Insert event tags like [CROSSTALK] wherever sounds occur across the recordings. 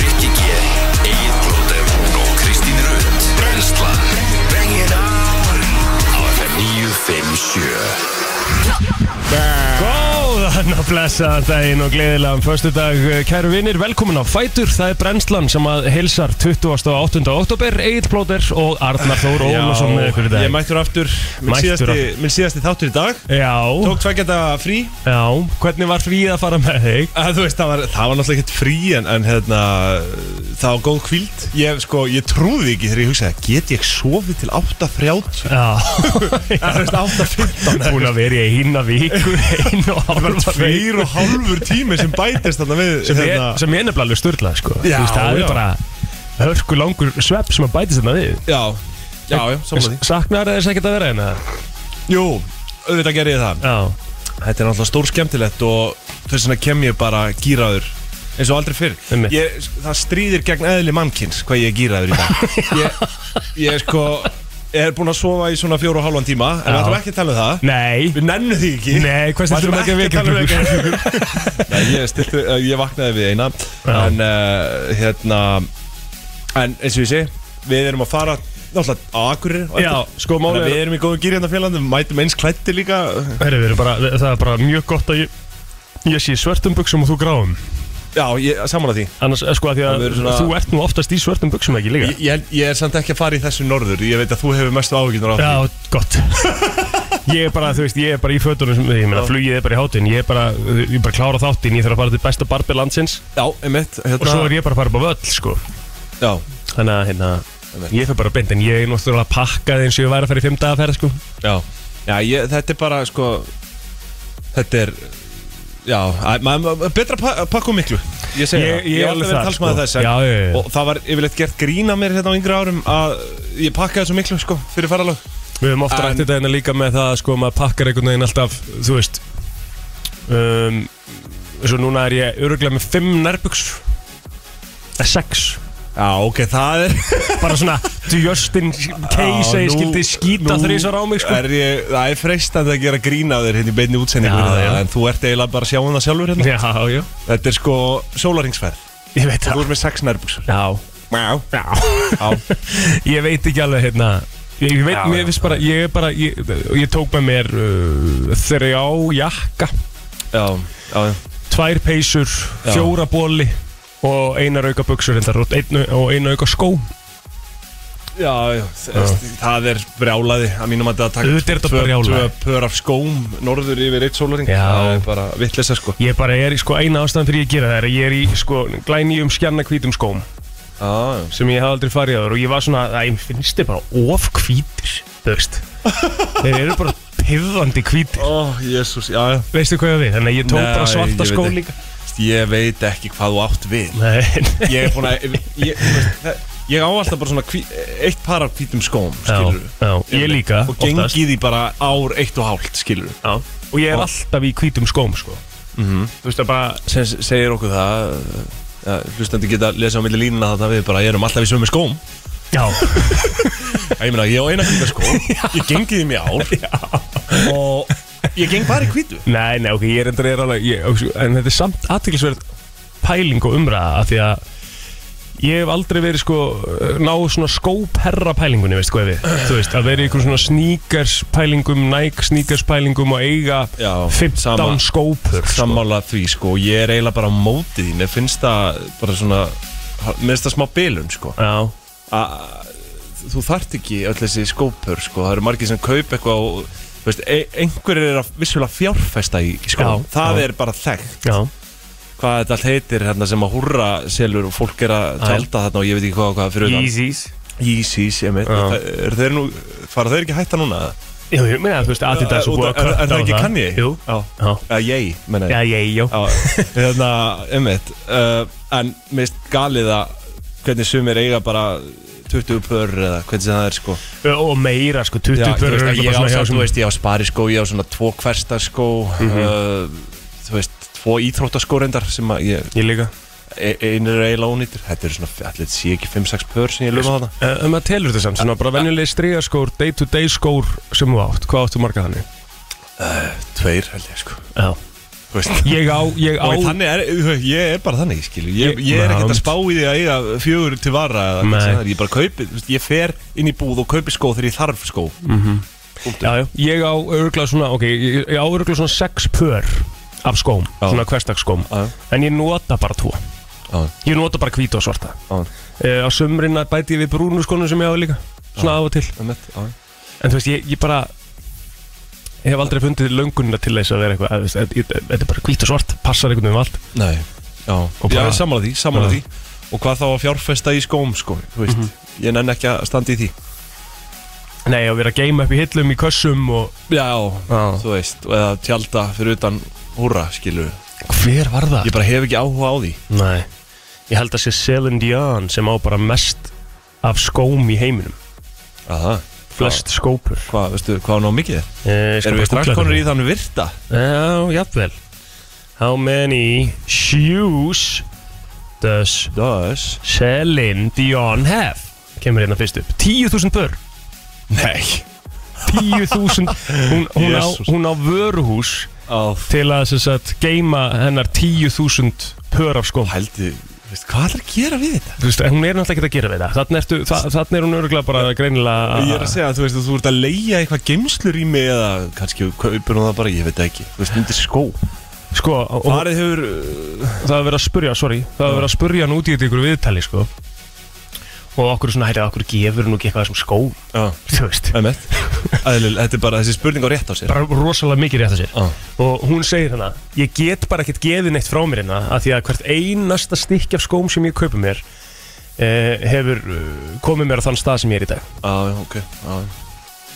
Rikki G, Egil Blóter og Kristín Rund Brenslan Bring it on Á FM 957 Góðan að blessa daginn og gleðilegan Föstu dag, kæru vinnir, velkomin á Fætur Það er brennslan sem að heilsar 28. oktober, Egil Plóter og Arnar Þór Já, Ólason með ykkur í dag Ég er mættur aftur Minn Mættur síðasti, minn síðasti þáttur í dag Já, Tók tveggjata frí já, hvernig var frí að fara með þig? að, Þú veist, það var, það var náttúrulega ekkert frí En, en hérna, það var góð kvíld Ég, sko, ég trúði ekki þegar ég hugsaði Get ég sofið til 8.30 [LAUGHS] Já, Það er 8.15 búin að vera í eina viku, einu og [LAUGHS] Það var hálfa viku tveir og hálfur tími sem bætist þarna við hérna. sem, ég, sem ég er nefnilega alveg styrla sko. Já, Þú veist, það já. er bara hörku langur svepp sem að bætist þarna við Já, já, já, saman því saknar þess ekkert að vera hérna Jú, auðvitað gerði ég það já, Þetta er náttúrulega stór skemmtilegt og þess vegna kem ég bara gýraður eins og aldrei fyrr Einmitt. ég, Það stríðir gegn eðli mannkins hvað ég er gýraður í dag [LAUGHS] ég, ég sko er búinn að sofa í svona fjóru og hálfan tíma en Já. við ætlum ekki að tala um það nei Við nennum því ekki Nei, hvað Við stendur ætlum maður ekki að ekki að tala um vekja vekja Nei, ég, stilti, eh, ég vaknaði við eina Já. En uh, hérna En eins og ég segi Við erum að fara náttúrulega á Akureyri á eftir. [LAUGHS] Já, sko, Þannig málið að er- Við erum í góðum gýrjandafélandi Við mætum eins klætti líka Heri, við erum bara, það er bara mjög gott að ég, ég sé í svörtum buksum og þú gráum Já, ég, saman að því annars eh, sko að því að Það verður svona- þú ert nú oftast í svörtum buksum ekki líka Ég, ég, held- ég er samt ekki að fara í þessu norður Ég veit að þú hefur mestu áhugjurnar á því já, gott [LAUGHS] ég er bara, þú veist, ég er bara í fötunum sem, ég meina, flugið er bara í hátinn ég er bara, ég er bara að klára þáttinn ég þarf að fara til besta barbi landsins Já, einmitt hérna- og svo er ég bara að fara upp á völl, sko Já, þannig að, hérna, ég fer bara beint en ég er náttúrulega pakkað eins og ég væri að fara í fimm daga ferð, sko já Já, ég, þetta er bara, sko Þetta er Já, að, maður, maður- betra pa, að pakka um miklu Ég segi það Ég- ég Ég er hef alveg alveg verið þar, talsmaður sko. þess en, Já, já, já. Og það var yfirleitt gert grína mér hérna á yngri árum Að ég pakkaði svo miklu, sko, fyrir faralög Við höfum ofta En- rættið þetta líka með það að sko maður pakkar einhvern veginn alltaf, þú veist um, Svo núna er ég öruglega með fimm nærbuks Eða sex Já, ok, það er Bara [LAUGHS] svona Justin Case að ég nú- skildi skýta nú þrísar á mig sko er ég, Það er freistandi að gera grína þér hérna í beinni útsendingu Já, já. En þú ert eiginlega bara að sjá hana sjálfur hérna Já, já, Þetta er sko sólaringsferð ég veit Þú það ert með sex nærbuxur Já, Já, já já, Ég veit ekki alveg hérna Ég, ég veit, Já, mér já. finnst bara, ég er bara, ég, ég tók með mér uh, þrjá jakka já, já, tvær peysur, Já. fjóra bóli og einar auka buksur reyndar, og einu, og einu auka skó já, já. Það er brjálaði að mínum að það taka Auðvitað er þetta tvö- brjálæði. Tvö pör af skóm norður yfir eitt sólaring Já. Það er bara vittlisa sko Ég bara er í sko eina ástæðan fyrir ég gera það er að ég er í sko glænýjum skjanna hvítum skóm Já, já sem ég hef aldrei farið áður og ég var svona að ég finnst þið bara of hvítir [LAUGHS] þú veist þeir eru bara pyrrandi hvítir Ó, jésús, já, já veistu hvað ég á við þannig að ég tók Nei, bara ég svarta veit skó ekki. líka Ég veit ekki hvað þú átt við Nei, nei. Ég er búin að Ég, þú veist, það- ég á alltaf bara svona hví, eitt par af hvítum skóm, já, skilur já, ég líka Og oftast. gengið í bara ár eitt og hálft, skilur já. og ég er alltaf í hvítum skóm sko þú veist að bara Sem Mhm. segir okkur það ja, Hlustandi geta að lesa á milli línuna þarna við bara erum alltaf í sömu skóm já sko. Já, Ég meina, ég á eina hvíta [LAUGHS] skó Ég gengið í mig ár Og ég geng bara í hvítu Nei, nei, ok, ég er endur er alveg ég, ok, En þetta er samt aðtilsverð pæling og umræða af Því að ég hef aldrei verið sko Náð svona skóperra pælingunni, veist hvað ég við Þú veist, að vera í ykkur svona sneakers pælingum Nike sneakers pælingum Og eiga Já, 15 sama- skópur sko. Sammála því, sko Ég er eiginlega bara á móti því Mér finnst það bara svona Mér finnst það smá bilun, sko Já, A, Þú þart ekki öll þessi skópur, sko Það eru margir sem kaup eitthvað og þú Veist, e einhverjir er að vissulega fjárfesta í, í skó Já, Það já. er bara þekkt já, Hvað þetta allt heitir hérna sem að húrra selur Og fólk er að Já, já. tjálta þarna Og ég veit ekki hvað og hvað fyrir utan Yeezys Yeezys, ég veit Já. Er þeir nú, fara þeir ekki að hætta núna? eða? Já, ég meina, þú veist, að þetta er svo Út búið af- að kötta er það ekki Kanye? Jú, Já, já, já, ég, menna já, ég ég, já [LAUGHS] Já, hérna, einmitt uh, En mist galið að hvernig sumir eiga bara 20 pör eða hvernig sem það er sko Og meira, sko, 20 Já, þú pörur veist, ég á eru bara svona Mhm. hjá samt, sem- þú veist, ég á spari skó, ég á svona tvo hversta skó uh, Þú veist, tvo íþróttaskó reyndar sem að ég, Ég líka e- einir er eiginlega ónýtur Þetta eru svona, allir sé ekki 5-6 pör sem ég lögum á það Uh, maður telur þetta samt, svona bara venjulegi stríðaskór, day to day skór sem þú átt, hvað áttu marga þannig? Tveir held ég sko Já. Þú veist Ég á, ég á Og þannig er, þú veist, ég er bara þannig, skilur Ég, ég er ekkert að spá í því að eiga fjögur til vara eða Nei. hvað sem það er. Ég bara kaupi, þú veist, ég fer inn í búð og kaupi skó þegar ég þarf skó já, já, Mhm. Ég á örgla svona, ok Ég, ég á örgla svona sex pör af skóm Já. Svona hverstagsskóm Já, já. En ég nota bara tvo Já. Ég nota bara hvíta og svarta Já. Eh, Á sömrin bæti ég við brúnu skónum sem ég á líka Svona af og til Einmitt, já. En þú veist, ég, ég bara Ég hef aldrei fundið löngunina til þess að vera eitthvað að, að, að, Þetta er bara hvít og svart, passar einhvern veginn um allt Nei, já, bara- já samanlega því, samanlega Já. Mhm. því Og hvað þá að fjárfesta í skóm, sko, þú veist Ég nenn ekki að standa í því Nei, að vera að geima upp í hillum, í kössum og Já, Já. þú veist, og eða tjálta fyrir utan húra, skilu Hver var það? Ég bara hef ekki áhuga á því Nei, ég held að sé Celine Dion sem á bara mest af skóm í heiminum Aha. Flest skópur Hvað, veistu, hvað ná mikið er? eh, Erum við strax konur í þann virta? Já, jafnvel How many shoes does Does Celine Dion have? Kemur hérna fyrst upp 10.000 pör Nei 10.000 hún, hún, á, Jesus. hún á vöruhús Á til að sem sagt, geima hennar 10.000 pör af skóm Hældi, veist, hvað ætlar að gera við þetta? Þú veist, hún er náttúrulega ekki að gera við það Þannig, ertu, þa þannig er hún örgulega bara greinilega Ég er að segja, þú veist, þú ert að leia eitthvað geimslur í mig eða kannski kaupir hún það bara, ég veit það ekki Þú veist, undir skó Sko, og það Farið hefur, uh, er verið að spurja, sorry Það er verið að spurja hann út í þetta ykkur viðtali, sko Og okkur er svona, hætti, okkur gefur nú ekki eitthvað þessum skó já, Þú veist, Emmett Æðlilega, þetta er bara þessi spurning á rétt á sér bara rosalega mikið rétt að sér Já. Og hún segir hana Ég get bara ekkert gefið neitt frá mér hérna Af því að hvert einasta stykki af skóm sem ég kaupi mér eh, Hefur eh, komið mér á þann stað sem ég er í dag Já, já, ok já.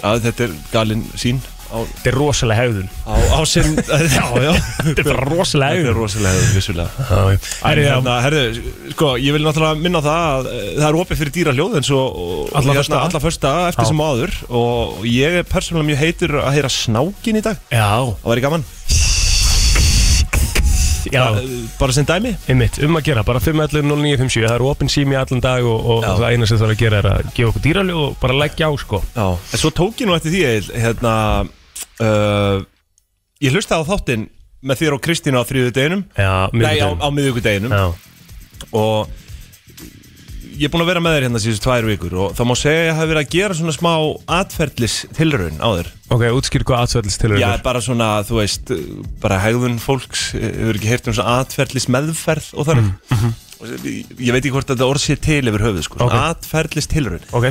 Já, þetta er galinn sín á, Þetta er rosalega hegðun á, á [LAUGHS] sinn Já, já Þetta er bara rosalega Þetta er hegðun rosalega, vissulega Herri, En já, hérna, herðu, sko, ég vil náttúrulega minna á það að eh, það er opið fyrir dýra hljóð eins og og- Alla hérna, föstudaga. alla fyrsta eftir Já. sem áður og ég er persónulega mjög heitur að heyra snákin í dag já, Það væri gaman já, Bara sem dæmi Einmitt, um að gera, bara 5.11.09.57 Það er opinn sími allan dag og, og Já. það eina sem þarf að gera er að gefa okkur dýraljó og bara leggja á sko Já En svo tók ég nú eftir því Egill, hérna uh, Ég hlustaði á þáttinn með þér og Kristínu á þriðu deginum Já, Nei, á, á miðvikudeginum miðvikudeginum. Já, og ég er búin að vera með þér hérna síðustu tvær vikur og það má segja að ég hafi verið að gera svona smá atferðlis tilraun á þér ok, útskýr hvað aðsveldist til Já, bara svona, þú veist, uh, bara hegðun fólks hefur ekki heyrt um svona atferðlis meðferð og um. þannig Mm. Mhm. og ég, ég veit ekki hvort þetta orð sé til yfir höfuð sko, Ok. okay. atferðlis tilraun Ok,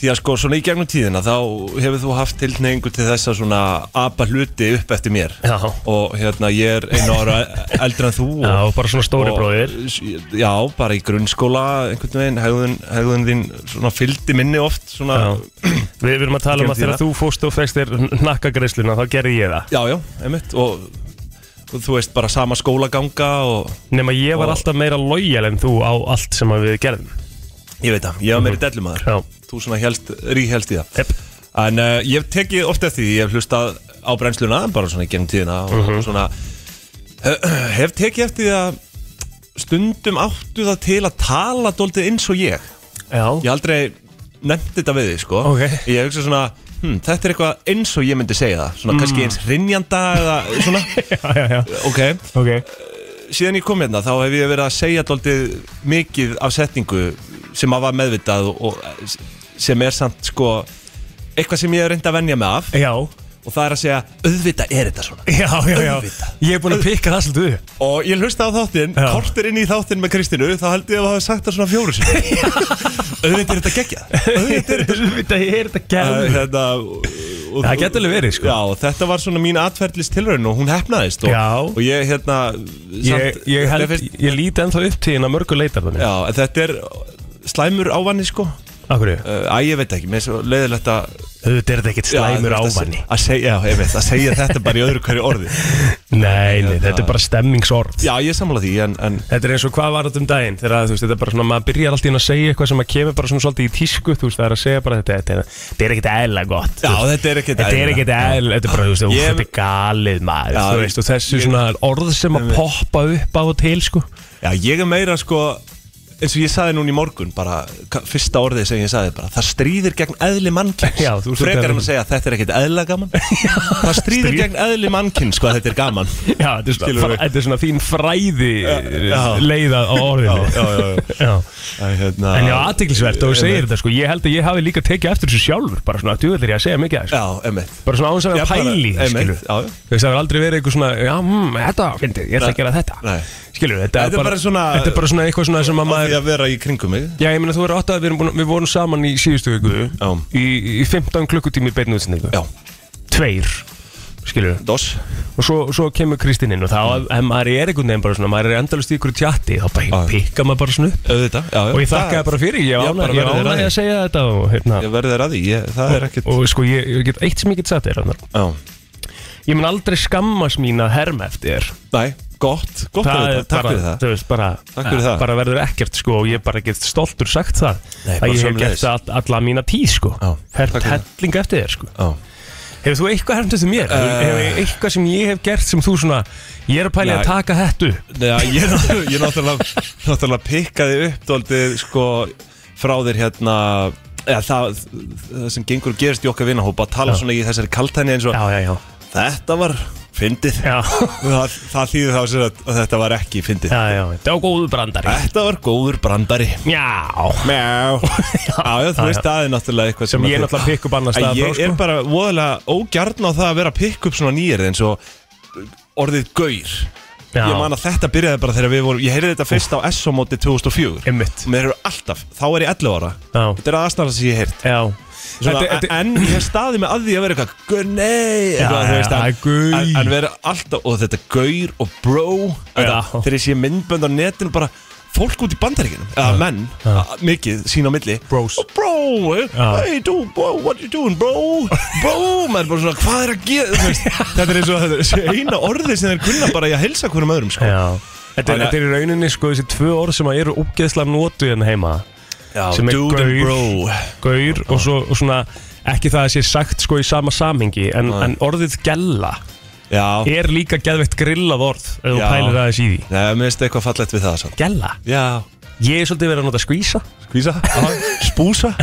því að sko svona í gegnum tíðina þá hefur þú haft tilneingu til þess að svona apa hluti upp eftir mér já, og hérna ég er einu ára eldri en þú og já bara svona stóri bróðir og- Já, bara í grunnskóla einhvern veginn, hegðun, hegðun þín svona fylgdi minni oft Já. svona, Við erum að tala um Gerum því að þegar það. þú fóst og fegst þér nakkagreisluna þá gerði ég það já, já, einmitt og, og þú veist bara sama skólaganga og Nefn að ég var Og- alltaf meira lojal en þú á allt sem að við gerðum ég veit það, ég var meiri dellumadur Mhm. Já, þú svona helst, ríhelst í það epp, en uh, ég hef tekið oft eftir því, ég hef hlustað á brennsluna bara svona í gegnum tíðina og Mhm. svona uh, [CLEARS THROAT] hef tekið eftir því að stundum áttu það til að tala dóltið eins og ég já, ég aldrei nefndi þetta við þig sko Ok. ég hugsa svona hm, þetta er eitthvað eins og ég myndi segja það svona kannski eins rinjanda eða svona Mm. [LAUGHS] já, já, já. ok, Ok, síðan ég kom hérna þá hef ég verið að segja daldið mikið af setningu sem að var meðvitað og sem er samt sko eitthvað sem ég hef reyndi að venja mig af já, og það er að segja auðvitað er þetta svona já, já, já. Auðvitað. Ég er búin að pikka það svolítið upp og ég hlusta á þáttinn, Já. kortir inn í þáttinn með Kristínu þá held ég að hafa sagt það svona fjóru sinni [LAUGHS] auðvitað er þetta geggjað auðvitað [LAUGHS] er þetta Þetta er þetta Uh, hérna, og, og, gerð Það gæti alveg verið, sko. Já, og þetta var svona mín atferðlist tilraun og hún hefnaðist og, Já. og ég hérna Ég, samt- ég, mér held, finnst- ég líti ennþá upp til hérna mörgu leitar þannig Já, en þetta er slæmur ávanni sko uh, Akkur, Æ, ég veit ekki, mér er svo leiðilegt að auðvitað er þetta ekkert Já, slæmur þú veist, að- ávanni Að segja, já, ég veit, að segja þetta bara í öðru hverju orði Nei, nei, Hérna- þetta er bara stemmingsorð Já, ég samla því, en, en Þetta er eins og hvað var þetta um daginn Þegar að, þú veist, þetta er bara svona, maður byrjar alltaf inn að segja eitthvað sem að kemur bara svona svolítið í tísku Þú veist, það er að segja bara þetta Þetta er, þetta er ekkert eðla gott Já, þú veist. þetta er ekkert Þetta er eðlilega. ekkert eðla, þetta er bara, þú veist, úff, Ég- þetta er galið maður Já, Þú veist, og þessi ég- svona orð sem að poppa upp á og til, sko Já, ég er meira sko eins og ég saði núna í morgun bara, ka- fyrsta orðið sem ég saði bara það stríðir gegn eðli mannkynns Já, þú ert að frekar tala en um- að segja að þetta er ekkit eðla [LAUGHS] gaman það stríðir Stríð. gegn eðli mannkynns hvað þetta er gaman já, Já, þetta er, Skilur svona, við. þetta er svona þín fræði já. leiða á orðinu já, já, já. Já. Æ, hérna, En já, aðtiklisvert og þú segir þetta sko, ég held að ég hafi líka tekið eftir þessu sjálfur, bara svona, djúvel er ég að segja mikið að þessu. já, emmitt Bara svona án sem að Já, vera bara, pæli, einmitt, skilur. já, já. Þú veist, það hefur aldrei verið eitthvað svona, já, mm, þetta, fyndið, ég ætla Nei, að gera þetta. nei. Skilur, þetta Þetta er bara svona- Þetta er bara svona eitthvað svona sem að maður maður... að vera í kringum mig Já, ég meina, þú er átt að við, erum búin- við vorum saman í síðustu viku, Já. í, í 15 klukkutími beinni útsendingu. já, Tveir, skilur. dos Mm. og svo, svo kemur Kristín inn og þá ef maður er einhvern veginn bara svona, maður er endalust í ykkur tjatti þá bara Já. pikka maður bara svona upp auðvitað já, já. og ég Það- þakkaði bara fyrir, ég Já, bara ánaði verður að að, því. að segja þetta og, hérna, ég verði þér að því, ég, það er ekkit og sko ég, ég get eitt sem ég get sagt þér annar. já, ég mun aldrei skammast mín að herma eftir þér næ, gott, gott auðvitað, er takk bara, fyrir það þú veist, bara, Takk fyrir ja, það. bara verður ekkert sko og ég bara get stoltur sagt það Nei, að bara ég hef sömuleiðis. gert all, alla mína tíð sko Já, takk hermt fyrir það. helling eftir þér sko já Hefur þú eitthvað hermt eftir mér? Uh, Eh. Hefur eitthvað sem ég hef gert sem þú svona Ég er að pæli Nei. að taka þetta upp Já, ég, ég náttúrulega, [LAUGHS] náttúrulega pikkaði upp dóldið sko frá þér hérna eða, það, það sem gengur og gerist í okkar vinahópa að tala Já. svona í þessari kaltæni eins og Já, já, já þetta var fyndið Já, [LAUGHS] það, það þýðir þá sem sagt að þetta var ekki fyndið já, já, þetta var góðu brandari Þetta var góður brandari [LAUGHS] [LAUGHS] Já Já, já, þú Já, veist já. það er náttúrulega eitthvað Sem að ég þið- náttúrulega pikk upp annars Að staðar frá, Ég er sko. bara voðalega ógjarn á það að vera að pikk upp svona nýjir eins og orðið gaur Já. Ég man að þetta byrjaði bara þegar við vorum Ég heyrði þetta fyrst á SO móti 2004 Einmitt. Mér eru alltaf, þá er ég 11 ára Já. Þetta er aðstæðan sem ég hef heyrt Já Svona, Þetta- þetta- En ég hef staðið mig að því að vera eitthvað Gaur, nei eitthvað, Já, þú já, en- gaur. en, en vera alltaf, og þetta gaur og bro þetta, Já. Þegar ég sé myndbönd á netinu bara Fólk út í bandaríkinum, eða menn, að- mikið, sín á milli Bros. oh, Bro, eh, Já. hey, do, bro, what you doing, bro Bro, maður er bara svona, hvað er að gera Þú [LAUGHS] veist, Þetta er eins og þetta er eina orðið sem þeir kunna bara í að helsa hverjum öðrum sko. Já Þetta, er- Þannig að- þetta er í rauninni sko þessi tvö orð sem að eru uppgeðslega notu hérna heima Já, Sem er dude gaur. and bro Gaur og, svo, og svona ekki það að sé sagt sko í sama samhengi En, en orðið gella Já, er líka geðveikt grillað orð Ef þú Já. pælir aðeins í því Nei, mér finnst eitthvað fallegt við það samt. Gella Já, Ég er svolítið verið að nota skvísa skvísa, [LAUGHS] spúsa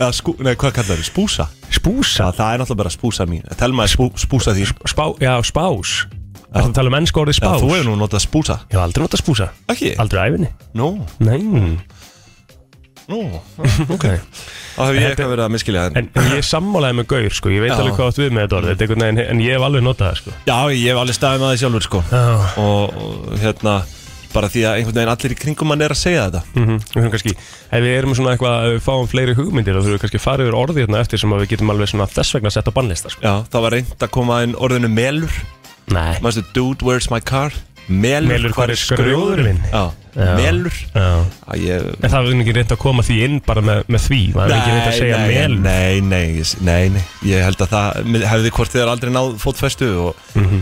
Já, skú, nei, hvað kallar þau? Spúsa? Já, Spúsa það er náttúrulega bara spúsa mín Telma er spú, spúsa því Já, Spá, já, spás Það er að tala um ennska orðið spás þú hefur nú notað spúsa Ég hef aldrei nota spúsa Ekki? Aldrei á æfinni Nú, Nei nú, ok Þá hefur ég eitthvað verið að miskilja það En, en ég sammálaði með Gaur sko, ég veit Já. alveg hvað átt við með þetta orð, þetta er einhvern veginn, en ég hef alveg notað það sko. Já, ég hef alveg staðið með það sjálfur sko Já. og, og hérna, bara því að einhvern veginn allir í kringum mann er að segja þetta Mm -hmm. kannski, ef við erum svona eitthvað að við fáum fleiri hugmyndir þá þurfum við kannski að fara yfir orðið hérna eftir sem að við getum alveg svona þess vegna að setja á bannlista sko. Já, það var reynd að koma inn orðinu melur Nei. Mastu, dude, where's my car? Melur, Melur, hvar er skrjóður minn? Já, Já. melur Já. Að ég, En það var ekki reynd að koma því inn bara með, með því, maður er ekki reynd að segja nei, mel Nei, nei, ég s- nei, nei Ég held að það mér hefði hvort þið er aldrei náð fótfestu og Mhm.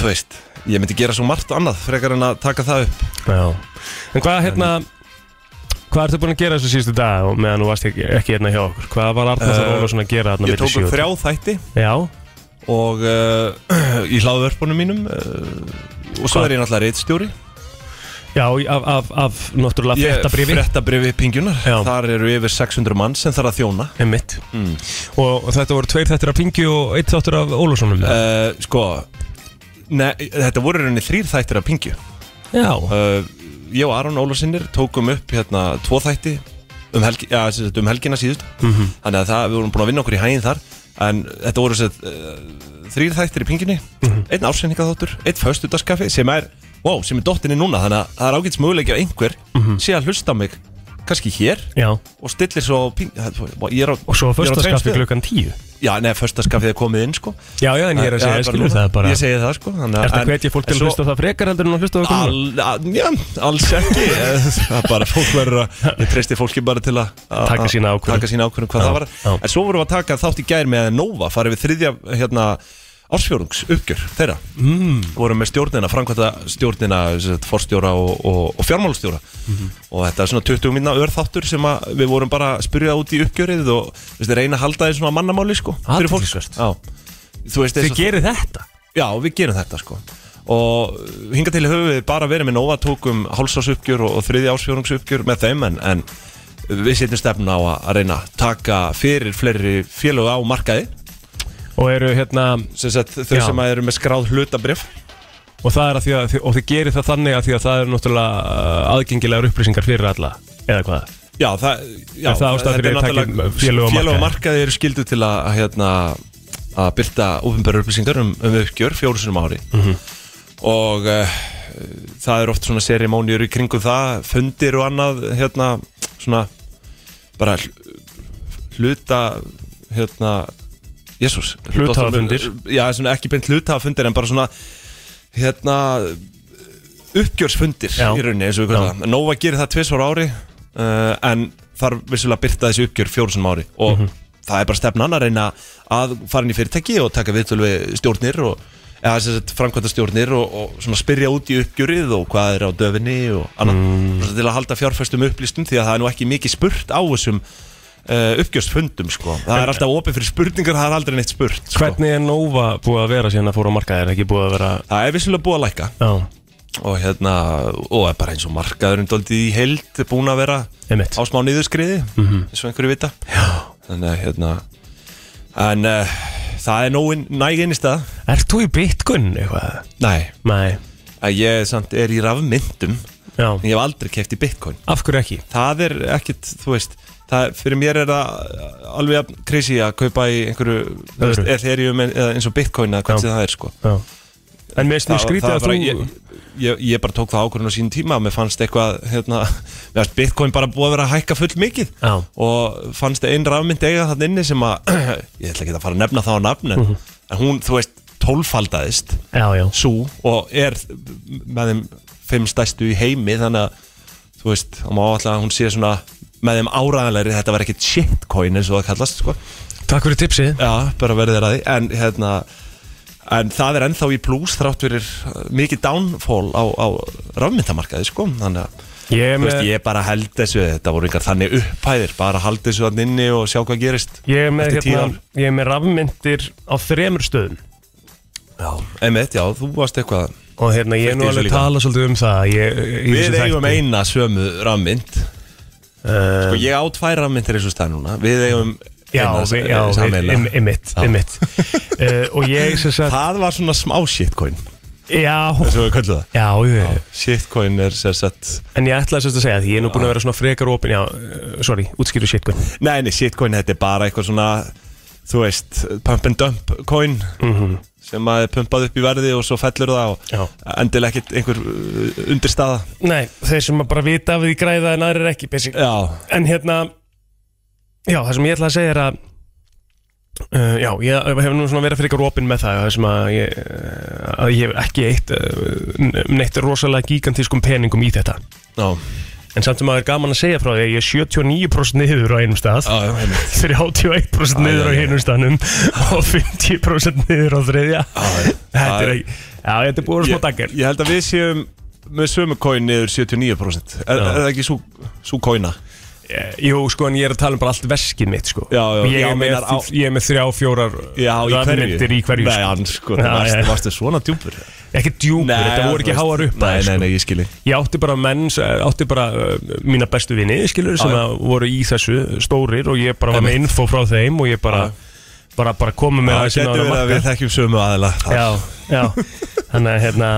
þú veist, ég myndi gera svo margt annað frekar en að taka það upp Já. En hvað hérna, hvað ertu búin að gera þessu síðustu dag og meðan þú varst ekki, ekki hérna hjá okkur? Hvað var Arnar Eh, uh, Ólafsson að gera hérna Ég tók upp og- þrjá þætti Já, og uh, [CLEARS THROAT] í hlaðvörpunum mínum uh, og svo Hvað? er ég náttúrulega reittstjóri já, af, af, af náttúrulega fréttabrifi Frettabrifi pingjunar Já. Þar eru yfir 600 mann sem þarf að þjóna Mm. Einmitt. Og þetta voru tveir þættir af Pingi og eitt þáttur af Ólafssonum uh, uh, Sko Nei, þetta voru í rauninni þrýr þættir af pingju Já, uh, ég og Aron Ólafsinnir tókum upp hérna tvo þætti um, helgi, ja, sem sagt, um helgina síðust Mhm. þannig að það, við vorum búin að vinna okkur í hæginn þar en þetta voru sett, uh, þrýr þættir í pinginni Mhm. einn ársynningaþáttur, einn föstudaskaffi sem er, wow, sem er dottinni núna þannig að það er ágæts möguleiki að einhver sé að hlusta á mig, kannski hér Mhm. já og stillir svo á ping, ég er á, Og svo ég er á tveim fyrstaskaffi stöðum. klukkan tíu já, neða, föstudaskaffið er komið inn sko Já, já, en ég er að segja, bara ég skilur núna. það bara ég segi það sko þannig að- Er þetta en- hvetja fólk en til að svo- hlusta á það frekar heldur en að hlusta á okkur núna? Al, að, já, alls ekki Eh, Það er bara fólk verður að Ég treysti fólki bara til að að- Taka sína að- ákvörðun. Taka sína ákvörðun hvað Já, það var já. En svo vorum við að taka þátt í gær með Nova Farið við þriðja hérna, ársfjórungs uppgjör þeirra mm. Vorum með stjórnina, framkvæmta stjórnina Forstjóra og, og, og fjármálustjóra Og þetta er svona 20 minna örþáttur Sem að við vorum bara að spyrja út í uppgjörið Og veist, reyna að halda því svona mannamáli sko, fyrir fólk. Athyglisvert. Já. Þú veist, eins Þið og- gerir þetta? Já, við gerum þetta sko og hinga til höfum við bara verið með Novatókum hálsársuppgjör og, og þriði ásfjórungsuppgjör með þeim en, en við setjum stefn á að, að reyna að taka fyrir fleiri félög á markaði Og eru hérna sem sagt þau Já. sem að eru með skráð hlutabrif Og það er að því að Og þið gerir það þannig að því að það eru náttúrulega uh, Aðgengilegar upplýsingar fyrir alla Eða hvað Já, það, já, Er það ástæðan fyrir þetta er að taka náttúrulega- félög á markaði? Félög á markaði eru skildu til að hérna, að byrta ofinbæra upplýsingar um, um uppgjör fjóru sinum ári Mhm. og uh, það er oft svona serimóniur í kringum það fundir og annað hérna, svona bara hl- hluta hérna jésús Hluthafafundir. Já, svona ekki beint hlutafundir en bara svona hérna uppgjörsfundir Já. í rauninni eins og við kallar það Nova gerir það tvisvar á ári uh, en þarf vissulega að byrta þessi uppgjör fjórusunum ári og Mhm. það er bara stefnan að reyna að fara inn í fyrirtæki og taka viðtöl við stjórnir og eða þess að framkvæmta stjórnir og, og svona spyrja út í uppgjörið og hvað er á döfinni og annað mm. til að halda fjárfæstum upplýstum því að það er nú ekki mikið spurt á þessum uh, uppgjörsfundum sko. það er alltaf opið fyrir spurningar það er aldrei neitt spurt sko. Hvernig er Nova búið að vera síðan að fóra á markaði Er ekki búið að vera það er vissulega búið að lækka Já, og hérna, og er bara eins og markaðurinn doldið í held búin að vera einmitt Mhm. á smá niðurskriði eins og einhverju vita Já. þannig að hérna en uh, það er nóin næg einnig stað Ert þú í bitcoin eitthvað? nei, Nei, að ég samt er í rafmyndum já en ég hef aldrei keft í bitcoin Af hverju ekki? það er ekkit, þú veist það, fyrir mér er það alveg jafn crazy að kaupa í einhverju þú veist, Öðru. ethereum en- eða eins og bitcoin eða hvernig Já. það er sko Já En mér Það- finnst skrítið það að var þú bara- ég, ég, ég bara tók það ákvörðun á sínum tíma Mér fannst eitthvað, hérna Mér fannst bitcoin bara búið að vera að hækka full mikið Já. Og fannst einn rafmynd eiga þannig inni sem að [CLEARS THROAT] Ég ætla ekki að fara að nefna það á nafn En en hún, þú veist, tólfaldaðist Mhm. Já, já Sú og er með þeim fimm stæstu í heimi Þannig að, þú veist, það má alltaf að hún sé svona Með þeim áræðanlegri, þetta var ekkit shitcoin eins og það kallast, sko Takk fyrir tipsið Já, bara verið þér að því En, hérna, en það er ennþá í plús þrátt fyrir uh, mikið downfall á, á rafmyndamarkaði sko. Þannig að Ég er þú veist, með, ég bara held þessu Þetta voru einhver þannig upphæðir Bara haldið þessu þannig inni og sjá hvað gerist ég er með, eftir tíu hérna, ég er með rafmyndir á þremur stöðum ár. Já, einmitt, já, þú varst eitthvað Og hérna, ég er nú Fylgdi þessu alveg líka. tala svolítið um það ég, í Við þessum eigum þætti. eina sömu rafmynd Eh, Og ég á tvær rafmyndir eins og stað núna Við eigum Já, eina við- já, við- hérna, sameiginlega. im- einmitt, Já. einmitt [LAUGHS] Eh, Og ég sem sagt Það var svona smá shitcoin Já, eins og við kallum það já, já Shitcoin er sér sett En ég ætlaði sérst að segja því Ég er nú búin að vera svona frekar opin Já, eh, sorry, útskýru shit guinn. Nei, nei, shitcoin, þetta er bara eitthvað svona þú veist, pump and dump coin sem að er pumpað upp í verði og svo fellur það og Mhm. Já. endilega ekkert einhver uh, undirstaða Nei, þeir sem að bara vita af því græða en aðrir ekki basic. Já, En hérna Já, það sem ég ætla að segja er að uh, Já, ég hef nú svona verið frekar opin með það Það sem að ég, eh, að ég hef ekki eitt uh, neitt rosalega gigantískum peningum í þetta já, En samt sem að það er gaman að segja frá því að ég er 79% niður á einum stað já, [LAUGHS] heimitt 31% niður á já, já. einum staðnum og 50% niður á þriðja Þetta er já. ekki Já, þetta er búið að vera smá dagir ég, ég held að við séum með sömu coin niður 79% Er, Já. er það ekki sú, sú coina? Jú, sko, en ég er að tala um bara allt veskið mitt, sko Já, já, ég, já, er með, meinar á- ég er með þrjá, fjórar rafmyndir í hverju Nei, sko. hann sko, Já, þú varst, já. varstu svona djúpur Ekki djúpur, þetta voru ekki þú háar sko. veist, upp Nei, nei, nei, ég skili Ég átti bara menn, átti bara uh, mína bestu vini, skilur, sem Já, já. að voru í þessu stórir og ég bara var með Einmitt. info frá þeim og ég bara, bara, bara komið með Það sem getur var á verið að við markað. þekkjum sömu aðila Já, já, þannig að hérna,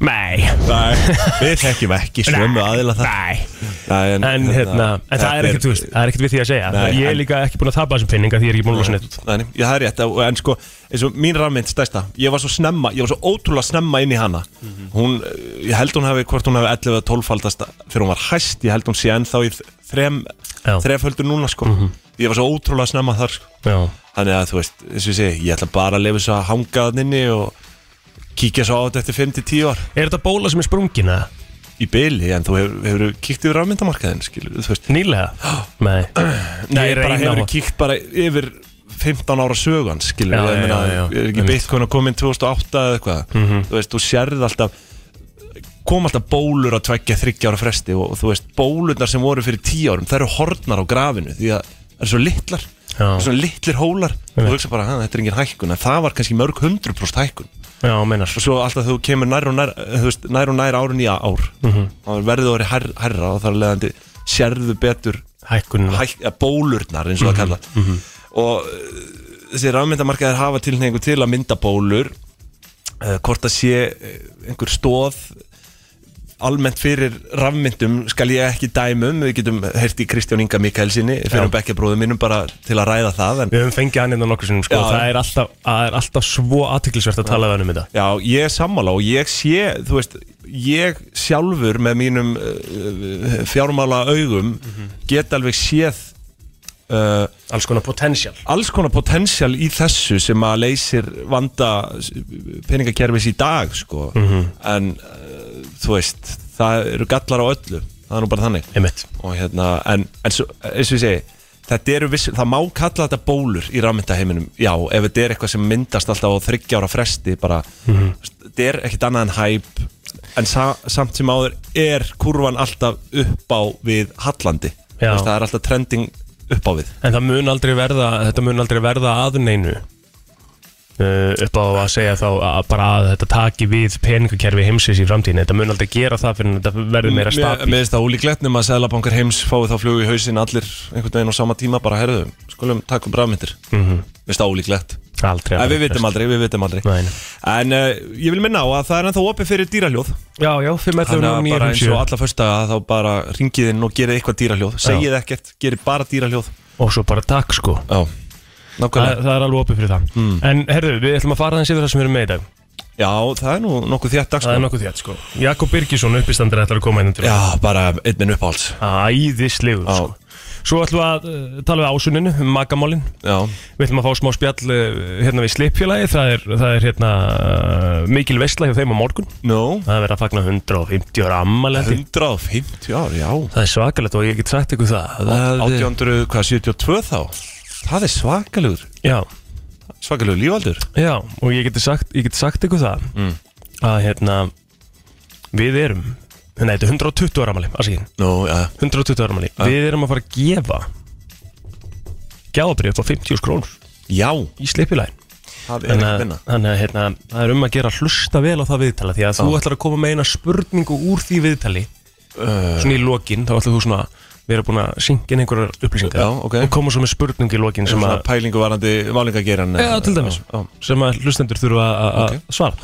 nei, Nei, [LAUGHS] við þekkjum ekki sömu aðila það nei Nei, En hérna, en það er ekkert, þú veist, það er ekkert við því að segja Nei, Ég er en- líka ekki búin að tapa þessum pinninga því ég er ekki búin að losa neitt Nei, nei, já, það er rétt, og- en sko, eins og mín rafmynd stærsta Ég var svo snemma, ég var svo ótrúlega snemma inn í hana Mhm. Hún, eh, ég held hún hefði, hvort hún hefði 11 eða 12 faldast Þegar hún var hæst, ég held hún sé ennþá í þ- þrem, Já. Mhm. þreföldur núna, sko Ég var svo ótrúlega snemma þar, sko Já, Þannig að, þú veist, eins og ég segi, ég ætla bara að lifa svo að hanga þann inni og kíkja svo á þetta eftir 5-10 ár er þetta bóla sem er sprungina? í byli, en þú hefur, hefur kíkt yfir rafmyndamarkaðin, skilur, þú veist [GASPS] Nýlega? Nei Nei, Ég bara reyni á hefur það. kíkt bara yfir 15 ára sögan, skilur Já, já, já, ég meina, já, já, er ekki einmitt. Mhm. Bitcoin að koma inn 2008 eða eitthvað þú veist, þú sérð alltaf kom alltaf bólur að tveggja þryggja ára fresti og, og þú veist, bólurnar sem voru fyrir 10 árum, þær eru hortnar á grafinu því að það eru svo litlar Já. það eru svo litlir hólar, og Einmitt. þú hugsa bara, "Ha, þetta er engin hækkun en það var kannski mörg 100% hækkun Já, meinar og svo alltaf þú kemur nær og nær, eh, þú veist, nær, og nær árun í ár mm Mhm. -hmm. og verður þú hær, hærra og þar leðandi sérðu betur Hækkun hæk, eh, bólurnar eins og Mhm. það kalla og eh, þessi rafmyndamarkaðir hafa tilhengu til að mynda bólur uh, hvort að sé eh, einhver stóð almennt fyrir rafmyndum skal ég ekki dæmum, við getum heyrt í Kristján Inga Mikaelsinni, fyrir um bekkjabróðum mínum bara til að ræða það en Við höfum fengið hann innan nokkur sinnum sko. Já. það, er alltaf, það er alltaf svo aðtiklisvert að tala við hann um þetta Já, ég er sammála og ég sé, þú veist, ég sjálfur með mínum uh, fjármála augum get alveg séð uh, Alls konar potential alls konar potensial í þessu sem að leysir vanda s- peningakerfis í dag, sko. Mhm. En, uh, þú veist, það eru gallar á öllu, það er nú bara þannig. Einmitt Og hérna, en, en svo, eins og ég segi, þetta eru viss, það má kalla þetta bólur í rafmyndaheiminum, já, ef þetta er eitthvað sem myndast alltaf á þryggjára fresti, bara, Mhm. þetta er ekkit annað en hæp, en sa, samt sem áður er kurvan alltaf upp á við hallandi, Já. Þú veist, það er alltaf trending upp á við. En það mun aldrei verða, þetta mun aldrei verða að neinu uh, upp á að segja þá að bara að þetta taki við peningakerfi heimsins í framtíðinni þetta mun aldrei gera það fyrir en þetta verður meira Mér stabil mér finnst það ólíklegt nema að seðlabankar heims fái þá flug í hausin allir einhvern veginn á sama tíma bara herðum, skulum takkum rafmyndir, mm -hmm. mér finnst það ólíklegt. Mhm. Aldrei En við vitum aldrei, við vitum aldrei Nei, nei. En uh, ég vil minna á að það er ennþá opið fyrir dýraljóð Já, já, fyrir með Þannig að bara eins og og, alla fyrsta að þá bara ringið inn og gerið eitthvað dýraljóð Segið ekkert, gerið bara dýraljóð svo bara takk sko Já, það, nákvæmlega Hmm. það er alveg opið fyrir það En herðu, við ætlum að fara þessi yfir það sem við erum með í dag Já, það er nú nokkuð þétt dags Það er nokkuð þétt sko Jakob Birgisson, uppistandir, ætlar að koma inn til Já, bara einn minn uppáhalds Æðislegur Já. sko Svo ætlum við að uh, tala við ásuninu, um magamálin Já, Við ætlum að fá smá spjall uh, hérna við slipfélagi Það er, það er hérna uh, mikil veistla hjá þeim á morgun no Það er verið að fagna 150 ára ammalandi 150 ár, já Það er svakalegt og ég get sagt ykkur það, það 1872 þá Það er svakalugur Já, Svakalugur lífaldur já og ég get sagt, ég get sagt ykkur það Mm. að hérna við erum Nei, þetta er 120 ára amali, afsakið Nú, já 120 ára amali Ah. Við erum að fara að gefa gjáabrið upp á 50 krónur Já, í slipjulægin það er Þannig ekkert að, minna þannig að hérna, það er um að gera að hlusta vel á það viðtala því að þú Ah. ætlar að koma með eina spurningu úr því viðtali Eh. svona í lokin, þá ætlar þú svona vera búin að syngja inn einhverjar upplýsingar Já, ok. og koma svo með spurningu í lokin sem Svona að, pælingu varandi válingageran já, til dæmis, Já, já. sem að hlustendur þurfa að okay. svara.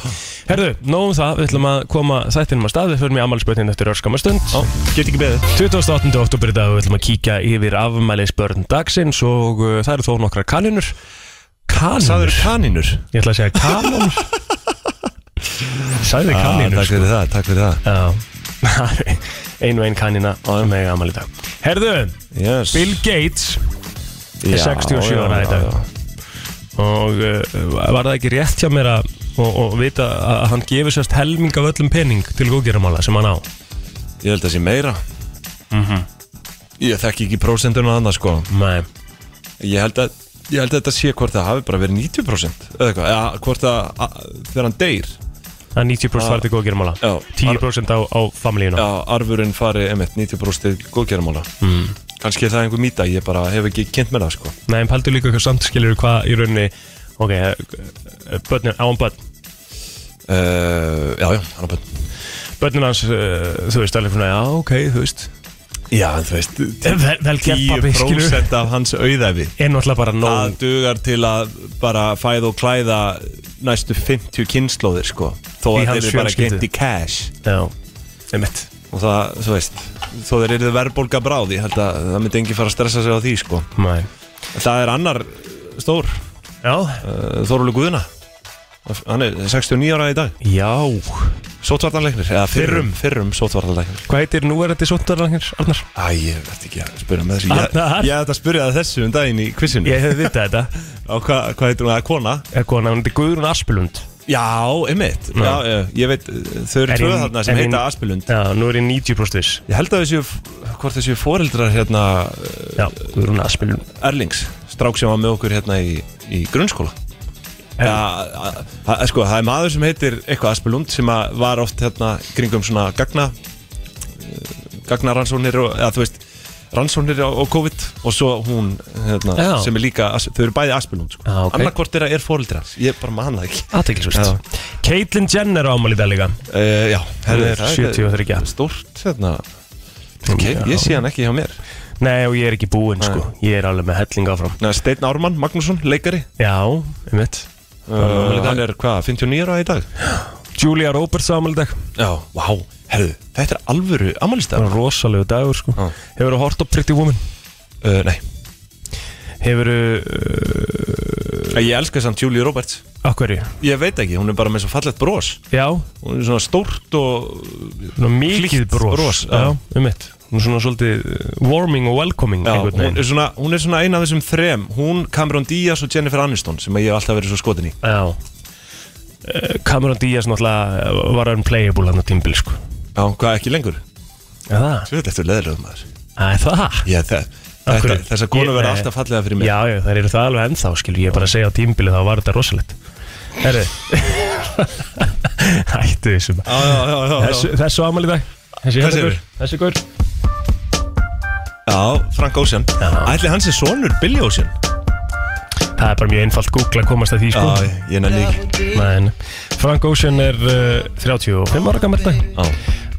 Herðu, nóg um það, við ætlum að koma þættinum að stað, við förum í ammælisbötnin eftir örskama stund. Já, get ekki beðið 28. oktober í dag við ætlum að kíkja yfir afmælisbörn dagsins og uh, það eru þó nokkra kanunur Það Kanunur? eru kaninur Ég ætla að segja kanunur Sæði kanunur Ah, Takk fyrir það, takk fyrir það Já, sko? [LAUGHS] ein og ein kanina og með afmæli í dag Herðu, yes. Bill Gates er 67 ára í dag. og uh, var það ekki rétt hjá mér að og, og vita að hann gefur sérst helming af öllum pening til góðgeramála sem hann á Ég held að það sé meira Ég þekki ekki prósentuna annað sko Mhm. Nei, Ég held að, ég held að þetta sé hvort það hafi bara verið 90% Eða eitthvað, eða hvort að að- þegar hann deyr það er 90% farið til góðgeramála Já. 10% á, á familíuna Já, arfurinn fari, emitt, 90% til góðgerðamála mm. Kannski er það einhver mýta, ég bara hef ekki kynnt með það sko Hmm. Nei, en pældu líka hvað samt skilur hvað í rauninni Ok, eh, börnin, á hann börn uh, Já, já, hann er bara Börnin hans, uh, þú veist, alveg svona, já, ok, þú veist Eh, Já, en þú veist, Vel, vel gert, pappi, skilur 10% af hans auðæfi En náttúrulega bara Það nóg dugar til að bara fæða og klæða næstu 50 kynnslóðir sko Þó að Í þeir hans eru bara fjölskyldu. gent í cash Já, einmitt Og það, þú veist, þó þeir eru verðbólga bráði Held að það myndi engi fara að stressa sig á því sko Nei Það er annar stór, Já, uh, Þorúlu Guðuna Hann er 69 ára í dag já Sótvartanleiknir, eða fyrrum, fyrrum sótvartanleiknir Hvað heitir núverandi sóttarlagnir, Arnar? Æ, ég veit ekki að spyrja [LAUGHS] með þessu Ég, Arnar? ég ætla að spyrja það þessu um daginn í kvissinu Ég hef [LAUGHS] vitað þetta Á hvað hva heitir hún að kona? Eða hvað, hann heitir Guðrún Aspilund Já, einmitt Já. Já, já, ég veit, þau eru Er tvö í- þarna sem er í- heita Aspilund Já, nú er ég 90% viss Ég held að þessu, hvort þessu foreldrar hérna eh, Já, Guðrún Aspilund Erlings, strák sem var með okkur hérna í, í grunnskóla Já, a- a- a- sko, það er maður sem heitir eitthvað Aspilund sem að var oft hérna kringum svona gagna eh, gagnarannsóknir og, eða þú veist rannsóknir á, á COVID og svo hún hérna, Já. sem er líka, as- þau eru bæði aspilund sko. Já, ok. annarkvort er að er fóreldri hans ég bara man það ekki Já. Aðteklisvert Caitlyn Jenner á ámali í dag líka uh, já, Hún herri, er það er- 73. stórt hérna. okay, Já. ég sé hann ekki hjá mér Nei og ég er ekki búinn sko Ég er alveg með helling áfram Nei, Steinn Ármann Magnússon, leikari Já, um mitt uh, hann er hvað, 59 ára í dag Julia Roberts á ámali í dag já, vá, herru, þetta er alvöru amalistæð Það var rosalegu dagur sko Já. Hefur þú hort á Pretty Woman? uh, nei, Hefur þú, ég elska samt Julie Roberts akkverju? ég veit ekki, hún er bara með svo fallegt bros Já, hún er svona stórt og svona mikið Flíkt bros, bros, já. Já, um mitt Hún er svona svolítið uh, warming og welcoming Já, einhvern hún, veginn. er svona, hún er svona eina af þessum þrem Hún, Cameron Diaz og Jennifer Aniston sem ég hef alltaf verið svo skotin í Já Eh, Cameron Diaz náttúrulega eh, var unplayable hann á tímbil sko Já, hvað ekki lengur? Já, það Þú veit eftir leðilegum maður Æ, það ég, þe Af þetta, hverju? Þessar konur Ég- verða nei. alltaf fallega fyrir mig Já, já, þær eru það alveg ennþá, skilur ég er bara að segja á tímbili þá var þetta rosalegt Herru [LAUGHS] Hættu þessu maður. já, já, já, já, Þessu, þessu ámæli dag Þessi Þessi hérna gaur er. Þessi gaur [LAUGHS] já Frank Ocean Ætli hans er sonur Billy Ocean Það er bara mjög einfalt Google að komast að því sko Já, ég nenni ekki Men, Frank Ocean er uh, 35 ára gammal dag Já.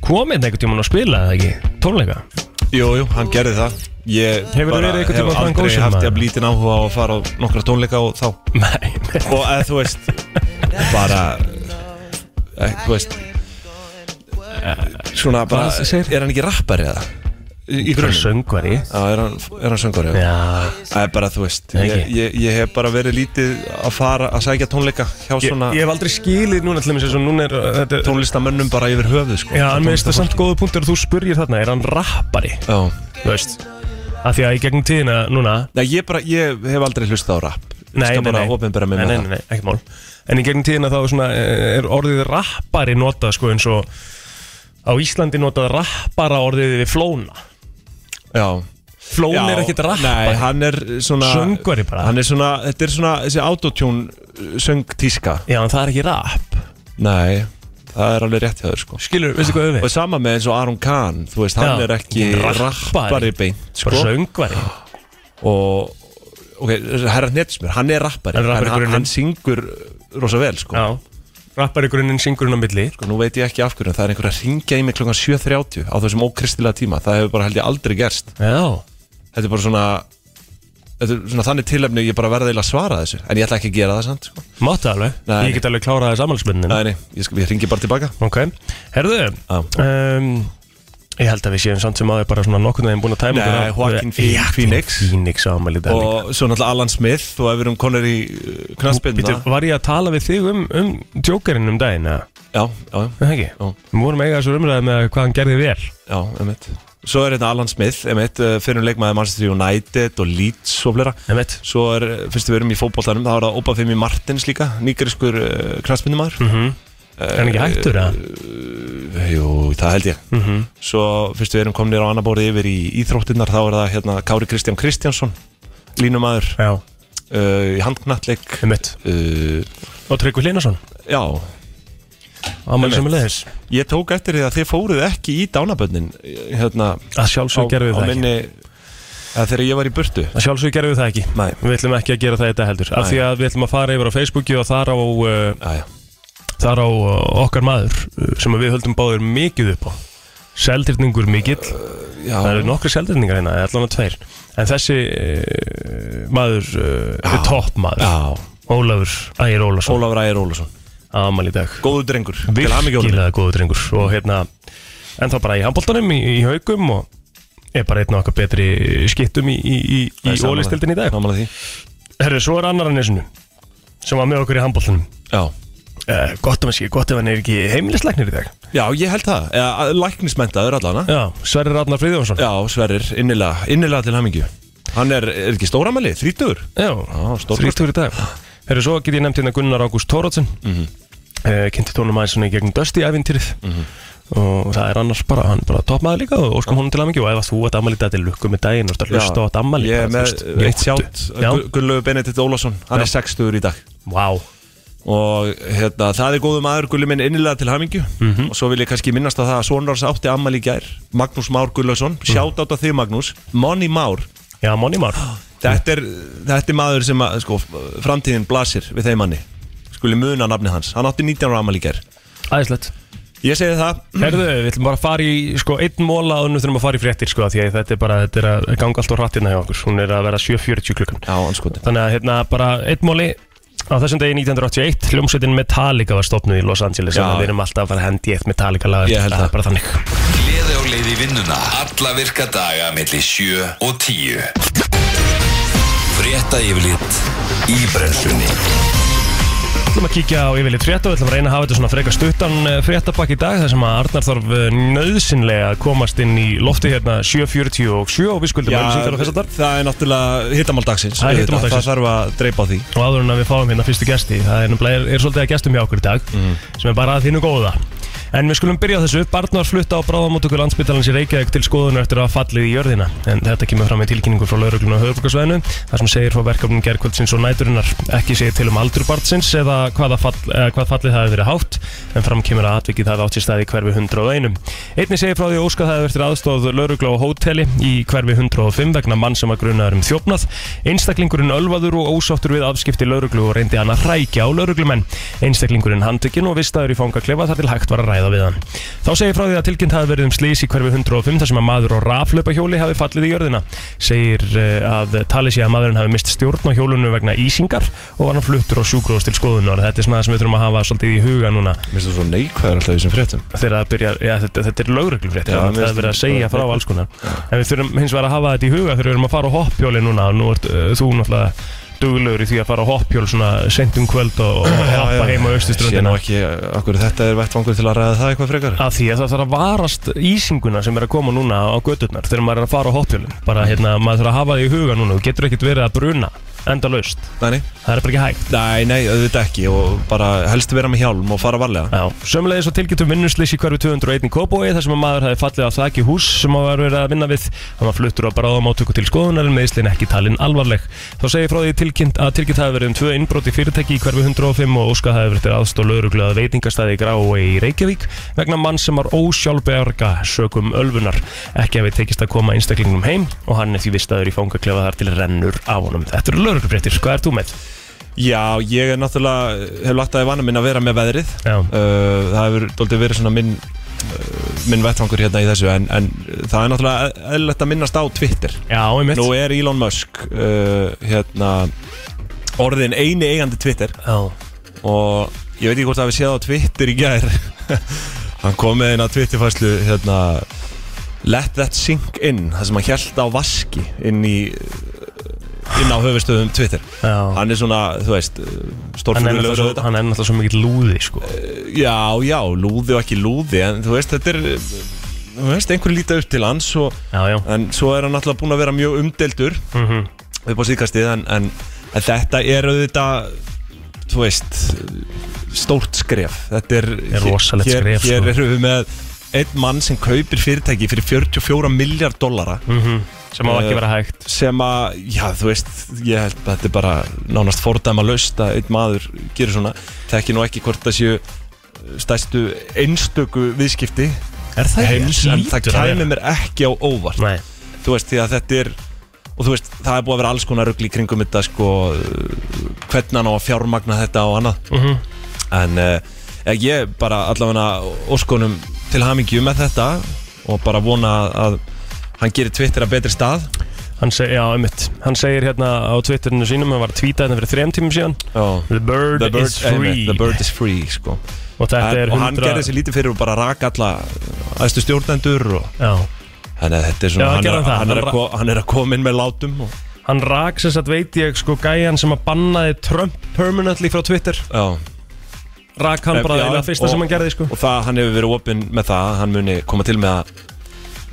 Komið þetta einhvern tímann að spila eða ekki? Tónleika? Jú, jú, hann gerði það Ég Hefurðu bara verið einhvern hef tímann Frank aldrei Ocean, haft maður? ég að blítinn áhuga á að fara á nokkra tónleika og þá Nei og eða þú veist bara eða þú veist svona bara Eh, Hvað segir- er hann ekki rappari eða í í Bara grunninn söngvari Já, er hann, er hann söngur, já. Já Það er bara, þú veist, Nei, ég, ekki. ég, ég hef bara verið lítið að fara að sækja tónleika hjá Ég, svona ég hef aldrei skilið núna til þess að núna er uh, þetta, tónlistamönnum bara yfir höfuð, sko. Já, en mér finnst það Tónlistarfólk. samt góðu punktur að þú spurjir þarna, er hann rappari? Já. Þú veist Af því að í gegnum tíðina núna Nei, ég bara, ég hef aldrei hlustað á rap. Nei, Skal nei, bara nei. ofinbera mig nei, með nei, nei, nei, ekki mál En í gegnum tíðina þá er, svona, eh, er orðið rappari notað sko eins og Á Íslandi notað rappara orðið við flóna það. Já. Flón Já, er ekkit Nei, rappari hann er svona Söngvari bara. Hann er svona, þetta er svona þessi autotune söngtíska Já, en það er ekki rapp Nei, það er alveg rétt hjá þér sko Skilur, veistu hvað við Og sama með eins og Aron Kahn, þú veist, hann Já, er ekki enginn rappari. rappari beint, Bara sko söngvari Og, ok, herra Netsmjör, hann er rappari Hann er rappari í en hann, grunninn. hann syngur rosa vel, sko Já Rappari grunninn syngurinn á milli Sko, nú veit ég ekki af hverju, en það er einhver að ringja í mig klukkan 7.30 á þessum ókristilega tíma Það hefur bara held ég aldrei gerst Já Þetta er bara svona, þetta er svona þannig tilefni ég bara verða eiginlega að svara þessu En ég ætla ekki að gera það samt, sko Máta alveg Nei. Ég get alveg klárað þess ammálsmyndin Nei, nei, ég, skal- ég ringi bara tilbaka Ok Herðu Já. um, Ég held að við séum samt sem aðeins bara svona nokkurnu þeim búin að tæma Nei, á- Joaquin Phoenix. Joaquin Phoenix ámæli dag líka. Og svo náttúrulega Alan Smith og ef við erum konur í uh, Býtu, knassbyrna var ég að tala við þig um, um Jokerinn um daginn, eða? Já, já, já, Er það ekki? Jú. Við vorum eiga þessu umræði með hvað hann gerði vel já, emitt Svo er þetta Alan Smith, emitt, fyrir um leikmaði Manchester United og Leeds og flera Emmett Svo er, uh, fyrst við erum í fótboltanum, þá er það Obafemi Martins líka, nýgriskur uh, knassbyrnumar mm Mhm. Er hann ekki hættur, eða? Eh, Mhm. Jú, það held ég Svo fyrst við erum komnir á annabóri yfir í íþróttinnar, þá er það hérna Kári Kristján Kristjánsson Línumæður Já, uh, í handknattleik Emmett uh, Og Tryggvi Hlinarsson, Já, ámæli Einmitt. sem leðis Ég tók eftir því að þið fóruð ekki í dánabönnin hérna, Að sjálfsög gerðum við á það ekki minni að þegar ég var í burtu Að sjálfsög gerðum við það ekki Nei. Við ætlum ekki að gera það í þetta heldur Af Nei. því að við ætlum að fara yfir á Facebooki og þar á, uh, Æja, þar á uh, okkar maður uh, sem að við höldum báður mikið upp á Seldritningur mikill Uh, já, Það eru nokkri seldritningar hérna, allan að tveir En þessi uh, maður uh, er topp maður já Ólafur Ægir Ólafsson Ólafur Ægir Ólafsson Amal í dag Góður drengur til hamingju, Ólafur. Virkilega góðu drengur Og hérna En þá bara í handbóltanum í, í haugum Og er bara einn af okkar betri skittum í, í, Það í, í er sammála- ólistildin í dag Sammála því Herru, svo er annar að nesinu Sem var með okkur í handbóltanum Já uh, Gott um að sé, gott ef hann er ekki heimilisleiknir í dag Já, ég held það, Eða, að- læknismenntaður allana Já, Sverrir Arnar Friðjónsson Já, Sverrir, innilega, innilega til hamingju Hann er, er ekki stóramæli, þrítur Já, stórkostlegt. þrítur í dag Herru, svo get ég nefnt hérna Gunnar Ágúst Tóratsen mm Mhm, -hmm. uh, Kynnti tónum aðeins svona í gegnum Dusty ævintýrið Og það er annars bara, hann er bara toppmaður líka Og óskum honum til að mikið Og ef að þú átt ammali þetta til lukku með daginn Og þú ert að hlusta á þetta ammali Ég er með eitt sjátt eh, Já, Gunnlaugur Benedikt Ólafsson, hann Já. er sextugur í dag vá, og hérna, það er góðu maður Gulli minn innilega til hamingju Mhm. og svo vil ég kannski minnast að það að Sónars átti ammali í gær Magnús Már Gullarsson, sjátt átt að þig Magnús Monni Már, Mhm. Já, Money Már þetta er, þetta er maður sem að, sko, framtíðin blasir við þeim manni Skuli muna nafni hans, hann átti 19 ára amal í ger Æðislegt Ég segi það, Herðu, við ætlum bara að fara í sko, einn móla og nú þurfum að fara í fréttir sko, því að þetta er bara, þetta er að ganga allt á hrattina hjá okkur hún er að vera 7.40 klukkan já, hann skoði Þannig að hérna bara einn móli á þessum degi 1981 hljómsveitin Metallica var stopnuð í Los Angeles Já. þannig að við erum alltaf að fara að hendi í eitt Metallica lag Ég held það það. er bara þannig Gleði á leið í vinnuna Alla virka daga melli 7 og 10 Frétta yfirlit í brennslunni Við ætlum að kíkja á yfirleitt frétta og við ætlum að reyna að hafa þetta svona frekar stuttan eh, fréttabakk í dag þar sem að Arnar þarf eh, nauðsynlega að komast inn í lofti hérna 7.40 og 7 og við skuldum öllusingar og þess að þar það er náttúrulega hittamál dagsins Það er auðvitað. hitamál dagsins. Það þarf að dreipa á því og áður en að við fáum hérna fyrstu gesti það er, nefnilega- er, er svolítið að gestum hjá okkur í dag sem er bara að þínu góða en við skulum byrja á þessu, barn var flutta á bráðamótöku landsbytalans í Reykjavík til skoðunar eftir að hafa fallið í jörðina en þetta kemur fram í tilkynningu frá lauruglun og höfugasvæðinu þar sem segir frá verkefnum gerkvöldsins og næturinnar ekki segir til um aldur barnsins eða hvaða fall, eh, hvað fallið það hefur verið hátt en fram kemur að atvikið hafi átt sér stað í hverfi 101 einni segir frá því að óskað hafi verið aðstóð laurugla á hóteli í hverfi 105 vegna mann sem var grunaður um þjófnað einstaklingurinn ölvaður og ósáttur við afskipti lauruglu og reyndi hann að hrækja á lauruglumenn einstaklingurinn handtökin og vistaður í fangaklefa þar til hægt var að ræða við hann þá segir frá því að tilkynnt hafi verið um slís í hverfi 105 þar sem að maður á raflöpahjóli hafi fallið í jörðina segir eh, að talið sé að maðurinn hafi mist stjórn á hjólunum vegna ísingar og var hann fluttur á sjúkrós til skoðunar þetta er svona það sem við þurfum að hafa svolítið í huga núna Mér finnst það svo neikvæður alltaf í þessum fréttum þegar það byrjar, já, þetta, þetta er lögreglufrétt Já, það mér er verið að finnst- segja frá alls konar en við þurfum hins vegar að hafa þetta í huga þegar við erum að fara á hoppjóli núna og nú ert uh, þú náttúrulega duglegur í því að fara á hoppjól svona sent um kvöld og, og hoppa Ég sé heim á nú austuströndina ekki okkur þetta er vettvangur til að ræða það eitthvað frekar af því að það þarf að varast ísinguna sem er að koma núna á gödurnar þegar maður er að fara á hoppjólin bara hérna, maður þarf að hafa það í huga núna þú getur ekkert verið að bruna enda laust Nei, nei. það er bara ekki hægt nei, nei, auðvitað ekki og bara helst vera með hjálm og fara varlega Já, sömulegis og tilkynntum vinnuslis um í hverfi 201 í Kópói þar sem að maður hafi fallið á þaki hús sem að var verið að vinna við hann var fluttur á bráðum átöku til skoðunar en meðslinn ekki talin alvarleg þá segir frá því tilkynnt að tilkynnt hafi verið um tvö innbrot í fyrirtæki í hverfi 105 og óskað hafi verið til aðstóð lögreglu að veitingastæði í Grávei í Reykjavík vegna mann sem var ósjálfberga sögum ölfunar ekki hafi tekist að koma einstaklingnum heim og hann er því vistaður í fangaklefa þar til rennur á honum Þetta eru lögreglubréttir, hvað er þú með? Já, ég er náttúrulega, hef lagt að í vana minn að vera með veðrið Já. uh, Það hefur doldið verið svona minn, uh, minn vettvangur hérna í þessu en, en það er náttúrulega eðlilegt að minnast á Twitter Já, einmitt Nú er Elon Musk uh, hérna, orðin eini eigandi Twitter Já, og ég veit ekki hvort að við séð á Twitter í gær [LAUGHS] hann kom með eina Twitterfæslu hérna Let that sink in, það sem hann held á vaski inn í uh, inn á höfustöðum Twitter já hann er svona, þú veist, uh, hann er náttúrulega stórfjörðulegur svo- hann er náttúrulega svo mikið lúði sko. Já, já, lúði og ekki lúði en þú veist, þetta er þú veist, einhver líta upp til hans og, já, já. en svo er hann alltaf búin að vera mjög umdeldur Mm upp á síðkastið en, en, en þetta er auðvitað þú veist stórt skref þetta er, er rosalegt hér, skref, hér sko. erum við með einn mann sem kaupir fyrirtæki fyrir 44 miljard dollara sem á ekki Eh, vera hægt sem að, já þú veist ég held að þetta er bara nánast fordæma laust að einn maður gerir svona þekki nú ekki hvort það séu stæstu einstöku viðskipti er það heims en það kæmi mér ekki á óvart Nei, þú veist, því að þetta er og þú veist, það er búið að vera alls konar rugl í kringum þetta sko, uh, hvernig hann á að fjármagna þetta og annað Mhm. en uh, ég bara allavega óskonum til hamingju með þetta og bara vona að hann gerir Twitter að betri stað hann, seg, já, einmitt. hann segir hérna á Twitterinu sínum hann var að tweeta hérna fyrir þrem tímum síðan Já. The bird, The bird, is free einmitt, the bird is free sko. og þetta er en, og hann gerði sér 100 lítið fyrir og bara raka alla aðstu stjórnendur og já. þannig að þetta er Já, svona hann, gerði er, hann það. hann, er Hann ra- að, ko- hann er að koma inn með látum og, hann rak sér satt veit ég sko gæjan sem að bannaði Trump permanently frá Twitter já, rak hann Nei, bara já, eða fyrsta og- sem hann gerði sko og það, hann hefur verið opinn með það að hann muni koma til með að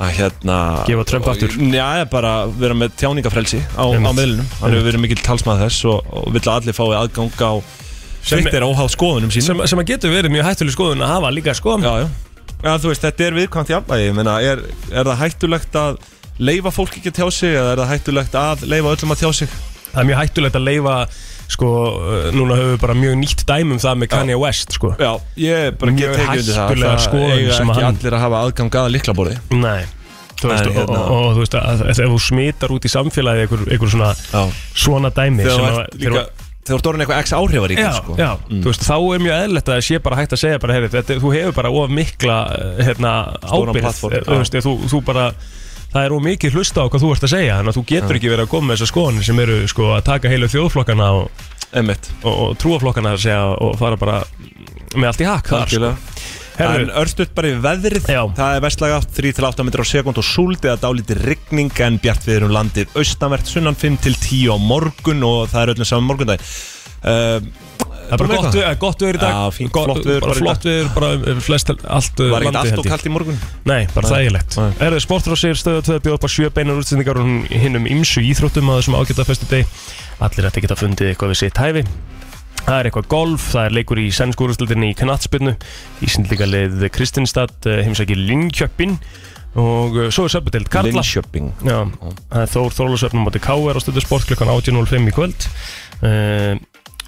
að hérna Gefa Trump og- aftur. Já, bara vera með tjáningafrelsi á, á Einmitt. meðlunum Hann hefur verið mikill talsmað þess og, og vill að allir fái aðgang á Sem- Twitter óháð skoðunum sínum sem, sem að getur verið mjög hættuleg skoðun að hafa líka sko Já, já Já, þú veist, þetta er viðkvæmt jafnvægi Ég meina, er, er það hættulegt að leifa fólk ekki að tjá sig eða er það hættulegt að leifa öllum að tjá sig það er mjög hættulegt að leifa sko, uh, núna höfum við bara mjög nýtt dæmum það með Kanye West sko Já, ég bara Mjög get tekið undir það hættulegar Það skoðanir eiga sem ekki hann- allir að hafa aðgang að liklaborði Nei þú veist, En hérna- og, og, og þú veist að, að, ef þú smitar út í samfélagi einhver, einhver svona, Já. svona dæmi Þegar sem þú að- ert líka Þegar þú orðin eitthvað x áhrifarík Já, sko. já, þú veist, þá er mjög eðlilegt að það sé bara hægt að segja bara, heyri, þetta, þú hefur bara of mikla eh, hérna, Stóran ábyrgð, platform, eh, já. þú veist, eh, þú, þú bara það er of mikið hlusta á hvað þú ert að segja þannig að þú getur ekki verið að koma með þessar skoðanir sem eru sko, að taka heilu þjóðflokkana og, Einmitt. og, og trúaflokkana að segja og fara bara með allt í hakk þar, sko. Algjörlega. En Herru, örstuðt bara í veðrið Já. Það er vestlaga 3-8 metrar á sekund og súld eða dálítið rigning en bjart við erum landið austanvert sunnan 5-10 á morgun og það er öllum saman morgundag uh, það er bara gott, við, gott veður í dag Já, fínt, gott, flott veður bara bara í flott veður, bara um, flest allt uh, Var ekkert landið allt held og ég. kallt í morgun Nei, bara Nei. þægilegt Nei. Erðu sportrósir stöðu að tveða bjóða upp á sjö beinar útsendingar og hún- hinnum ymsu íþróttum að þessum ágæta festu deg Allir ætti geta fundið eitthvað við sitt hæfi Það er eitthvað golf, það er leikur í sennskúrústildinni í knatsbyrnu Ísindlíkalið Kristinstad heimsæki eh, Linköpin og eh, svo er söpudeld Karla Linköping Já, það er Þór Þorlúsöfnum móti K.R. á stöðu sport klukkan 18.05 í kvöld uh,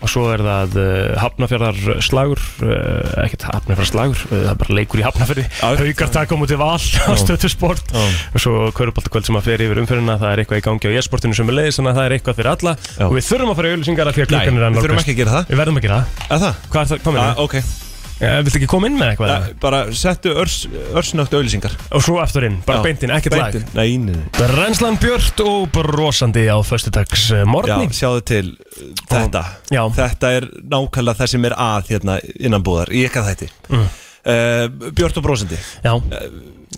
og svo er það uh, Hafnafjörðar slagur uh, ekkert Hafnafjörðar slagur, uh, það er bara leikur í Hafnafjörði Já. haukar taka á móti val á stöðu sport Já. og svo kvörubaldakvöld sem að fer yfir umfyrirna það er eitthvað í gangi á e-sportinu sem er leiðis þannig að það er eitthvað fyrir alla Já. og við þurfum að fara í auðlýsingar af því Nei, að klukkan er að við þurfum ekki nálgast. að gera það Við verðum að gera það Eða það? Hvað er það, hvað Ah, meina? ok, Viltu ekki koma inn með eitthvað? Eh, bara settu örs, örsnögt auðlýsingar Og svo eftir inn, bara Já. beint inn, ekkert lag Nei, nei, nei. Renslan Björt og brosandi á föstudags eh, Já, morgni sjáðu til uh, þetta Já. Þetta er nákvæmlega það sem er að hérna innanbúðar í eitthvað þætti mm. Björt og brósandi Já,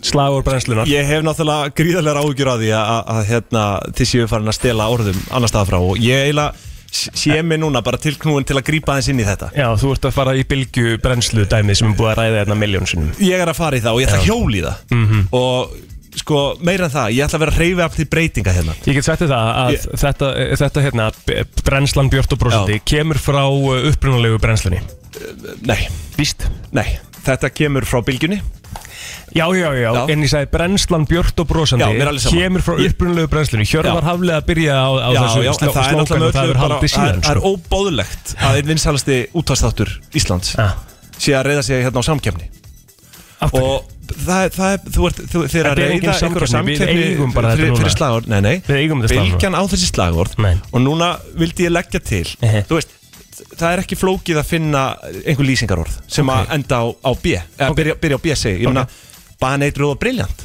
slagur brennslunar Ég hef náttúrulega gríðarlega áhugjur að því að, að, að hérna, þið séu farin að stela orðum annar staðar frá og ég eiginlega s- sé mig núna bara tilknúin til að grípa aðeins inn í þetta Já, þú ert að fara í bylgju brennslu dæmið sem er búið að ræða hérna miljónsunum Ég er að fara í það og ég ætla að hjóla í það Mhm. -hmm. og sko meira en það, ég ætla að vera að reyfi af því breytinga hérna Ég get sagt þér það að Ég- þetta, þetta hérna, b- brennslan Björt og brosandi kemur frá uh, upprunalegu brennslunni Eh, Nei, Víst? nei, þetta kemur frá bylgjunni Já, já, já, Já. en ég sagði brennslan Björt og brosandi Já, mér er alveg sama. kemur frá Ég- upprunalegu brennslunni Hjörvar Já. haflega að byrja á, á þessu en það er slókan náttúrulega og það öllu hefur bara- haldið síðan það er sko. óbóðlegt að einn vinsalasti útastáttur Íslands Já. sé að reyða sig hérna á samkefni Af hverju? og það, það er, þú ert, þú, þið er að Þetta er engin reyða einhverja samkeppni, við samkeppni eigum bara þetta fyrir, núna. fyrir slagorð, nei, nei, Við eigum þetta slagorð. bylgjan á þessi slagorð Nei. og núna vildi ég leggja til Ehe. þú veist, það er ekki flókið að finna einhver lýsingarorð sem Ok. að enda á, á B, eða Ok. byrja, byrja á B segi, ég meina, baneitruð og [LAUGHS] briljant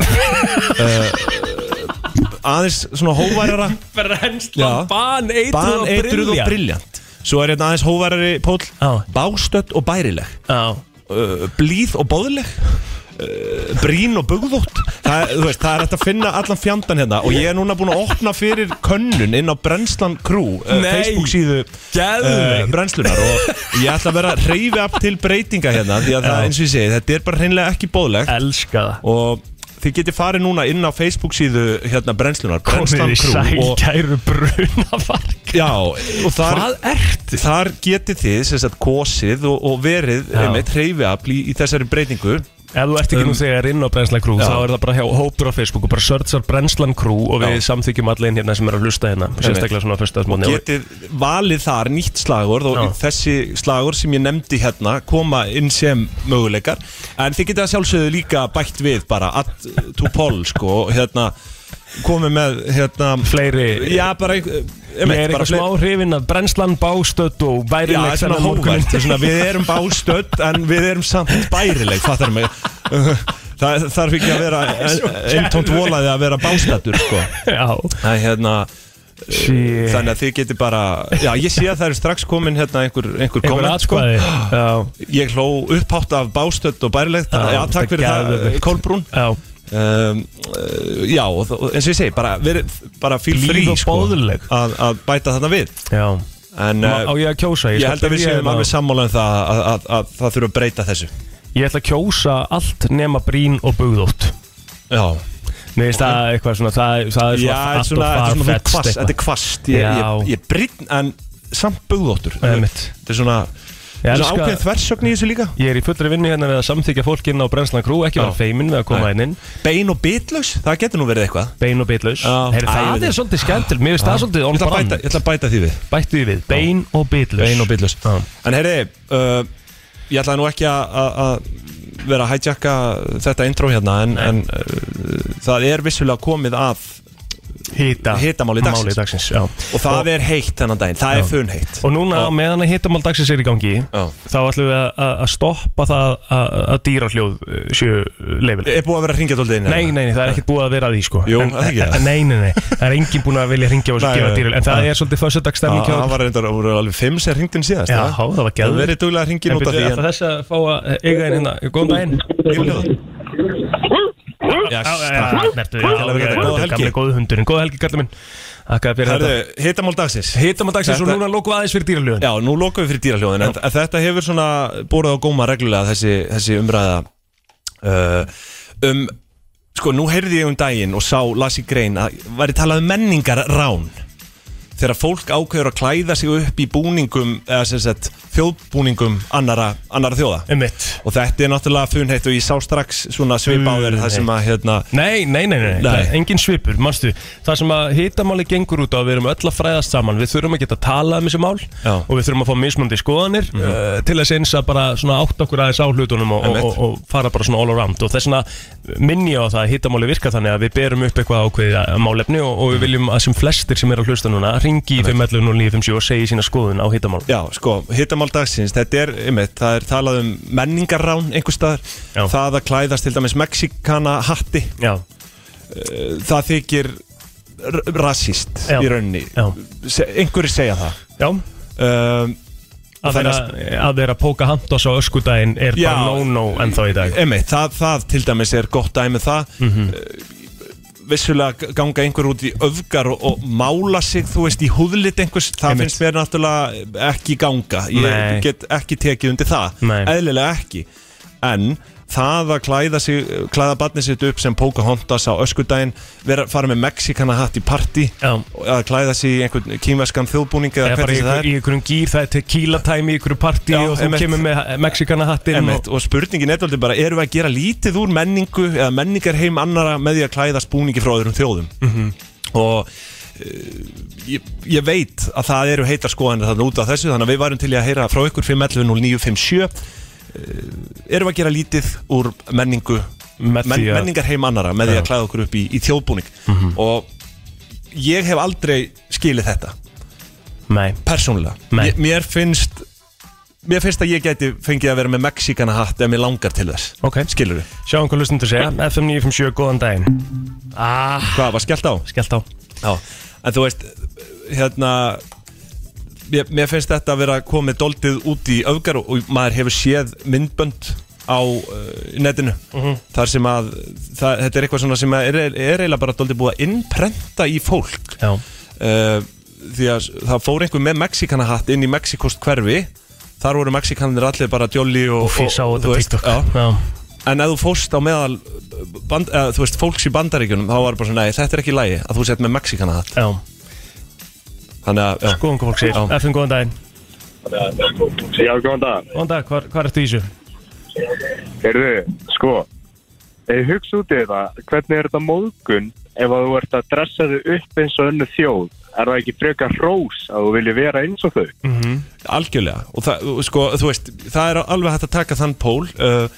uh, Eh, aðeins svona hóværara Já. [LAUGHS] Brennslan, ban, eitruð og baneitruð og brilljant briljant svo er hérna aðeins hóværari pól Já. bástödd og bærileg Já, uh, blíð og bóðileg uh, brín og bugðótt það, er- þú veist, það er hægt að finna allan fjandan hérna og ég er núna búin að opna fyrir könnun inn á Brennslan Crew uh, Nei. Facebook síðu uh, geðveikt. Brennslunar og ég ætla að vera að reyfi upp til breytinga hérna því að það, Já. eins og ég segi, þetta er bara hreinlega ekki bóðilegt elska það og þið getið farið núna inn á Facebook síðu hérna Brennslunar, Komið Brennslan í sæl, Crew og, kæru brunafark já, og þar, Hvað ertu? Þar getið þið sem sagt kosið og, og verið Já. einmitt hreyfiafl í, í þessari breytingu Ef þú ert ekki nú þegar inn á Brennslan Crew Um, Já. þá er það bara hjá hópur á Facebook og bara searchar Brennslan Crew og við Já. samþykjum allir inn hérna sem er að hlusta hérna sérstaklega svona á fyrstaðsmóni getið valið þar nýtt slagorð og Já. þessi slagorð sem ég nefndi hérna koma inn sem möguleikar en þið getið að sjálfsögðu líka bætt við bara at to poll sko og hérna komið með hérna Fleiri- já bara einhver- Ég einmitt, er bara eitthvað smá fleiri- hrifin af Brennslan, Bástödd og Já, Værileg það er svona hóvært það er svona, Við erum bástödd en við erum samt bærileg Fattar mig [LAUGHS] Það þarf ekki að [LAUGHS] vera eintónt volaði að vera bástöddur sko. Já, Það er hérna Shit. Þannig að þið geti bara Já, ég sé að það eru strax komin hérna einhver, einhver einhver komment sko. [GASPS] atkvæði Já, Ég hló upphátt af bástödd og bærileg Já, Já, já þetta takk fyrir það, geðveikt. Kolbrún já um, uh, Já, og þó- og eins og ég segi Bara, veri, bara fíl Blíð frí og boðleg. að, að bæta þarna við sko. Já, En Má- á uh, ég að kjósa ég skal held að við byrja séum hérna. alveg sammála um það að, að, að það þurfa að breyta þessu Ég ætla að kjósa allt nema brín og bugðótt Já, Mér finnst það eitthvað svona, það, það er já svona þetta er allt svona, og þetta er svona farfetched kvast, eitthvað. þetta er kvast Ég, Já. ég, ég brinn, en samt bugðóttur Einmitt. Þetta er svona, þetta er Ég svona elska- ákveðin þversögn í þessu líka Ég er í fullri vinnu hérna við að samþykja fólkinn á Brennslan Crew, ekki vera Já. feiminn við að koma hérna Nei. inn inn, Bein og bitlaus, það getur nú verið eitthvað bein og bitlaus Já. Æ, Heyri, ég Það veit er svolítið skemmtilegt, mér finnst það svolítið Ég on ætla að brand bæta, ég ætla að bæta því við Bættu því við, bein og bitlaus Bein og bitlaus Já. En heyri, uh, ég ætlaði nú ekki að- að að vera að hijacka þetta intro hérna En, en uh, uh, það er vissulega komið að Hita, Hitamáli dagsins. Máli já. og það er heitt þennan daginn, það er funheitt Og núna á meðan að hitamál dagsins er í gangi Já. þá ætlum við að- að að stoppa það að að dýrahljóð eh, séu leifileg Er búið að vera að ringja tólið inn? Nei, nei, nei, það er ekkert búið að vera að því sko Jú, en, það er ekki það. Nei, nei, nei, það er enginn búin að vilja hringja á þessu Nei, gefa nei, dýrahljóð En það nei. er svolítið föstudagsstemning hjá Það okkur. var reyndar, það voru alveg fimm sem hringdinn síðast Já, eða? það var Það gæður verið duglega að hringja En út af byrju, því hérna. eftir þess að fá að eiga einn hérna Góðan daginn en Já, Já, já, já, já, þarna ertu, já, Góða já, helgi. já, Góða helgi. Gamli góðu hundurinn, góða helgi kallið minn Þakka fyrir Herðu, þetta hitamál dagsins Hittum að dagsins og Þetta- núna lokum aðeins fyrir dýraljóðin Já, nú lokum við fyrir dýrahljóðin en, en þetta hefur svona borðað á góma reglulega þessi, þessi umræða uh, um sko, nú heyrði ég um daginn og sá las í grein að væri talað um menningar rán þegar fólk ákveður að klæða sig upp í búningum eða sem sagt þjóðbúningum annara, annara þjóða Um mitt og þetta er náttúrulega funheitt og ég sá strax svona svipáður það sem að hérna Mm. Nei, nei, nei, nei, Nei. nei. engin svipur, mannstu Það sem að hitamáli gengur út á að við erum öll að fræðast saman Við þurfum að geta að tala um þessi mál Já. Mhm. Og við þurfum að fá mismunandi skoðanir uh, Til þess eins að bara svona átt okkur aðeins á hlutunum og, og, Einmitt. og, og fara bara svona all around Og þess vegna minni ég á það að hitamáli virka þannig að við berum upp eitthvað ákveðið að- að málefni og, Mhm. og við viljum að sem flestir sem er að hlusta núna Ringi í 511 0957 og segi sína skoðun á hitamál Já, sko, hittamál dagsins, þetta er, einmitt, það er talað um menningarrán einhver staðar, Já. það að klæðast til dæmis mexikana hatti, Eh, Já, það þykir r- rasist Já. í rauninni, já, Se, einhverjir segja það. já Um, Að Þannig vera, að vera póka handos á öskudaginn er Já. bara no-no ennþá í dag Mhm. einmitt, það, það til dæmis er gott dæmi um það, Eh, vissulega ganga einhver út í öfgar og, og mála sig, þú veist, í húðlit einhvers, það Einmitt. finnst mér náttúrulega ekki ganga, ég Nei. get ekki tekið undir það, Nei. eðlilega ekki en það að klæða, sig, klæða barnið sitt upp sem Pocahontas á öskudaginn, vera, fara með Mexikana hatt í party Já. og að klæða sig í einhvern kínveskan þjóðbúning eða eða bara hvernig í, sem það ykkur, er í ykkurum gýr, það er tequila time í ykkurum partí Já, og þú einmitt. kemur með mexikana hattinn Einmitt, og, og spurningin er aldrei bara, eru við að gera lítið úr menningu eða menningar heim annara með því að klæða spúningi frá öðrum þjóðum og uh, ég, ég veit að það eru heitar skoðanir þarna út af þessu þannig að við varum til í að heyra frá ykkur 511 uh, eru Eh, við að gera lítið úr menningu Með men, því að- Mhm. menningar heim annara með því að klæða okkur upp í, í þjóðbúning og ég hef aldrei skilið þetta nei, persónulega Nei. Mér- mér finnst mér finnst að ég gæti fengið að vera með mexikana hatt ef mér langar til þess ok, skilur sjáum hvað lusnum til segja FM 957, góðan daginn ah, hvað var skellt á skellt á Já. en þú veist hérna mér, mér finnst þetta að vera komið doldið út í öfgar og, og maður hefur séð myndbönd á uh, netinu Mhm. þar sem að það, þetta er eitthvað svona sem að er, er eiginlega bara doldið búið að innprenta í fólk já, uh, því að það fór einhver með Mexikana hatt inn í Mexikost hverfi þar voru Mexikanir allir bara djóli og, og ég sá þú þetta á veist, TikTok já. já, en ef þú fórst á meðal band, eða, þú veist, fólks í bandaríkjunum þá var bara svona, nei, þetta er ekki lægi að þú sett með Mexikana hatt já, þannig að, já, góðan hvað fólk segir Já. FM, góðan daginn, Já, góðan dag. góðan dag, hvar, hvar ertu í þessu? Heyrðu, sko, ef ég hugsa út í þetta, hvernig er þetta móðgun ef að þú ert að dressa þau upp eins og önnu þjóð? Er það ekki frekar hrós að þú vilji vera eins og þau? Mhm. algjörlega og það, sko, þú veist, það er alveg hægt að taka þann pól uh,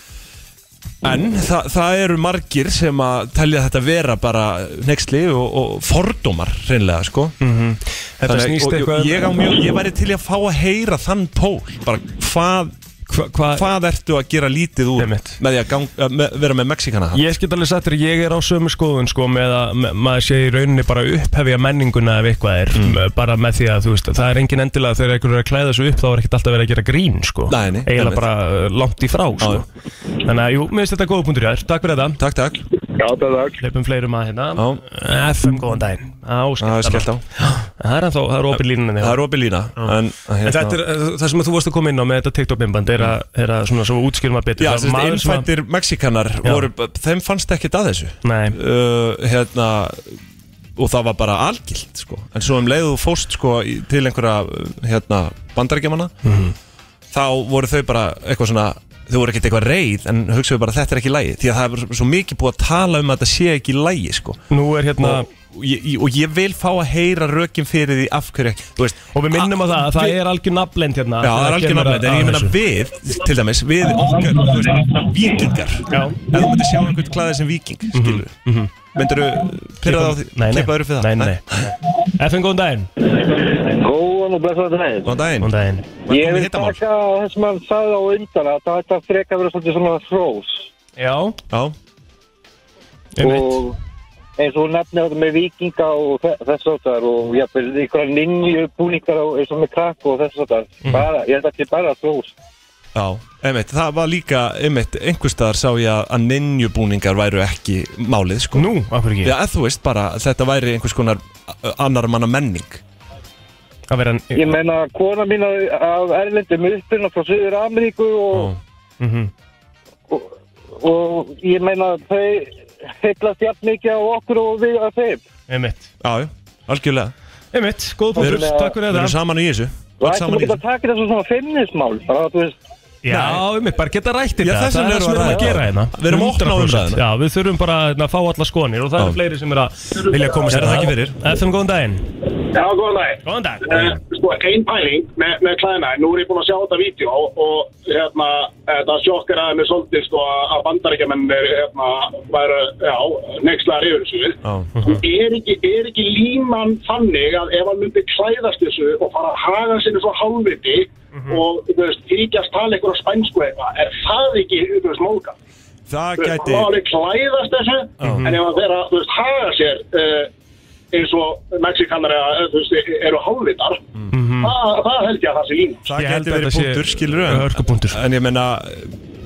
Mm. en það, það eru margir sem að telja þetta vera bara nexli og, og fordómar reynlega, sko Mhm. Þetta Þannig, snýst og, eitthvað um- og, ég, á mjög, ég væri til í að fá að heyra þann pól bara hvað, hva, hva, hvað ertu að gera lítið úr Einmitt. með því að gang, að me, vera með Mexikana hatt Ég get alveg sagt þér, ég er á sömu skoðun sko með að me- maður sé í rauninni bara upphefja menninguna ef eitthvað er Mm. m- bara með því að þú veist, það er engin endilega þegar einhverjur er að klæða svo upp þá er ekkert alltaf verið að gera grín sko, Nei, nei, einmitt. eiginlega bara uh, langt í frá sko. þannig að jú, mér finnst þetta góða punktur hjá þér, takk fyrir þetta Takk, takk Já, það er Leipum fleirum að hérna Já. FM góðan daginn Á, Það er skellt á á Það er ennþá, það er opið línunni Það er opið hérna. lína en, hérna- En þetta er uh, það sem þú varst að koma inn á með þetta TikTok-bimband er, að- er að svona svo útskýrum að betur Já, Það er sem sagt, maður sem að- innfættir Mexikanar Já. voru, þeim fannst ekkert að þessu Nei, uh, hérna og það var bara algilt sko. en svo um leiðu fóst sko, í- til einhverja uh, hérna, bandarækjamanna Mhm. þá voru þau bara eitthvað svona þau voru ekkert eitthvað reyð en hugsaðu bara þetta er ekki lægi því að það er svo mikið búið að tala um að þetta sé ekki lægi sko. nú er hérna og, og ég, ég- og ég vil fá að heyra rökin fyrir því af hverju ekki, þú veist Og við minnum á það að það er algjör nafnlend hérna Já, það er algjör kemur að- nafnlegt, en ég að Mhm, meina þessu. við, til dæmis, við okkar, þú veist, vikingar Já. Ef þú myndir sjá einhvern klæðið sem viking, skilur mhm, Myndirðu pyrraða á því, Nei, nei, klippaður fyrir það? nei, nei, nei FN, góðan daginn Góðan og blessaðan daginn. Góðan daginn, Góðan daginn Ég velkomin í vil hittamál taka það sem hann sagði á undan að það ætti að freka að vera svolítið svona frós Já, Já, einmitt og eins og hún nefnir þetta með vikinga og þe- þess og þar og jafnvel einhverja ninju búningar og eins og með krakk og þess og þar. Bara, ég held að þetta er bara frós. já, einmitt, það var líka, einmitt, einhverstaðar sá ég að- að ninjubúningar væru ekki málið, sko Nú, af hverju ekki? Já, ef þú veist bara, þetta væri einhvers konar uh, annar manna menning Að vera Ég menna, kona mín af- af Erlendum uppurna frá Suður Ameríku og, Mhm. og, og ég menna, þau heitlast jafn mikið á okkur og við að þeim. Einmitt Já, já, algjörlega Einmitt, góð punktur, Við erum- takk fyrir Við erum þetta saman í þessu Og Öll ættum saman við í ekki þessu að taka þetta svona feimnismál, bara að þú veist, Já, einmitt, bara geta rætt þetta Já, þess Það vegna er það erum sem við við erum að að ræða gera það. hérna Við erum að opna á 100%. umræðuna. Já, við þurfum bara hérna, að fá alla skonir og það eru Já. fleiri sem er að vilja koma sér Kærar að. þakkir fyrir. FM, góðan daginn Já, góðan dag. Góðan dag Uh, sko, ein pæling með, með klæðina, nú er ég búinn að sjá þetta vídeo og hérna, þetta sjokkar aðeins með svolítið sko að bandaríkjamennir hérna, væru, já, nexlaðar yfir þessu. Já, Er ekki, er ekki líman þannig að ef hann myndi klæðast þessu og fara að haga sinni svo hálfviti Mhm. og, þú veist, þykjast tala einhverja spænsku eitthvað, er það ekki, þú veist, móka? það Þú veist, gæti Mhm. hann má alveg klæðast þessu en ef hann fer að þú veist, haga sér uh, eins og mexikanari eða, eh, þú veist, eru hálfvitar Mhm. það, það held ég að það sé lína Mhm. Það Ég gæti held að verið þetta sé punktur, skilur en, hörkupunktur. en ég menna,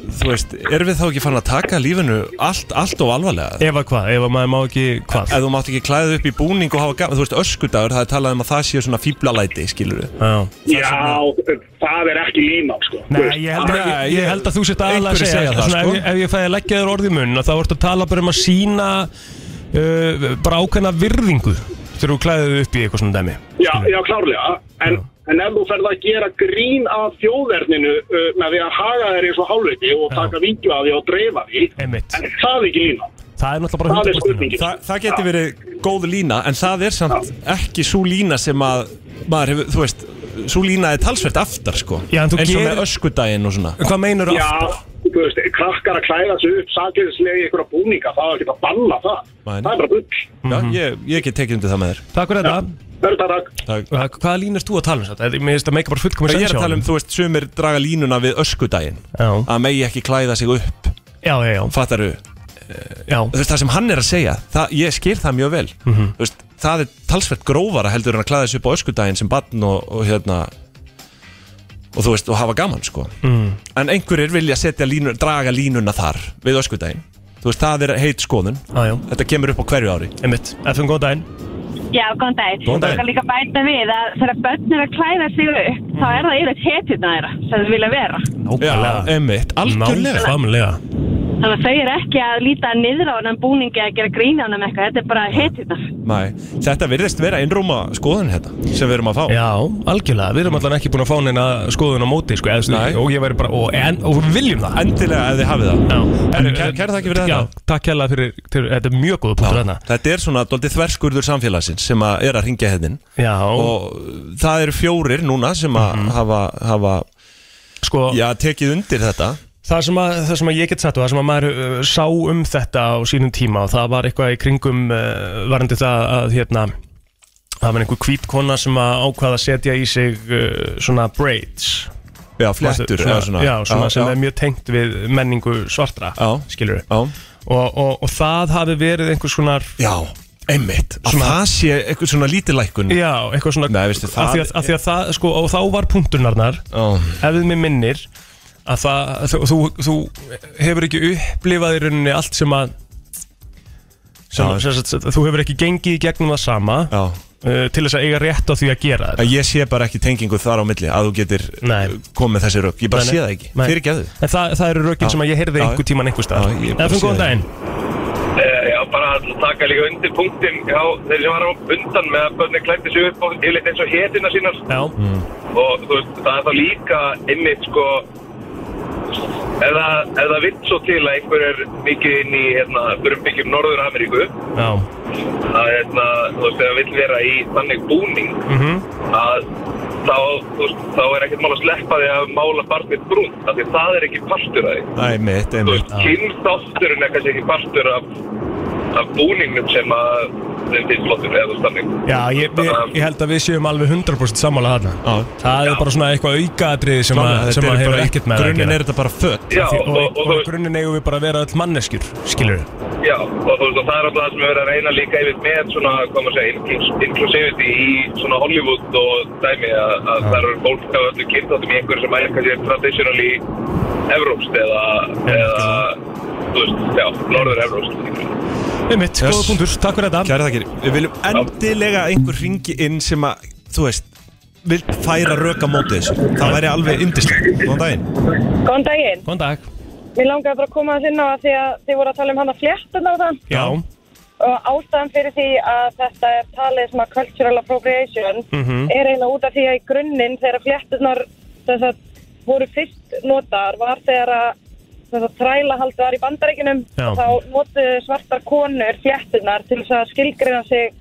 þú veist, erum við þá ekki fann að taka lífinu allt, allt og alvarlega? Ef að hvað, ef að maður má ekki hvað Ef þú mátt ekki klæðið upp í búning og hafa gaman, þú veist, öskudagur, það er talað um að það sé svona fíblalæti, skilur Já já, það er ekki lína sko. Þú Nei, veist, ég held, að, Nei, ég, ég held að þú sett aðalega að einhverjir segja segja, það, svona, sko. ef, ég- ef ég fæði að leggja þér orð í munn þá ertu að tala bara um að sína uh, bara ákveðna virðingu þegar þú klæðið þig upp í eitthvað svona dæmi já, já, klárlega en, en ef þú ferð að gera grín af þjóðverninu uh, með því að haga þér eins og hálfviti og taka vídeo af því og dreifa því Einmitt. en það er ekki lína Það er náttúrulega það bara er 100% spurningin Þa, það geti verið góð lína, en það er samt ekki svo lína sem að maður hefur, þú veist, svo lína er talsvert aftar, sko Já, en þú Eins og gerir- með öskudaginn og svona Hvað meinar þú? Já, þú veist, krakkar að klæða sig upp sakleyslega í einhverja búninga, það er ekki að banna það. Nei. Það er bara bull. Já, Mhm. ég, ég get tekið undir það með þér Takk fyrir þetta Hörðu það, takk. Takk. Hva- Hvaða lín erst þú að tala um þetta? Mér finnst að meika bara fullkomis Ég er að tala um, þú veist, sumir draga línuna við öskudaginn Já. Að megi ekki klæða sig upp, Já, já, já, fattaru já. Mhm. Þú veist, það sem hann er að segja, það, ég skil það mjög vel Þú veist, það er talsvert grófara heldur en að klæða sig upp á öskudaginn sem barn og, og hérna og þú veist, og hafa gaman sko mm. en einhverjir vilja setja línu, draga línuna þar við öskudaginn þú veist, það er heit skoðun Já, já. þetta kemur upp á hverju ári Einmitt, FM góðan daginn Já, góðan dag. Góðan dag. Ég skal líka bæta við að þegar börn eru að klæða sig upp, Mm. þá er það yfirleitt hetjurna þeirra sem þau vilja vera. emmitt, algjörlega Nákvæmlega Þannig að þau eru ekki að líta niður á hennan búningi að gera grín á hennan eitthvað, þetta er bara hetjurna. Nei, þetta virðist vera einrúma skoðun hérna, sem við erum að fá Já, algjörlega, við erum allan ekki búin að fá neina skoðun á móti sko, eða, Nei. og ég væri bara, og, en, og við viljum það endilega ef þið hafið það Já, Herru, kæ- kærar þakkir fyrir þetta. Já, takk hérlega fyrir, fyrir, þetta er mjög góða punktur þarna Þetta er svona doldið þverskurður samfélagsins sem að er að ringja hennin Já, Mhm. og það eru fjórir núna sem að hafa, hafa sko, já, tekið undir þetta það sem, að, það sem að ég get sagt og það sem að maður uh, sá um þetta á sínum tíma og það var eitthvað í kringum uh, varandi það að hérna það var einhver hvít kona sem að ákvaða að setja í sig uh, svona braids já, flettur svona, eða svona, já, svona sem já, er mjög tengt við menningu svartra Já. skilur já. og, og, og það hafi verið einhvers konar já, einmitt að Svona- það sé eitthvað svona lítið lækun Já, eitthvað svona Nei, veistu, af því að, það- að, því að það, sko, og þá var punkturnarnar Já. ef þið mér minnir að það, þú, þú, þú hefur ekki upplifað í rauninni allt sem að sem, Já. sem, sem, þú hefur ekki gengið í gegnum það sama Já. uh, til þess að eiga rétt á því að gera þetta Að ég sé bara ekki tengingu þar á milli að þú getir Nei. uh, komið þessi rögg ég bara Nei, nei. sé það ekki, Nei. fyrir ekki að þið En það, það eru rökin Já. sem að ég heyrði Já. einhver tíman einhver stað Já, ég bara Eða fyrir sé góðan það. daginn Eh, Já, bara að taka líka undir punktin hjá þeir sem var á undan með að börnir klætti sig upp og yfirleitt eins og hetina sínar Mm. Já, og þú veist, það er þá líka einmitt sko ef það, ef það vitt svo til að einhver er mikið inn í hérna, brumbyggjum Norður-Ameríku Já, að hérna, þú veist, ef það vill vera í þannig búning mhm, að þá, þú veist, þá er ekkert mál að sleppa því að mála barnið brúnt af því það er ekki partur af því Æ, mitt, þú einmitt veist, kynþátturinn er kannski ekki partur af, af búningnum sem að þeim finnst flottur eða þú veist, þannig já ég, ég, ég held að við séum alveg 100% sammála þarna Já. Það er bara svona eitthvað aukaðatriði sem, að- Klálega, sem þetta að er hefur bara- ekkert með það að Grunninn gera er þetta bara fött Já, Því- og, og, og, þú og veist, grunninn eigum við bara að vera öll manneskjur, skilur já, og þú veist, og það er alltaf það sem við verðum að reyna líka yfir með svona, hvað maður segja, inclus- inclusivity í svona Hollywood og dæmi að, að það eru fólk af öllu kynþáttum í einhverju sem er kannski traditionally evrópst eða, eða, þú veist, já, norður evrópst. Við mitt, Yes. góða punktur, takk fyrir þetta Kæra þakkir, við viljum endilega að einhver ringi inn sem að, þú veist vil færa röka móti þessu það væri alveg indislegt, góðan daginn Góðan daginn. Góðan dag Mér langaði bara að koma að sinna að því að þið voru að tala um hann að fléttuna og það Já, og ástæðan fyrir því að þetta er talið sem að cultural appropriation er eiginlega út af því að í grunninn þegar fléttunar þess að voru fyrst notaðar var þegar að þess að þrælahaldi var í bandaríkinum Já. þá notuðu svartar konur fléttunar til þess að skilgreina sig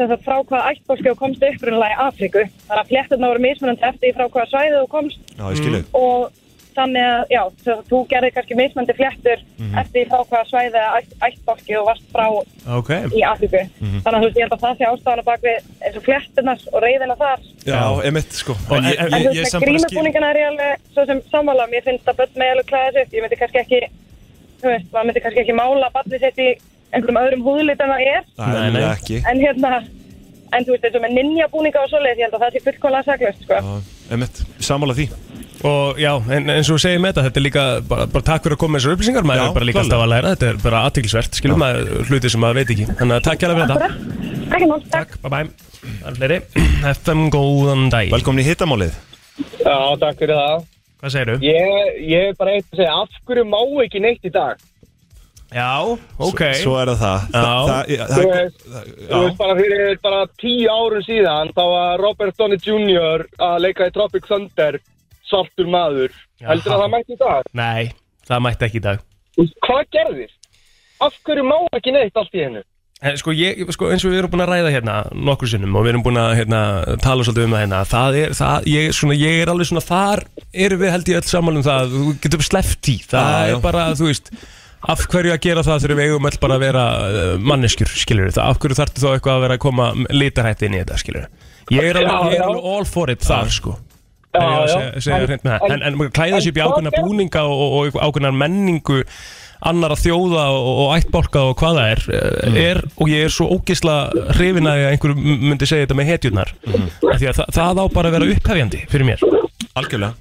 þess að frá hvaða ættbólskjóð komst upprunnilega í Afríku þannig að fléttunar voru mismunandi eftir því frá hvaða svæðið þú komst Já, ég skilu og þannig að, já, þú, þú gerði kannski mismöndi fléttur Mhm. eftir því frá hvaða svæði ætt, ættbálki og varst frá ok í Afríku. Mhm. Þannig að þú veist, ég held að það sé ástæðan á bak við eins og fléttunars og reyðina þar. Já, emitt, sko En ég- En þú veist, með grínabúningana er ég alveg svo sem sammála, mér finnst að börn með alveg klæða sér, ég myndi kannski ekki, þú veist, maður myndi kannski ekki mála barnið sitt í einhverjum öðrum húðlit en það er, Nei, nei, ekki en hérna, en þú veist, eins og með ninjabúninga og svoleiðis, ég held að það sé fullkomlega saklaust, sko. Emitt, sammála því Og já, en, eins og við segjum þetta, þetta er líka bara, bara takk fyrir að koma með þessar upplýsingar, maður Já, er bara líka klálega. alltaf að læra, þetta er bara aðtilsvert, skilum maður hluti sem maður veit ekki. Þannig að takk hjá fyrir þetta. Ekki mál, takk. Takk, bye bye. Það er [CLEARS THROAT] fleiri. FM góðan dag. Velkomin í hittamálið Já, takk fyrir það. Hvað segir þú? Ég, ég er bara eitt að segja, af hverju má ekki neitt í dag? Já, ok. Svo er það það Já. Það- það- ég- Þú það- veist, þú Já, veist bara fyrir bara tíu árun síðan þá var Robert Downey Jr. að leika í Tropic Thunder svartur maður. Já. Heldur að það mætti í dag? Nei, það mætti ekki í dag. Þú veist, Hvað gerðir? Af hverju má ekki neitt allt í hennu? En sko, ég, sko, eins og við erum búin að ræða hérna nokkur sinnum og við erum búin að hérna, tala svolítið um það hérna, það er, það, ég, svona, ég er alveg svona, þar erum við held ég öll saman um það, þú getum sleppt í, það Já, er já. bara, þú veist, af hverju að gera það þegar við eigum öll bara að vera uh, manneskjur, skilur við, af hverju þarftu þá eitthvað að vera að koma litarhætti inn í þetta, skilur við, ég er alveg, ég er alveg all for it þar, sko. Já, Ég er að já. segja- segja En- hreint með það. En, en, en klæða sér upp í en- ákveðna búninga og, og, og ákveðna menningu annara þjóða og, og ættbólka og hvað það er, mm. er og ég er svo ógisla hrifin að einhver myndi segja þetta með hetjurnar Mm. af því að það, það á bara að vera upphefjandi fyrir mér algjörlega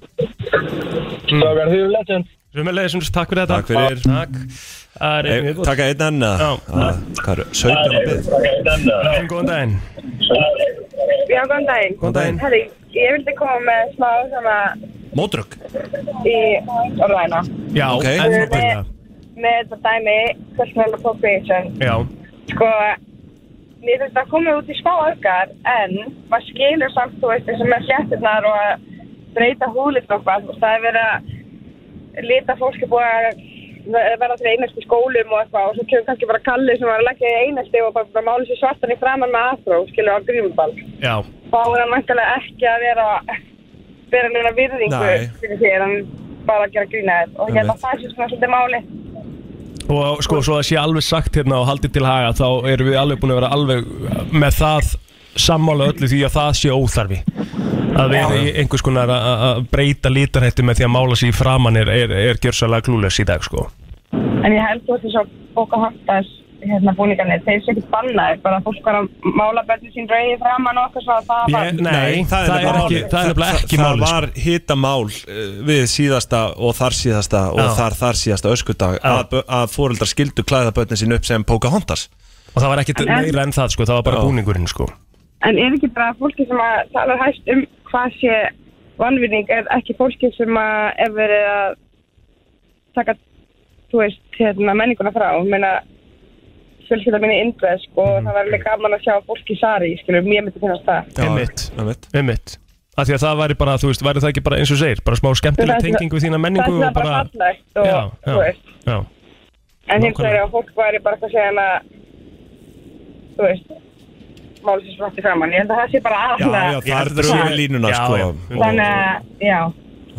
Það verður þau legend. Sumulegis, takk fyrir þetta Takk fyrir. Takk. Það er einn Ey, viðbót. Taka einn enn að Já. að- Hvað eru, 17 að byrð Góðan daginn Já, góðan daginn. Góðan daginn. Herri, ég vildi koma með smá svona Mótrögg í orðaðina Já, Ok. enn og byrja með þetta dæmi cultural appropriation. Já, Sko, mér finnst það komið út í smá öfgar en maður skilur samt, þú veist, eins og með flétturnar og að breyta húlit og hvað, þú veist, það er verið að lita fólk er búið að vera til einasti í skólum og eitthvað og svo kemur kannski bara kallið sem var að leggja í einasti og bara, bara máli sér svartan í framann með afró, skilur á grímuball. já, þá er hann mæntilega ekki að vera vera neina virðingu Nei. fyrir sér en bara að gera grína þér og hérna Einmitt. það sé svona svolítið máli og sko, svo að sé alveg sagt hérna og haldið til haga, þá erum við alveg búin að vera alveg með það sammála öllu því að það sé óþarfi að vera í einhvers konar að- að að breyta lítarhætti með því að mála sér í framann er, er, er gjörsalega glúles í dag sko en ég held þú veist þess að bóka hartas hérna búningarnir, þeir sé ekki bannaðir bara fólk var að mála börnum sín rauði framann og okkur svo að það var Ég- Nei, það er nefnilega ekki- málið. það er nefnilega Þa- ekki það- málið, sko. Það var hitamál eh, við síðasta og þar síðasta og Já. þar þar síðasta öskudag að, bö- að fóreldrar skildu klæða börnin sín upp sem Pocahontas og það var ekkit meira en það sko, það var bara Já. búningurinn sko en er ekki bara fólki sem að tala hægt um hvað sé vanvinning er ekki fólki sem að er verið að taka þú veist hérna menninguna frá ég meina fjölskylda minni Mhm. indvesk og það var alveg gaman að sjá fólk í sari skilur, mér myndi finnast það Einmitt. einmitt um mitt Af því að það væri bara, þú veist, væri það ekki bara eins og þú segir Bara smá skemmtileg Það er- tenging við þína menningu það er og bara bara fallegt og, Já, já, þú veist já, en hins Nákvæmlega. vegar að fólk væri bara eitthvað segjan að þú veist málsins brotti saman, ég held að það sé bara Já, aðla já, þar held að drögum sé- við línuna Já, já. sko þannig að, já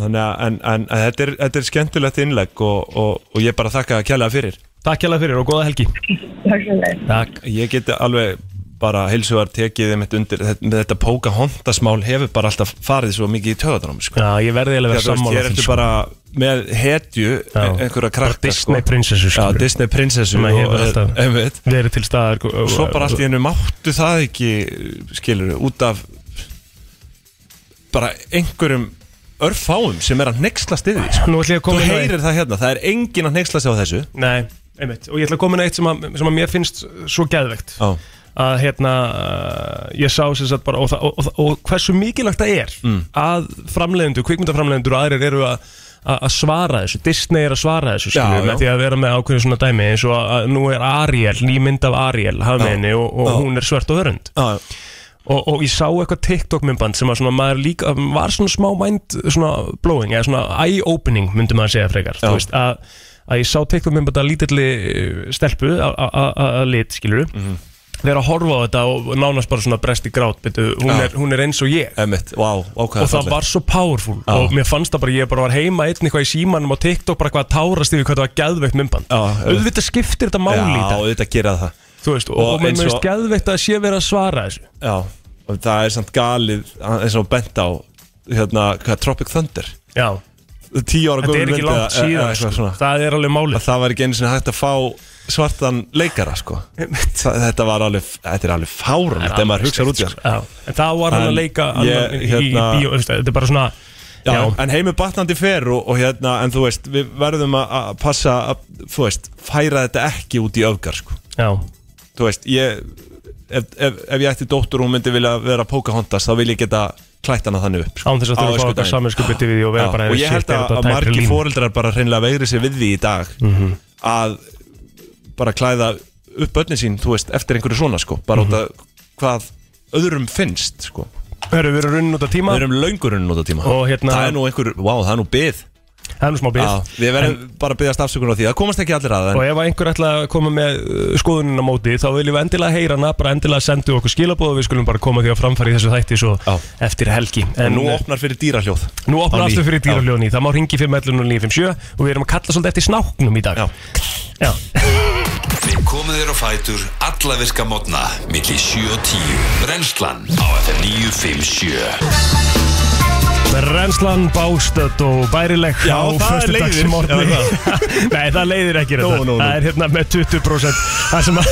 Þannig að en, en, en þetta, er, þetta er skemmtilegt innlegg og, og, og ég bara þakka að kjælega fyrir Takk hjá fyrir og góða helgi takk sem leið Takk Ég geti alveg bara heilsugar tekið þeim undir þetta, með þetta Pocahontasmál hefur bara alltaf farið svo mikið í töðunum sko. Já, ég verði eiginlega Þegar þú að vera veist, sammála sko. Hér ertu bara með hetju Já. einhverja Bara krakka sko. Disney prinsessu, Já, skilur. Disney prinsessu Sem að hefur og- eh, alltaf- einmitt. Verið til staðar sko. og- Svo bara allt í hennu máttu það ekki skilur, út af bara einhverjum örfáum sem er að nexlast yfir því sko. Nú ætlum ég að Þú koma inn á eitt- heyrir það hérna, það er engin að nexla sig á þessu Nei, einmitt Og ég ætla að koma inn á eitt sem að, sem að mér finnst svo geðvegt Já, að hérna uh, ég sá sem sagt bara og, það- og, og, og hversu mikilvægt það Mm. er að framleiðendur, kvikmyndaframleiðendur og aðrir eru að að að svara þessu, Disney er að svara þessu Já, skilur, já. með því að vera með ákveðin svona dæmi eins og að, að nú er Ariel, ný mynd af Ariel hafmeðinni og, og Já. hún er svört og hörund já, og, og ég sá eitthvað TikTok myndband sem að svona maður líka var svona smá mind svona blowing eða svona eye-opening myndi maður segja frekar þú Já. veist að, að ég sá TikTok myndband að lítilli eh, stelpu a- a- a- a- að lit skilur Mhm. vera að horfa á þetta og nánast bara svona brest í grát byrju, hún, Já. er, hún er eins og ég emmitt, vá, ákvæða og það var svo powerful og mér fannst það bara, ég bara var heima einn eitthvað í símanum og TikTok bara eitthvað að tárast yfir hvað það var geðveikt myndband Já, já. auðvitað skiptir þetta máli í Já, þetta auðvitað gera það þú veist, og, og og mér eins og- finnst geðveikt að sé verið að svara þessu Já, og það er samt galið eins og bent á hérna, hvað, Tropic Thunder já, Tíu ára Þetta gömul er ekki mynd eða- langt síðan eða eitthvað sko. svona. Það er alveg að málið það var ekki einu sinni hægt að fá svartan leikara sko. Þa, þetta var alveg þetta er alveg fárum þegar maður hugsaður út í hann sko. Já, En það var hann En að leika ég, annan í, í hérna- bíó veist, Þetta er bara svona Já, Já, en heimur batnandi fer og, og hérna, en þú veist, við verðum að að passa að, þú veist, færa þetta ekki út í öfgar, sko. já, Þú veist, ég, ef, ef, ef ég ætti dóttur og hún myndi vilja vera Pocahontas, þá vil ég geta klætt hana þannig upp, sko. án þess að Á þú fá öskudaginn. þetta saminskupið við því og Já, vera bara og ég held að, að margir fóreldrar bara hreinlega veigri sér við því í dag Mhm. að bara klæða upp börnin sín, þú veist, eftir einhverju svona sko, bara Mhm. út af hvað öðrum finnst sko. Hörru, við erum runnin út af tíma Við erum löngurinn út af tíma Og hérna- Það er nú einhver, wow, það er nú byð Það er nú Já, smá bíð Við verðum bara að byðast afsökunar á því, það komast ekki allir að en, Og ef að einhver ætla að koma með uh, skoðunina á móti þá viljum við endilega heyra hana, bara endilega sendu okkur skilabóð og við skulum bara koma því að framfæri þessu þætti svo Já. eftir helgi uh, en nú opnar fyrir dýrahljóð Nú opnar Á ný. aftur fyrir Já. dýraljóni Það má ringi fyrir mellunum 957 og við erum að kalla svolítið eftir snáknum í dag Já. Já. Við komum þér á fætur alla virka mótna milli 7 og 10 Brennslan á FM 957 Renslan, bástöð og bærileg Já, á það er leiðir. föstudagsmorgni. Já, [LAUGHS] Nei, það leiðir ekki Nú, þetta nú, nú. Það er hérna með 20% Það sem að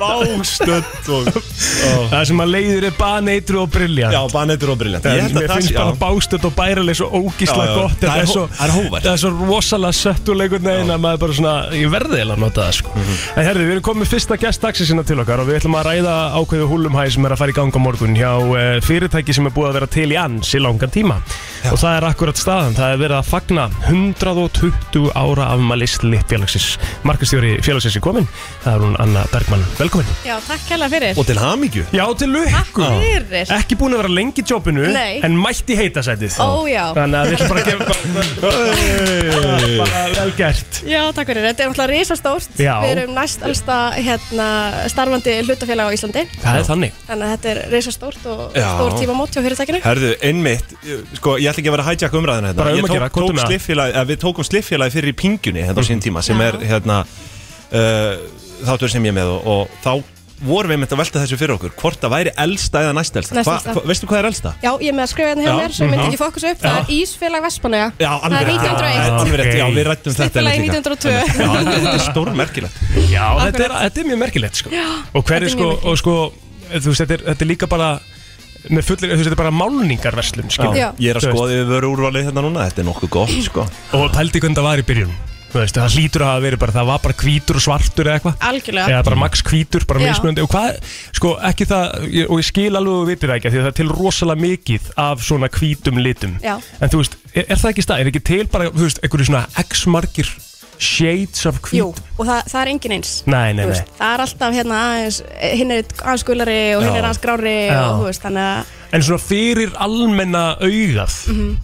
Bástödd og [LAUGHS] Það sem að leiðir er baneitru og brilljant Já, banettur og briljant Ég Mér finnst bara já, bástöld og bærileg svo ógísla Já, já. gott Það þetta er hó- svo- það er hógvært. Það er svo rosalega söttuleikun neginn að maður bara svona Ég verði eða að nota það sko Mhm. En herri, við erum komið fyrsta gest dagsisina til okkar Og við ætlum að ræða ákveðu húlumhæ sem er að fara í gang á morgun Hjá uh, fyrirtæki sem er búið að vera til í ansi langan tíma Og það er akkurat staðan Það er verið að fagna 120 ára afmæli slittfélagsins Markastjóri félagsins er komin Það er hún Anna Bergmann, velkomin Já, takk hella fyrir Og til hamingju Já, til lukku Takk fyrir ekki búin að vera lengi í jobbinu Nei. en mætti heita sætið Ó, já. þannig að við ætlum bara að gefa bara, bara vel gert Já, takk fyrir, þetta er náttúrulega risastórt Já. Við erum næst allsta hérna, starfandi hlutafélag á Íslandi það er þannig Þannig að þetta er risastórt og Já. stór tímamót hjá fyrirtækinu Herðu, einmitt, ég- sko, ég ætla ekki að vera að hijack umræðina hérna. Bara um Ég að tók- gera, komdu tók með það. Mhm. sliffélagið- eða Við tókum sliffélagi fyrir í pingjunni hérna á sín tíma sem Já. er hérna uh, þáttur sem ég er með og, og þá vorum við með að velta þessu fyrir okkur hvort það væri elsta eða næst elsta Næst hva, elsta. hva, Veistu hvað er elsta? Já, ég er með að skrifa hérna hjá Já. mér svo ég Mhm. myndi ekki fókus upp Það er Ísfélag Vespunega Já, alveg Það er rétt. 1901. Já, alveg rétt, Já, Ok. við rættum þetta Slippfélagi einmitt líka. 1902. Einmitt. Já, þetta- þetta er stórmerkilegt já, þetta er, Akkurat. þetta er mjög merkilegt sko. og hver þetta er er sko, mjög merkilegt. og sko þú veist, þetta er, þetta er líka bara með fullir, þú veist, þetta er bara málningarverslun skilur. Já. Ég er að Þú veist. skoða yfir vöru úrvalið hérna núna Þetta er nokkuð [CLEARS THROAT] gott, sko og pældi hvernig það var í byrjun þú veist, það hlýtur að hafa verið bara, það var bara hvítur og svartur eða eitthvað Algjörlega eða bara max hvítur, bara Já. mismunandi og hvað, sko ekki það, ég- og ég skil alveg og vitir það ekki, af því að það er til rosalega mikið af svona hvítum litum, Já. en þú veist er, er það ekki stað, er ekki til bara, þú veist, einhverju svona x margir Shades of Jú, Creed og það, það er engin eins Nei, nei, Þú nei veist, Það er alltaf hérna aðeins Hinn er aðeins gulari og hinn Já. er aðeins grári Já. og þú veist, þannig að En svona fyrir almenna augað Mhm.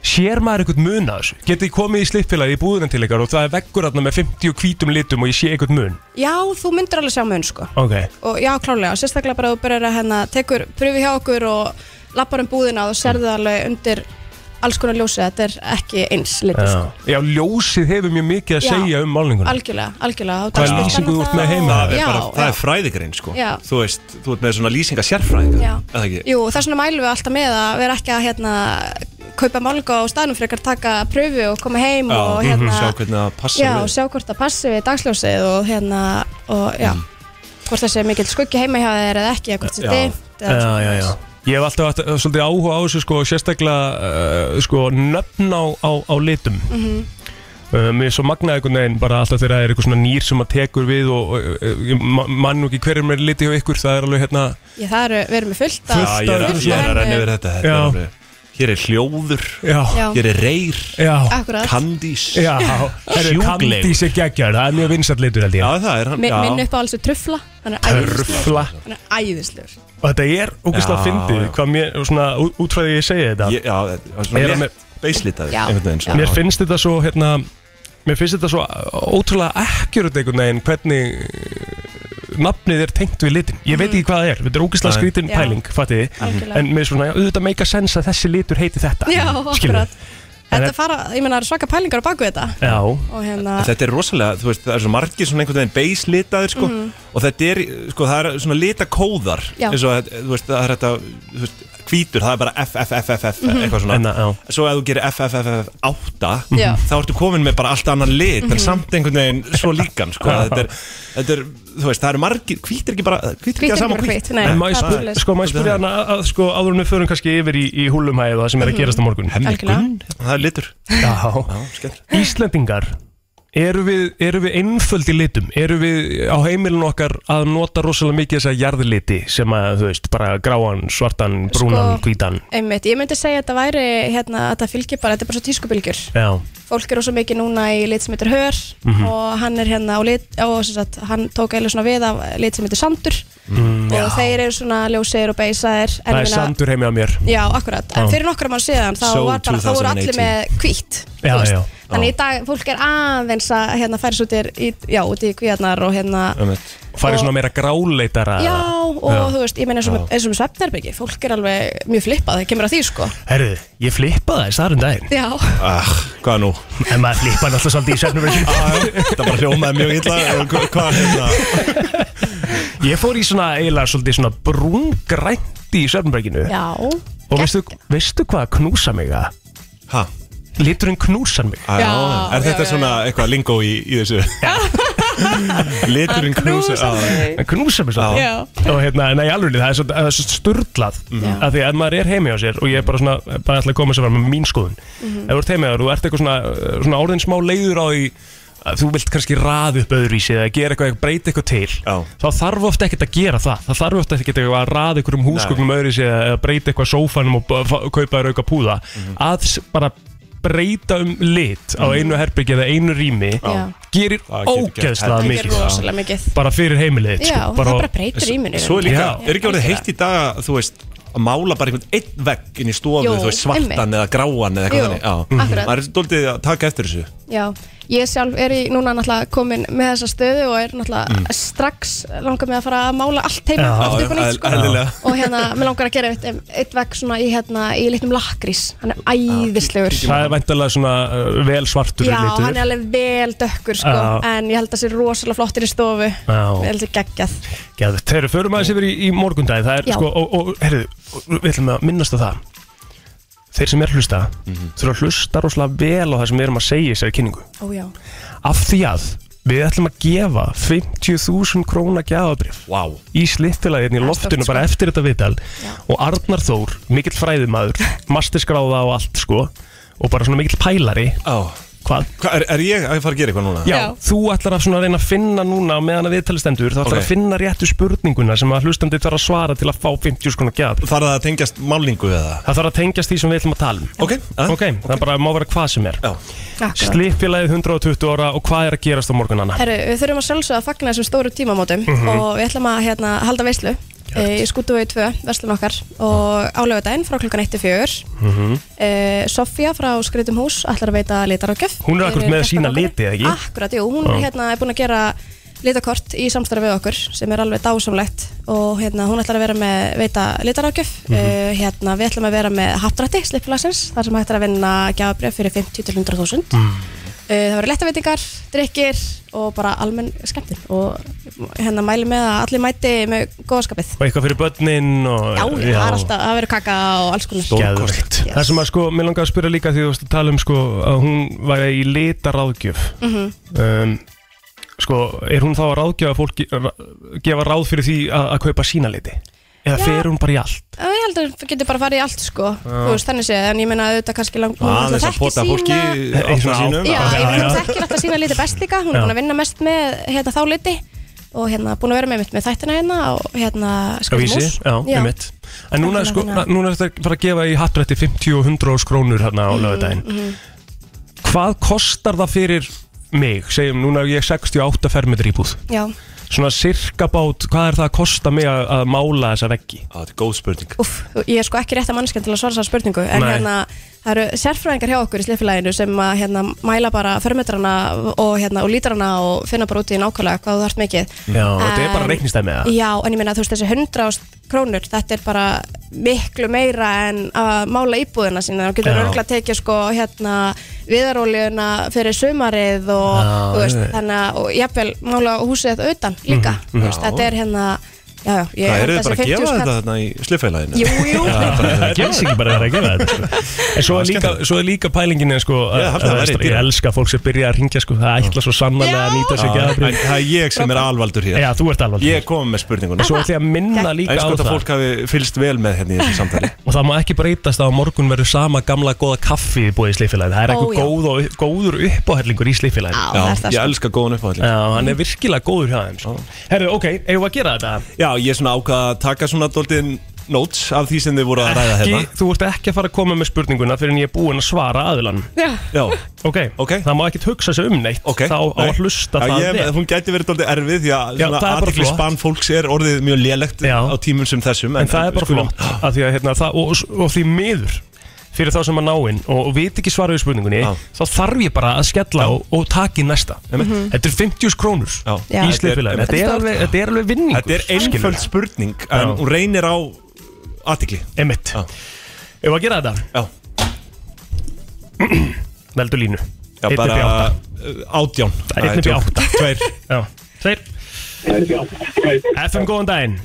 Sér maður eitthvað mun að þessu? Getið þið komið í slippfélagi í búðunum til ykkar og það er veggur aðna með 50 hvítum litum og ég sé eitthvað mun Já, þú myndir alveg sjá mun sko Ok og já, klálega, sérstaklega bara þú byrjar að hérna, tekur pröfi hjá okkur og lappar um búðina og þú serðu það alveg undir alls konar ljósi, þetta er ekki eins litur sko. Já. Já, ljósið hefur mjög mikið að Já. segja um málninguna Algjörlega, algjörlega Hvaða lýsingu þú ert með heima? Það er, Já, bara, það já. er fræðigrein sko Já. Þú veist, þú ert með svona lýsinga sérfræðinga Já. Eða ekki? Jú, þess vegna mælum við alltaf með að vera ekki að hérna, kaupa málningu á staðnum frekar taka pröfu og koma heim Já, og mhm, hérna, sjá hvernig það passar já, við. og sjá hvort það passi við dagsljósið og hérna og Mhm. já, hvort það sé mikill skuggi heima hjá þér eða ekki, eða hvort það Já. er dimmt eða já, já, já. Ég hef alltaf haft, uh, svolítið áhuga á þessu sko, sérstaklega uh, sko, nöfn á, á, á litum mm Mhm. uh, Mér er svo magnaði einhvern veginn bara alltaf þegar það er eitthvað svona nýr sem maður tekur við og uh, uh, ég ma- man nú ekki hverjum er liti hjá ykkur það er alveg hérna Ég, það eru, við erum með fullt Fullt af- Já, ég er að- fullt ég er að af renna henni. yfir þetta, þetta Já. er alveg Hér er hljóður, Já. Já. hér er reyr, Akkurat. kandís, Já, herru, Kandís er geggjar, það er mjög vinsall litur held ég Já, það er Mi- Minn upp á alls trufla Hann er Trufla. æðislegur. Hann er æðislegur Og þetta er ógæslega Já, fyndið, já. hvað mér, svona, ú- út frá því ég segi þetta Ég- Já, það er svona Er að létt beislitaður, Já. einhvern veginn sko. svona. Mér finnst þetta svo, hérna Mér finnst þetta svo ótrúlega ekkjörut einhvern veginn hvernig eh, nafnið er tengt við litin Ég veit ekki hvað það er, þetta er ógeðslega Nei. skrítin Mhm. Já. pæling, fattiði Algjörlega. En mér er svona, já, auðvitað meika sens að þessi litur heiti þetta Já, skilurðu. akkurat En Þetta fara, ég meina, það eru svaka pælingar á baku þetta Já Og hérna En Þetta er rosalega, þú veist, það er svo margir svona einhvern veginn beislitaðir sko Mhm. og þetta er, sko, það er svona litakóðar Já. eins og, þetta- þú veist, það er þetta, þú veist, hvítur, það er bara FFFFF Mhm. eitthvað svona, Enna, já. svo ef þú gerir FFFF8 Já. þá ertu komin með bara allt annan lit Mhm. en samt einhvern veginn svo líkan [LAUGHS] sko, Já. þetta er, þetta er, þú veist, það eru margir hvít er ekki bara, hvít er Hvítt ekki er að sama ekki bara hvít hvítt, nei, En má ég það er spyrja- svoleiðis. sko, maður spyrja hana að, að, sko, áður en við förum kannski yfir í, í húlumhæði og það sem er að Mhm. gerast á morgun Hemmi Algjörlega. Gunn, það er litur Já, Íslendingar eru við, eru við einföld í litum eru við á heimilin okkar að nota rosalega mikið þessa jarðliti sem að, þú veist, bara gráan, svartan, brúnan, Sko- hvítan Einmitt, ég myndi segja að þetta væri hérna, að þetta fylgir bara, þetta er bara svo tískubylgjur Já, Fólk er ósa mikið núna í lit sem heitir Hör Mhm. og hann er hérna á lit og sem sagt, hann tók eiginlega svona við af lit sem heitir Sandur mm, og þeir eru svona ljósir og beisaðir en það ég meina- er sandur heimi á mér Já, akkurat, en Já. fyrir nokkrum ára síðan þá, So var bara, þá voru allir 2018. með hvítt Já, þú veist. já. Þannig í dag, fólk er aðeins að hérna færis út í, í- já, út í kvíarnar og hérna farið Og- svona meira gráleitara Já, og þú veist, ég meina eins og Já. með, eins og með svefnherbyggi Fólk er alveg mjög flippað, það kemur að því sko Herðu, ég flippaði þess aðrum daginn Já, Ah, hvað nú? Ah, En maður flippaði alltaf svolítið í svefnum Þetta bara hljómaði mjög illa Hvað, hvað hérna? Ég fór í svona eiginlega svolítið svona brúngrænt í svefnbrekinu já Og veistu, veistu hvað knúsa mig að? Hæ? Liturinn knúsar mig Ah, Já, er þetta svona eitthvað lingó í, í þessu? [LAUGHS] Liturinn knúsa Hann knúsar mig svolítið Já. Og hérna, nei, alveg, það er svo, það er svo sturglað Mhm. Af því að ef maður er heimi á sér Og ég er bara svona, bara ætla að koma sér fram með mín skoðun Mhm. Ef þú ert heimi á þér, þú ert eitthvað svona uh, Svona orðin smá leiður á því að Þú vilt kannski raða upp öðruvísi Eða gera eitthvað, breyta eitthvað til Já. Þá þarf ofta ekkert að gera það Það þarf ofta ekkert að raða eitthvað um húsgögnum öðruvísi Eða eða breyta eitthvað sófanum og b- fá- kaupa þér auka púða Mhm. Að s- bara breyta um lit á einu herbyggi eða einu rými Já. gerir Það getur gert ógeðslega Það helling. mikið gerir rosalega mikið. bara fyrir heimilið Já, það bara breytir rýminu Svo er líka, er ekki orðið heitt í dag að, Þú veist, að mála bara einhvern einn vegg inn í stofu, Jú, þú veist, svartan einmitt. eða gráan eða Jú, eitthvað Mhm. þannig Já, akkurat. maður er doldið að taka eftir þessu Já, ég sjálf er í núna náttúrulega komin með þessa stöðu og er náttúrulega Mm. strax langar mig að fara að mála allt heima Já, allt upp á já, nýtt sko. eðl- eðlilega. og hérna, mér langar að gera eitt, eitt vegg svona í, hérna, í litnum lakrís hann er æðislegur Það er væntalega svona uh, vel svartur Já, litur. hann er alveg vel dökkur sko, Já. en ég held að það sé rosalega flottir í stofu Já. ég held að geggjað Geðveikt. Þeir eru förum aðeins yfir í, í morgundagi Það er Já. sko, og, og heyrðu, og við ætlum að minnast á það Þeir sem er að hlusta Mhm. þurfa að hlusta rosalega vel á það sem við erum að segja í þessari kynningu Ó já, Af því að við ætlum að gefa 50.000 króna gjafabrif wow. í slittilaginni í loftinu bara eftir þetta viðtal og Arnar Þór, mikill fræðumadur masterskráða og allt sko og bara svona mikill pælari oh. Hvað? Hva, er, er ég að fara að gera eitthvað núna? Já, þú ætlar að svona reyna að finna núna á meðan að viðtalistendur, þú ætlar Ok. að finna réttu spurninguna sem að hlustandi þarf að svara til að fá 50 skona gjaf Þarf það að tengjast málingu eða? Það þarf að tengjast því sem við ætlum að tala um Ok, ok, það bara má vera hvað sem er Akkurat. Slippfélagið 120 ára og hvað er að gerast á morgun anna? Herru, við þurfum að sjálfsögða að fagna þessum stóru tímamótum Mhm. og við ætlum að hérna, halda veislu e, í skútuvegi 2, verslun okkar og álöfudaginn frá klukkan 1 til 4 Mhm. e, Sofía frá Skreitum hús ætlar að veita litarökjöf Hún er akkur með sína liti, eða ekki? hérna Akkurat, jú, hún Já. hérna, er búin að gera litakort í samstarfi við okkur sem er alveg dásamlegt og hérna, hún ætlar að vera með veita litarafgjöf mm Mhm. hérna, við ætlum að vera með haftrætti slippilagsins þar sem hægt er að vinna gjafabrjöf fyrir 50-100.000 mm. það verður lettaveitingar, drikkir og bara almenn skemmtun og hérna mæli með að allir mæti með góðaskapið Og eitthvað fyrir börnin og Já, já, það er alltaf, það verður kaka og alls konar Stórkost Það sem að sko, mér langar að spyrja líka því þú varst að tala um sko að hún væri í litaráðgjöf Mhm. um, Sko, er hún þá að ráðgjöfa fólki ra- gefa ráð fyrir því að, að kaupa sína liti? Eða Já. fer hún bara í allt? Já, Ég held að það getur bara farið í allt sko Já. Þú veist, þannig séð, en ég meina auðvitað kannski lang hún Aðeins náttúrulega að pota þekkir fólki sína- í áttina sínum. Já, ég Já, já, meina hún já. þekkir alltaf sína liti best líka Hún er Já. búin að vinna mest með hérna, þá liti Og hérna, búin að vera með mitt með þættina hérna Og hérna, Á vísi, Skrýmús. já, já. einmitt En núna, sko, Þannig að- núna er þetta að fara að gefa í hattrætti 50 og 100 skrónur hérna á lögadaginn Mhm. Mm-hmm. Hvað kostar það fyrir mig? Segjum, núna er ég 68 fermetri íbúð Já, Svona sirka bát, hvað er það að kosta mig að, að mála þessa veggi? Á, þetta er góð spurning Úff, ég er sko ekki rétt að mannskjönd til að svara þessar spurningu En Nei. hérna, það eru sérfræðingar hjá okkur í sliffilæginu Sem að hérna, mæla bara förmetrana og, hérna, og lítrana Og finna bara út í nákvæmlega hvað þú þarft mikið Já, þetta er bara En- reiknistæmi eða? Já, en ég meina þú veist þessi 100 krónur þetta er bara miklu meira en að mála íbúðina sína og getur Já. örgulega tekið sko hérna viðaróljuna fyrir sumarið og Já, þú veist, einmitt. þannig að og jafnvel mála húsið þetta utan líka Mhm, mhm. þú veist, þetta er hérna já, já, ég Hvað held eru þið þessi bara að 50 gefa skall- þetta þarna í sliffælæðinu? Jú, [LAUGHS] jú. Það gerðs ekki bara að vera að gera [LAUGHS] þetta sko. En svo er líka, svo er líka pælingin er, sko, að, Já, það að, væri að, dýra. Ég elska að fólk sem byrja að ringja sko, Það ætla svo sannarlega að nýta sig Það gæðabrið er ég sem er alvaldur hér Já, þú ert alveg Ég kom með spurninguna Svo ætla ég að minna líka Eins á gott að það fólk hafi fylst vel með hérna í þessu samtali Og það má ekki breytast að á morgun verður sama gamla góða kaffi búið í slífilæði Það er Ó, já. eitthvað góð og, góður uppáherlingur í slífilæði Já, það er það Ég sko. elska góðan uppáhaldin Já, hann er virkilega góður hjá þeim sko. Herru, ok, eigum við að gera þetta? Já, ég er svona ákvað að taka svona doldið notes af því sem þið voru að ræða Ekki, hérna þú ert ekki að fara að koma með spurninguna fyrir en ég er búinn að svara aðilann Já. Já, Ok, Ok. það má ekkert hugsa sig um neitt ok Þá á Nei. að hlusta Já, það ég- vel. Hún gæti verið doldið erfið því að Já, það er bara aðeins flott. spann fólks er orðið mjög lélegt Já. á tímum sem þessum en það er bara skulum- flott að því að, hérna, það, og, og, og því miður fyrir þá sem að ná inn og, og veit ekki svara við spurningunni Já. þá þarf ég bara að skella og, og taki næsta þetta er 50 krónur Mhm. Já. Já. í slippilega Þetta þetta, er- er alveg- þetta er alveg vinningur Þetta er einföld skilurðu. spurning En Já. hún reynir á aðtikli einmitt Já. ef að gera þetta Já, veldu línu já Einn upp í bara átta. uh, átján er einn upp í Nei, átta. tjók. Tveir Já. Tveir. FM góðan daginn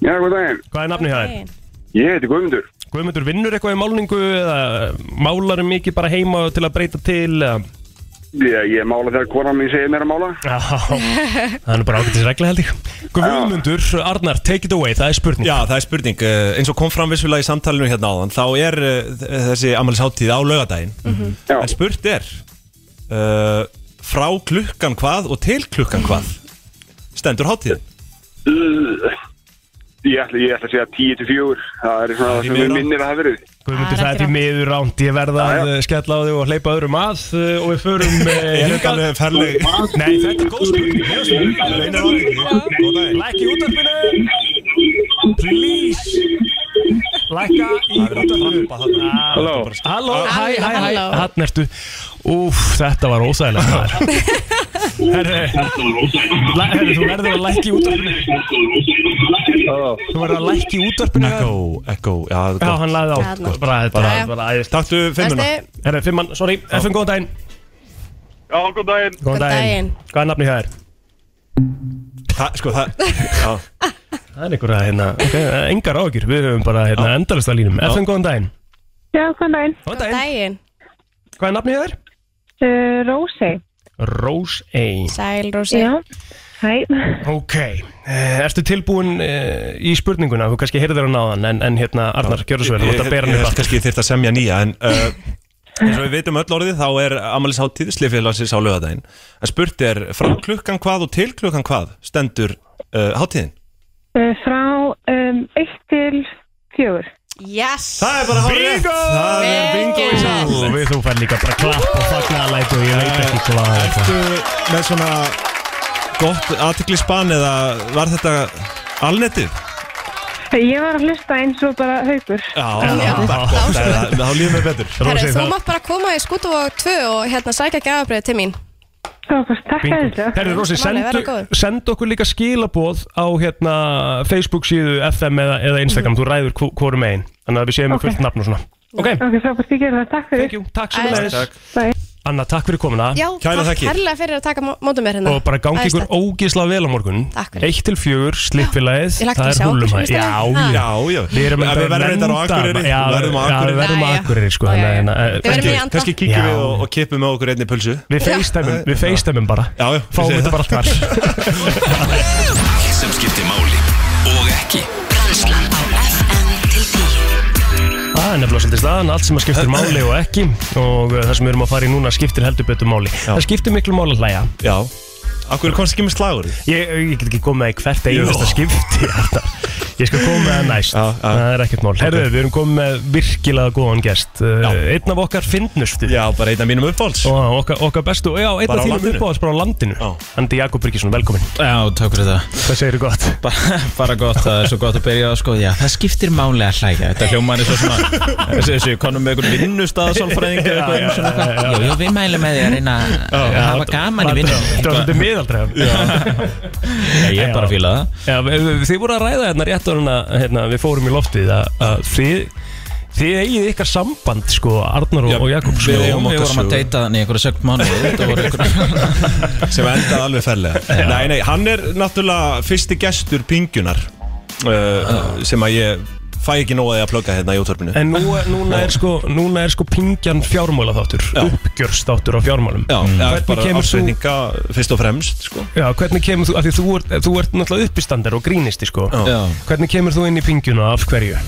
Já, góð daginn. hvað er nafnið hjá þér? Ég heiti Guðmundur. Guðmundur vinnur eitthvað í málningu eða málarum mikið bara heima til að breyta til eða? Ég, ég mála þegar konan mín segir mér að mála. Já, það er nú bara ágættis regla held ég Guðmundur, Arnar, take it away, það er spurning Já, það er spurning Eh, Eins og kom fram vissulega í samtalinu hérna áðan Þá er eh, þessi ammælisháttíð á laugardaginn Mhm. En spurt er uh, Frá klukkan hvað og til klukkan hvað Stendur hátíðin Uh, [LAUGHS] Ég ætla, ég ætla að segja 10 til 4. Það er svona það sem við mjög rangt. minnir að hafa verið. Guðmundur, það er því miður ránt Ég verða að eh, skella á þig og hleypa öðrum að eh, og við [LAUGHS] förum eh, Er þetta hingað alveg ferleg Nei, þetta er góð spurning mjög spurning. Leinar á þig Góð daginn Lækka í útarpinu Please Lækka í útarpinu Halló Ah, Halló, hæ, hæ, hæ, Halló. hann ertu Úf, þetta var óþægilegt maður. [LAUGHS] Herri, la- herri, þú verður að lækka í útarpinu Þú verður að lækka í útarpinu Echo, echo Já, það er Já, gott hann lagði á Já, þarna. Bara, bara, Já, já. bara æðist Takktu fimmuna Næsti. Herri, fimmann, sorry, FN, góðan daginn Já, góð daginn. Góðan Góðan daginn. Hvað er nafni hjá þér? Það, sko, [LAUGHS] það Já Það er einhverja, hérna, ok, engar ágjur Við höfum bara, hérna, endalista línum FN, góðan daginn Já, góðan daginn. Góðan Góðan daginn daginn, Hvað er nafni hjá þér? Uh, Rósi. Rose A sæl Rósi Já. Hæ. Ok, eh, ertu tilbúin eh, í spurninguna? Þú kannski heyrðir hann á þann En, en hérna, Arnar, gjörðu svo vel Þú ert að bera hann Ég upp held aftur kannski þyrft að semja nýja En uh, eins og við veitum öll orðið þá er amalisáttíð slifélagsins á lögadaginn en spurt er frá klukkan hvað og til klukkan hvað stendur uh, hátíðin Uh, frá um, 1 til 4. Yes! Það er bara hárrétt. Bingo! Það er bingo í sal. Og við þú fær líka bara klapp og fagna að læta og ég veit ekki hvað það er Ertu með svona gott aðtiklisban eða var þetta alnetið? Ég var að hlusta eins og bara haugur. Já, Já. bara gott, það er- þá líður mér betur Herru, þú mátt bara koma í skútu og tvö og hérna sækja gafabrið til mín Frábært, [LAUGHS] takk Bingo. Herri Rósi, sendu, sendu okkur líka skilaboð á hérna, Facebook síðu FM eða, eða Mm. Instagram, þú ræður hvo- hvorum einn þannig að við séum með Ok. fullt nafn og svona Ok, Ok, frábært, ég gerði það, takk fyrir. Thank you, takk sem leiðis. Takk. Anna, takk fyrir komuna Já, takk herrlega fyrir að taka mótum mér hérna og bara gangi ykkur Æðislegt. ógisla vel á morgun Takk fyrir. 1 til 4, Ég slippfélagið lakka til það að er sjá ykkur húlum sem að fyrsta já, dag. já, Já, já. við erum Ja, að við verðum reyndar á vernda- Akureyri. já, Við verðum á já, við Akureyri. verðum á Já, já. Akureyri sko, þannig að- þannig að- Við verðum í anda. Kanski kíkjum Já. við og, og kippum með okkur einni pulsu Við FaceTimeum- við FaceTimeum bara Já, já, við fáum segjum þetta bara allt þar Allt sem skiptir máli og ekki Það er nefnilega svolítið staðan, allt sem að skiptir máli og ekki og uh, það sem við erum að fara í núna skiptir heldur betur máli. Það skiptir miklu máli að hlæja. Já, akkur komst ekki með slagur Ég, ég get ekki komið með í hvert einasta Jó. skipti. [LAUGHS] Arnar. ég skal koma með það næst, það er ekkert mál. Herðu, við erum komið með virkilega góðan gest, uh, einn af okkar fyndnustu. Já, bara einn af mínum uppáhalds. Og okkar, okkar bestu, já, einn Bara á af þínum landinu. uppáhalds bara á landinu. Andi Jakob Byrkisson, velkomin. Já, takk fyrir það Hvað segir þú gott? Bara, bara gott, það er svo gott að byrja á sko Já, það skiptir máli að hlæja Þetta hljómaður er svo svona Þessi, þessi, konum með einhvern vinnustaðasálfræðing Já, já, já, já, já. Jú, jú, við mælum með því að reyna að Já, hafa gaman í vinnu Það var svolítið miðaldræðan [LAUGHS] Ég er bara að fíla það Þið voru að ræða hérna rétt á hérna, hérna við fórum í loftið að, að þið, þið eigið ykkar samband sko, Arnar og, og Jakob sko. Við, við vorum að deyta þannig í einhverju sögt mánu sem endaði [LAUGHS] alveg ferlega Nei, nei, hann er náttúrulega fyrsti gestur pingjunar Ah. uh, sem að ég fæ ekki nóðið að plugga hérna í útvarpinu En nú, núna, er sko, núna er sko pingjan fjármála þáttur Uppgjörst þáttur á fjármálum Já, Hvernig bara kemur þú ástreininga fyrst og fremst sko. Já, hvernig kemur þú, af því þú ert, þú ert náttúrulega uppistander og grínisti sko Já. Hvernig kemur þú inn í pingjuna af hverju?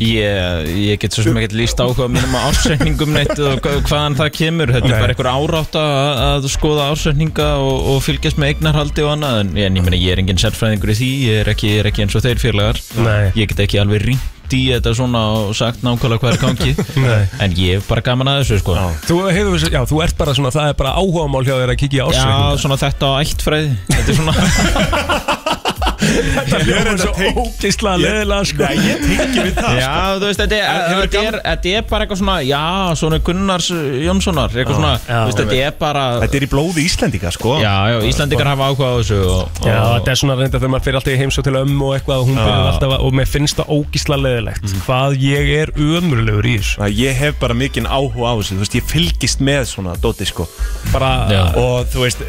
Ég, ég get svo sem ekkert líst áhuga mínum á ársreikningum neitt og hva- hvaðan það kemur Þetta Nei. er bara einhver árátt að, að skoða ársreikninga og, og fylgjast með eignarhaldi og annað En en ég, meina, ég er engin sérfræðingur í því, ég er ekki, ég er ekki eins og þeir félagar Nei. Ég get ekki alveg rýnt í þetta svona og sagt nákvæmlega hvað er [LAUGHS] Nei. gangi En ég er bara gaman að þessu sko Já, Þú hefur, já, þú ert bara svona, það er bara áhugamál hjá þér að kikið í ársreikninga svona þetta á ættfræði Þetta er svona Þetta hljómar svo ógeðslega leðilega sko Nei, ég tengi við sko. það, Já, sko. þú veist, þetta er, þetta er, þetta er bara eitthvað svona Já, svona Gunnars eh, Jónssonar Já, Eitthvað svona, já. þú veist, þetta er bara Þetta er í blóði Íslendinga sko Já, já, Íslendingar hafa áhuga á þessu og, Já, og, þetta er svona reynda þegar maður fyrir alltaf í heimsó til ömmu og eitthvað og hún Já. Mm. byrjar alltaf að, og mér finnst það ógísla leðilegt hvað ég er ömurlegur í þessu Ég hef bara mikinn áhuga á þessu Þú veist, ég fylgist með svona dóti sko bara, Já. Og þú veist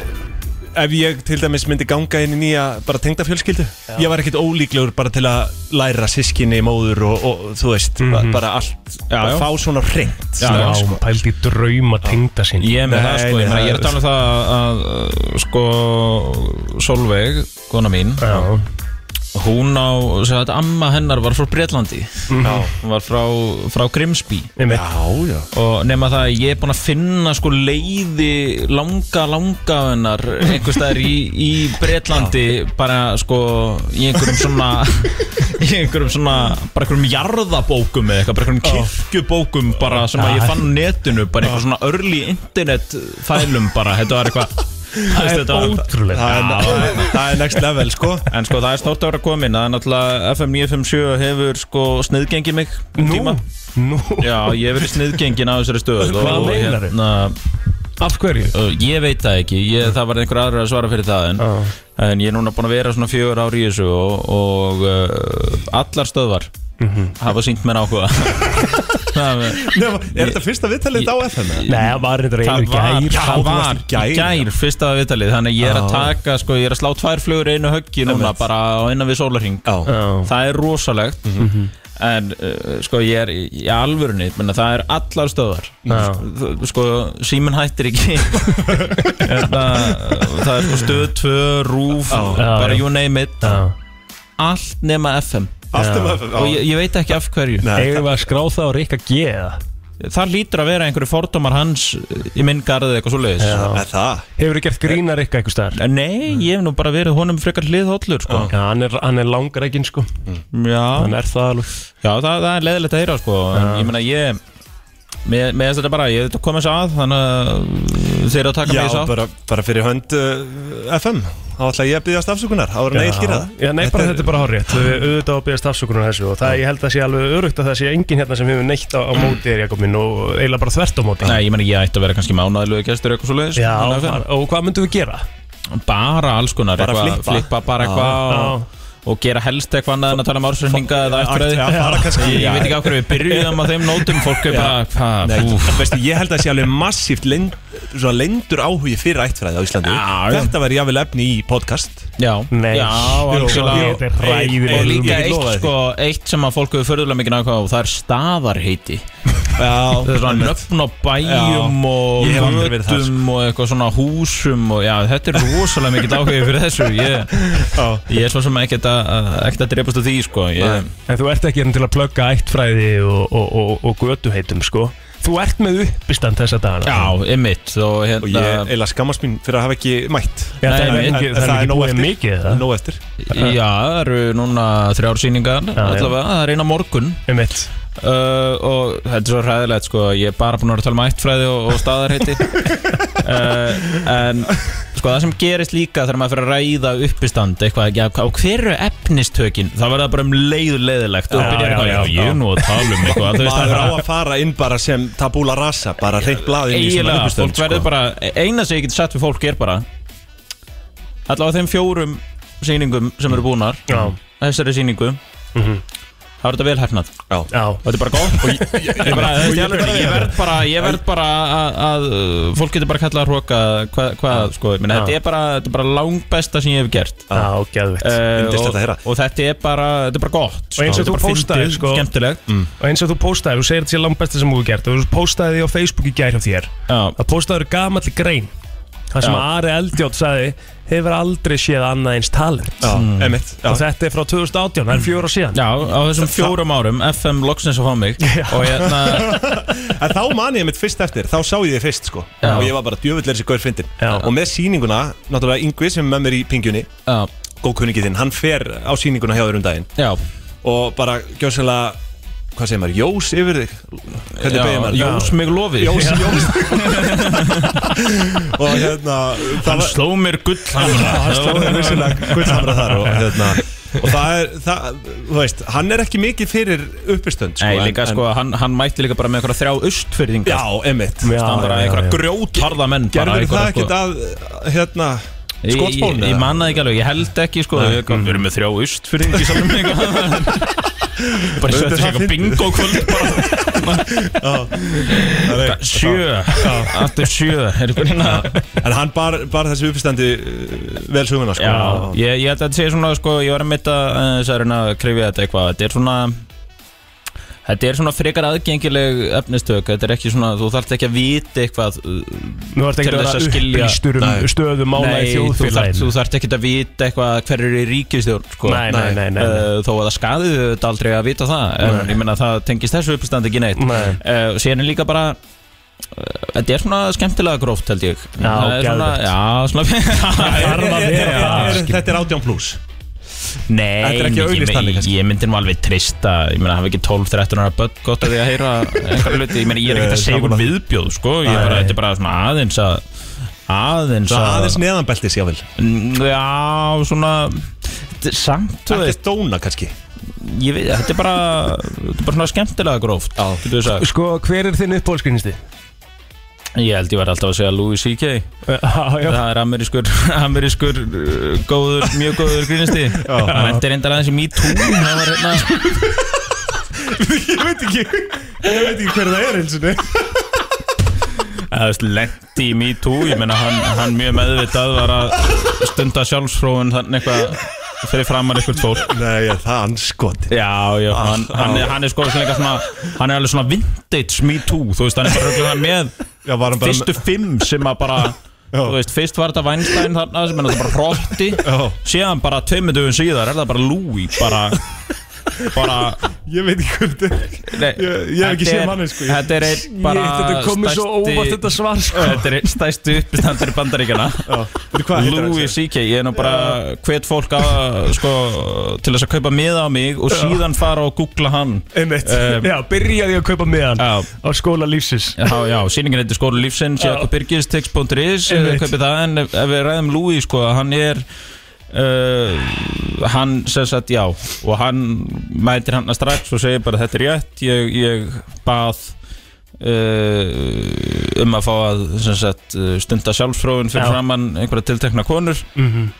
Ef ég til dæmis myndi ganga inn í nýja bara tengda fjölskyldu Ég var ekkert ólíklegur bara til að læra sískinni móður og, og þú veist, bara allt bara Mhm. já. fá svona reynd Já, já sko. pælt í drauma tengda sín Ég er með það sko, ég, meina, ég er að tala um það það að, að sko Solveig, kona mín Já. Hún á, sem þetta amma hennar var frá Bretlandi Mhm. Já. Hún var frá, frá Grimsby Einmitt. Já, já Og nema það að ég er búinn að finna sko leiði langa langa af hennar einhver staðar í, í Bretlandi bara sko í einhverjum svona [LAUGHS] í einhverjum svona bara einhverjum jarðabókum eða eitthvað bara einhverjum kirkjubókum bara sem að ég fann á netinu bara einhver svona early internet fælum bara þetta var eitthvað Það er ótrúlegt. það, Það er- það er next level sko En sko það er stórt að vera komin Það er náttúrulega FM 957 hefur sko sniðgengið mig um Nú, tíma. nú Já, ég hef verið sniðgengin á þessari stöðu Hvað og- og meinarðu? Af hverju? Mm. Uh, Ég veit það ekki, ég, það var einhver aðra að svara fyrir það en, en ég er núna búin að vera svona fjögur ár í þessu og, og uh, allar stöðvar Mhm. hafa sínt mér [LAUGHS] áhuga Það Nefna, Er þetta fyrsta viðtalið á FM? eða? Nei, það var reyndar einu var, gær það sko. var í gær, fyrsta viðtalið þannig að ég er að Já. taka, sko, ég er að slá tvær flugur í einu höggi núna bara á innan við sólarhing það er rosalegt Mhm. en uh, sko ég er í í alvörunni menna, það er allar stöðar Já. Þ- sko síminn hættir ekki [LAUGHS] Hérna, það er sko stöð 2, rúf Já. bara Já, já. you name it Já. allt nema FM Allt nema FM, já. og ég, ég veit ekki af hverju Eigum við að skrá það á Rikka G eða? það lítur að vera einhverju fordómar hans í minn garð eða eitthvað svo leiðis Já. Hefur þið gert grínar eitthvað eitthvað staðar? Nei, ég hef nú bara verið honum frekar hliðhóllur sko. Mm. Já, hann er, hann er langar ekki sko Já Hann er það alveg Já, það, það er leðilegt að heyra sko En Já. ég meina ég Mér með þetta bara, ég hef þetta komið sér að Þannig að þeir eru að taka Já, mig í sátt bara, bara fyrir hönd uh, FM Þá ætla ég að byggja afsökunar Ára Já. neil gera það Já, nei, bara þetta er bara horrið Við auðvitað á að byggja stafsökunar þessu og það, ég held að sé alveg örugt að það sé enginn hérna sem hefur neitt á, á móti þér, Jakob minn og eiginlega bara þvert á móti Nei, ég meina ég ætti að vera kannski mánaðilegu gestur eitthvað sko. svo leiðis Já, og hvað myndum við gera? Bara alls konar Bara eitthvað, flippa. bara Já. eitthvað Já. og, og gera helst eitthvað annað en að tala um ársreikninga eða Já, eftir já, bara kannski. Ég, ég veit ekki á hverju við byrjuðum á þeim nótum Fólk er bara, hvað, Nei, úf veistu, ég held að það sé alveg massíft lend, svona lendur áhugi fyrir ættfræði á Íslandi já. Þetta væri jáfnvel efni í podcast Já, Nei. já, Jú, algjörlega. þetta er hræðilegt. Og líka Ég eitt, lofa þér. sko, eitt sem að fólk hefur förðulega mikið nákvæm og það er [LAUGHS] staðarheiti Já, Það er svona nöfn á bæjum Já. og Ég hef aldrei verið götum það, sko. og eitthvað svona húsum og já, þetta er rosalega mikið áhuga fyrir þessu Ég, ég er svo sem ekkert að, ekkert að drefast á því, sko ég, En þú ert ekki hérna til að plugga ættfræði og, og, og, og götuheitum sko Þú ert með uppistand þessa dagana Já, einmitt Og, hérna, og ég eiginlega skammast mín fyrir að hafa ekki mætt Já, það er En- ekki- en- það er en ekki nóg búið eftir. mikið, það. Nóg eftir Já, það eru núna þrjár sýningar allavega, það er eina morgun Einmitt Uh, og þetta er svo hræðilegt sko ég er bara búin að vera að tala um ættfræði og, og staðarheiti uh, en sko það sem gerist líka þegar maður fyrir að ræða uppistand eitthvað, já, hva- og hver eru efnistökin það verða bara um leiðu leiðilegt og Já, byrjar já, eitthvað, já, já, ég er nú að tala um eitthvað þú veist, Maður á það að fara inn bara sem tabula rasa Bara reynt blaðin í svona sko. eiginlega, uppistönd fólk sko. verður bara eina sem ég get sagt við fólk er bara allavega þeim fjórum sýningum sem eru búnar Já. Mhm. þessari sýningu það verður þetta vel hefnað Já. Já. þetta er bara [LAUGHS] góð Ég bara- Og þú veist, ég- í alvöru, ég verð bara, ég verð bara að, að uh, fólk getur bara kallað að hróka hvað, hvað sko, ég meina, Já. þetta er bara, þetta er bara langbesta sem ég hef gert Já, geðvitt Eh, Yndislegt og, að heyra. og þetta er bara, þetta er bara gott sko. Og eins og Þetta þú er bara postaðir fyndið, Mm. sko, skemmtilegt Og eins og þú postaðir, þú segir þetta sé langt besta sem þú hefur gert og Þú postaði því á Facebook í gær hjá þér Já. Það postaður gamalli grein Það sem Já. Ari Eldjátt sagði Hefur aldrei séð annað eins talent Já, Mm. einmitt, já. Og þetta er frá 2018, það er fjóra síðan Já, á þessum fjórum árum FM loksins að fá [LAUGHS] mig og hérna [LAUGHS] En þá man ég mitt fyrst eftir, þá sá ég þið fyrst sko Já. Og ég var bara djöfull er þessi gaur fyndin Og með sýninguna, náttúrulega Yngvi sem er með mér í pingjunni Já. Góð kunningi þinn, hann fer á sýninguna hjá þér um daginn Já. Og bara gjössalega, hvað segir maður, jós yfir þig Hvernig Já, beðið maður? jós mig lofið. Jós, Já. jós Og hérna það hann var- sló mér gullhamra Já, hann sló mér [LAUGHS] vissulega gullhamra þar og hérna Og það er, það, þú veist, hann er ekki mikið fyrir uppistönd sko, Nei, en- líka en- sko, hann, hann mætti líka bara með einhverja þrjá austfyrðingar Já, emitt Standar að einhverja grjótharða menn bara, Gerður það einhverja, sko- ekkert að, hérna, Ég- skotsbólinu? Ég, ég manna ekki alveg, ég held ekki sko Við erum með þrjá ust fyrir ekki salum Bara [LAUGHS] Auðvitað setja það sér eitthvað fyndið. bingo kvöld [LAUGHS] bara Sjö, aftur sjö er eitthvað hérna En hann bar, bar þessi uppstandi uh, vel söguna sko. Já, ég, ég held að þetta sé svona sko, Ég var að mitt að eh, þess að reyna að krifja þetta eitthvað Þetta er svona Þetta er svona frekar aðgengileg efnistök Þetta er ekki svona, þú þarft ekki að vita eitthvað uh, Nú þarft ekki að vera upplýstur um stöðu mála í þjóðfélaginu. Nei, þú þarft- þú þarft ekki að vita eitthvað hver er í ríkistjórn sko. Nei, nei, nei, nei, nei. Eh, Þó að það skadiðu þetta aldrei að vita það En Nei. ég meina það tengist þessu uppstand ekki neitt Nei. uh, Síðan er líka bara eh, Þetta er svona skemmtilega gróft held ég Já, Það er svona, geðveikt. Já, svona [LAUGHS] Þarf að vera Já, skil- Þetta er 18 pluss Nei, Þetta er ekki ég- auglýst ég- þannig, kannski? Ég myndi nú alveg trista Ég meina, hafa ekki 12-13 ára börn gott að því að heyra einhverja hluti Ég meina, ég er ekkert að Eh, segja úr sammála. viðbjóð, sko Ég Nei. bara, þetta er bara svona aðeins að Aðeins Svo að aðeins neðanbeltis, jável Mm, Já, svona þetta er Samt, þú Þetta er stóna, kannski Ég veit, þetta er bara Þetta er bara svona skemmtilega gróft Já Getur við sagt Sko, hver er þinn uppbólskrinisti? Ég held ég var alltaf að segja Louis C.K. já. Það er amerískur, [LAUGHS] amerískur uh, góður, mjög góður grínisti Það vendi reyndar aðeins í Me Too Það var hérna Ég veit ekki Ég veit ekki hver það er eins og niður Það veist, lendi í Me Too Ég meina, hann, hann mjög meðvitað var að stunda sjálfsfróun þannig eitthvað fyrir framar eitthvað fólk Nei, ég, það Ah, er anskot Já, já, hann, hann, er, hann er sko svona, eitthvað svona hann er alveg svona vintage Me Too þú veist, hann er bara röglega með Já, var hann bara fyrstu fimm sem að bara þú veist, fyrst var þetta Weinstein þarna sem er þetta bara hrótti síðan bara tveimundugum síðar er það bara Louis bara bara Ég veit ekki hvað þetta Nei, Ég- ég hef ekki þetta séð er- manninn, sko. Þetta er Shit, einn bara þetta kom mér svo stærsti- óvart, þetta svar, sko. Þetta er einn stærsti uppistandur í [LAUGHS] bandaríkjana hvað heitir hann, Louis C.K. Ég er nú bara hvet fólk að, sko, til þess að kaupa miða á mig og síðan fara og googla hann Einmitt, Um, já, byrjaði að kaupa miðan á skóla lífsins Já, já, sýningin heitir skóla lífsins Já. ég okkur byrgistix.is Einmitt. kaupið það en ef, ef við ræðum Louis sko, hann er uh, hann sem sagt já og hann mætir hann strax og segir bara þetta er rétt ég, ég bað uh, um að fá að sem sagt, uh, stunda sjálfsfróðun fyrir Já. framann einhverja tiltekna konur Mhm.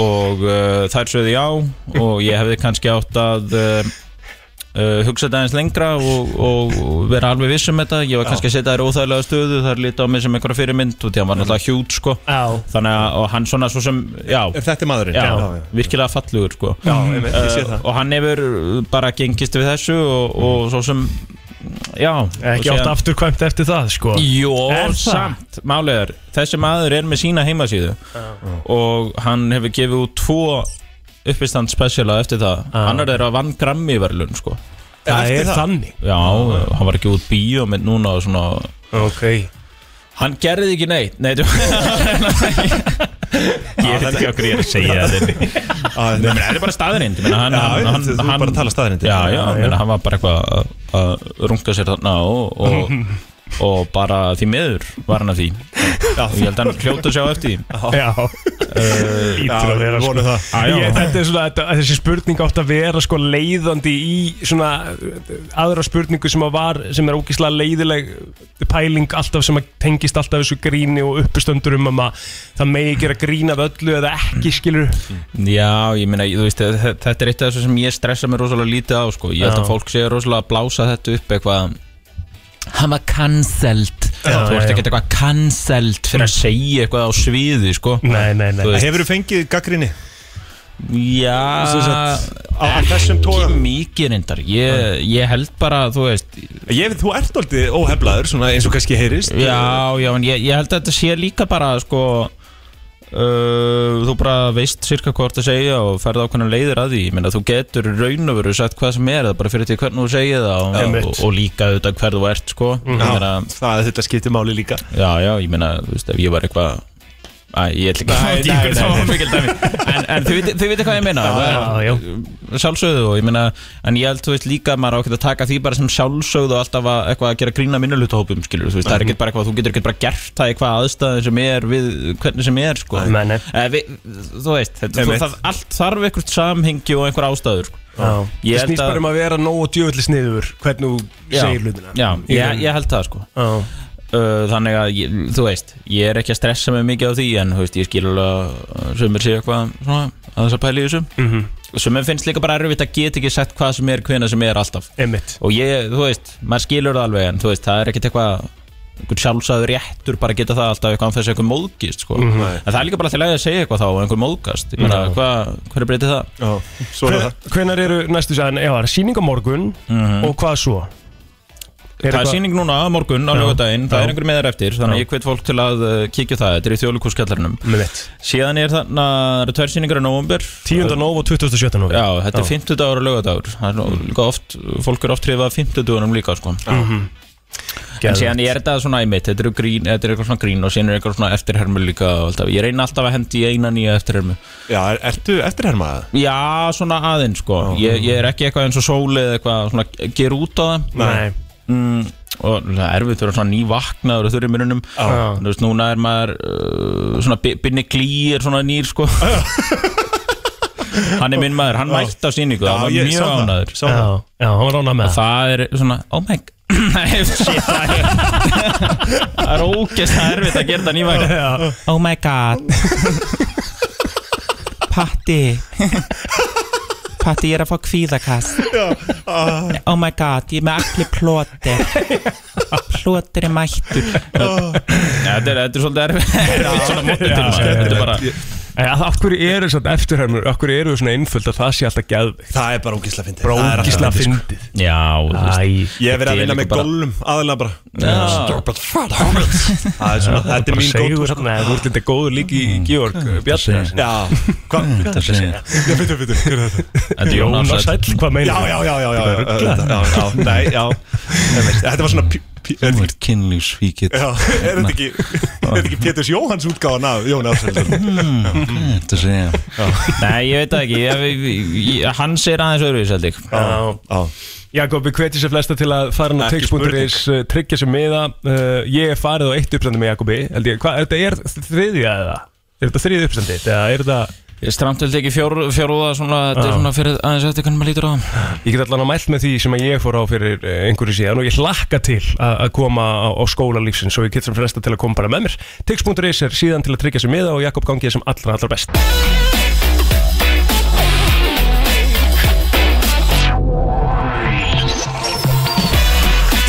og uh, þær sögðu já og ég hefði kannski átt að uh, uh, hugsa þetta aðeins lengra og, og vera alveg viss um þetta ég var kannski að setja þær í óþægilega stöðu þar lítið á mig sem einhverja fyrirmynd og því hann var náttúrulega hjút sko. þannig að og hann svona svo sem já, þetta er maðurinn já, Já, já, já. virkilega fallugur sko. Já, einmitt, ég sé Eh, það. og hann hefur bara gengist við þessu og, og svo sem já, og Ekki síðan- átt afturkvæmt eftir það, sko Jó, Er það? samt, málegar Þessi maður er með sína heimasíðu Og hann hefur gefið út tvo uppistand speciala eftir það Hann er þeirra vann grammi verðlun sko. Það er þannig Já, hann var ekki út bíómynd núna og svona Ok Hann gerði ekki neitt Nei, þú [LAUGHS] Ég veit ekki okkur ég er að segja þetta Nei, menn, það er bara staðrind Menna, hann, Já, hann, já, hann, þú- þú hann, bara tala staðreyndir. Já, já, Já, já. menna, hann var bara eitthvað að- að runga sér þarna og, og, og bara því meður var hann að því og ég held að hann hljóta sjá eftir því Já, Eh, Ítur að vera sko. Já, já. Ég, þetta er svona, þetta, þessi spurning átt að vera sko leiðandi í svona uh, aðra spurningu sem að var sem er ógislega leiðileg pæling alltaf sem að tengist alltaf þessu gríni og uppustöndur um að maður það megi gera grín af öllu eða Mm. ekki skilur Já, ég meina, þú veist, þe- þetta er eitt af þessu sem ég stressa mig rosalega lítið á, sko. Ég held Já. að fólk sé rosalega að blása þetta upp eitthvað Hann var cancelled Já, Þú já, veist já. ekki eitthvað cancelled fyrir að segja eitthvað á sviði, sko Nei, nei, nei. Hefur þú fengið gaggrinni? Sem Já sagt, á- á þessum tóra Mikið reyndar, ég, ég held bara, þú veist Ég veit, þú ert aldrei óheflaður, svona eins og kannski heyrist Já, já, en ég, ég held að þetta sé líka bara sko uh, þú bara veist cirka hvað þú ert að segja og ferð ákveðna leiðir að því ég meina þú getur í raun og veru sagt hvað sem er það er bara fyrir því hvernig þú segir það og, Einmitt. og, og líka auðvitað hver þú ert sko Mhm. Já, það þetta skiptir máli líka Já, já, ég meina, þú veist, ef ég var eitthvað Æ, ég ætla ekki að Nei, fara út í ykkur, nei, það var nei. mikil dæmi En, en þau viti- þau viti hvað ég meina Já, já, Sjálfsögðu og ég meina En ég held, þú veist, líka að maður á ekki að taka því bara sem sjálfsögðu og alltaf að, eitthvað að gera grína minnulutahópum skilur, þú veist, Mhm. það er ekkert bara eitthvað, þú getur ekkert bara gert það í hvaða aðstæðin sem er við hvernig sem er, sko Nei, nei. Eh, við, Þú veist, þetta, þú, Einmitt. það, allt þarf eitthvað samhengi og einhver ástæður sko. Ég Það held snýst bara um að vera nóg og djöfulli sniður hvernig þú Já, segir hlutina Já, Í ég, rauninni. ég held það sko Uh, þannig að, ég, þú veist, ég er ekki að stressa mig mikið á því en, þú veist, ég skil alveg að sumir séu eitthvað svona að þess að pæla í þessu Mhm. og sumir finnst líka bara erfitt að geta ekki sagt hvað sem er, hvena sem er alltaf Einmitt. og ég, þú veist, maður skilur það alveg en, þú veist, það er ekkert eitthvað einhvern sjálfsæður réttur bara að geta það alltaf eitthvað án þess að einhver móðgist, sko Mhm. en það er líka bara til að segja eitthvað þá og einhver móðgast, ég meina, Já. hvað, hver er breytið það? Já, Hvenær eru næstu sæðan, já, það er sýning á morgun Mhm. og hvað svo? Er það er eitthvað- síning núna á morgun á Já. lögadaginn, það Já. er einhver meðar eftir þannig að ég hvet fólk til að uh, kíkja á það, þetta er í þjóðlíkúskjallarinum síðan er þarna, það eru tvær síningar á nóvumbir 10. nóv og 27. nóv Já, þetta er 50 dagur og lögadagur Það er nú líka oft, fólk er oft hrifað 50 dagurum líka sko. Mhm. En síðan er þetta svona í mitt, þetta er, grín, þetta er eitthvað svona grín og síðan er eitthvað svona eftirhermu líka og alltaf. Ég reyna alltaf að hendi í eina nýja eftirhermu Já, er, ertu eftirhermaða? Já, svona aðeins sko ég, ég er ekki eitthvað eins og sóli eða eitthvað svona að gera út á það Nei. Mm, og það er erfitt fyrir svona nývaknaður og þurri mörunum þú veist, núna er maður uh, svona Bi- Binni Glý er svona nýr sko hann er minn maður, hann mætti á síningu Já, það var ég mjög sá það, ánæður sá það. Já, já, hann var ánæður með það það er svona, oh my god Nei, [LAUGHS] shit, það er- það er ógeðslega erfitt að gera það nývakna oh my [LAUGHS] god Patti Patti, ég er að fá kvíðakast Ah. Oh my god, ég er með allir plótir Plótir er [LAUGHS] mættur Þetta er þetta er svolítið erfitt Svona mótið til Ah. Já, maður sko, Þetta er bara ég- En af hverju eru svona eftirhermur, af hverju eru þau svona einföld að það sé alltaf geðvikt? Það er bara ógísla fyndið. sko. Bara ógísla fyndið. Já, þú veist. Ég hef verið að vinna með gólum, aðalega bara Stjórnbært fært Það er svona, þetta er mín sko. Mm, góð góð Nei, þú ert þetta góður líki í Georg eh, Bjarnar Já, hvað? Já, fyrir, fyrir, hver er þetta? Þetta er Jónas Jónas Sæll. Sæll, hvað meinar Já, þú? já, já, já, já, Þetta já, er ruglað. já, já, já, nei, já Einmitt, Þetta var svona pí- pí- Þú ert kynlífsvíkitt Já, [LAUGHS] er þetta ekki Er þetta ekki Péturs Jóhans útgáðan af Jónas Hvað er þetta að segja? Nei, ég veit það ekki ég, ég, ég, Hans er aðeins öðruvis held ég Já Jakobi hveti sér flesta til að fara hann á Ekki tix.is uh, tryggja sér miða uh, Ég er farið á eitt uppstandi með Jakobi held ég. Hvað, er þetta er þriðja eða? Er þetta þriðja uppstandi? Eða er þetta... Ég stramt vildi ekki fjór, fjóruða svona, þetta er Já. svona fyrir aðeins eftir hvernig maður lítur á það. Ég get allan að mælt með því sem að ég fór á fyrir eh, einhverju síðan og ég hlakka til að að koma á, á skólalífsins og ég get sem flesta til að koma bara með mér Tix.is er síðan til að tryggja sér miða og Jakob gangið sem allra allra best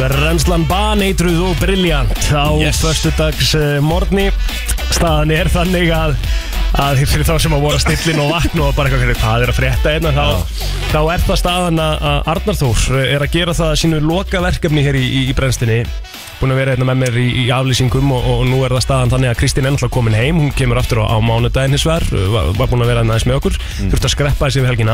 Renslan baneitruð og brilljant á yes. förstudags morgni staðan er þannig að að fyrir þá sem að voru að stillin og vakna og bara eitthvað, hvað er að frétta einna þá, þá er það staðan að að Arnar Þórs er að gera það að sínu loka verkefni hér í, í, í brennstinni búin að vera hérna með mér í, í aflýsingum og, og nú er það staðan þannig að Kristín er náttúrulega komin heim hún kemur aftur á, á mánudaginn hins vegar var, var búin að vera hérna aðeins með okkur Mm. þurfti að skreppa þessi við helgina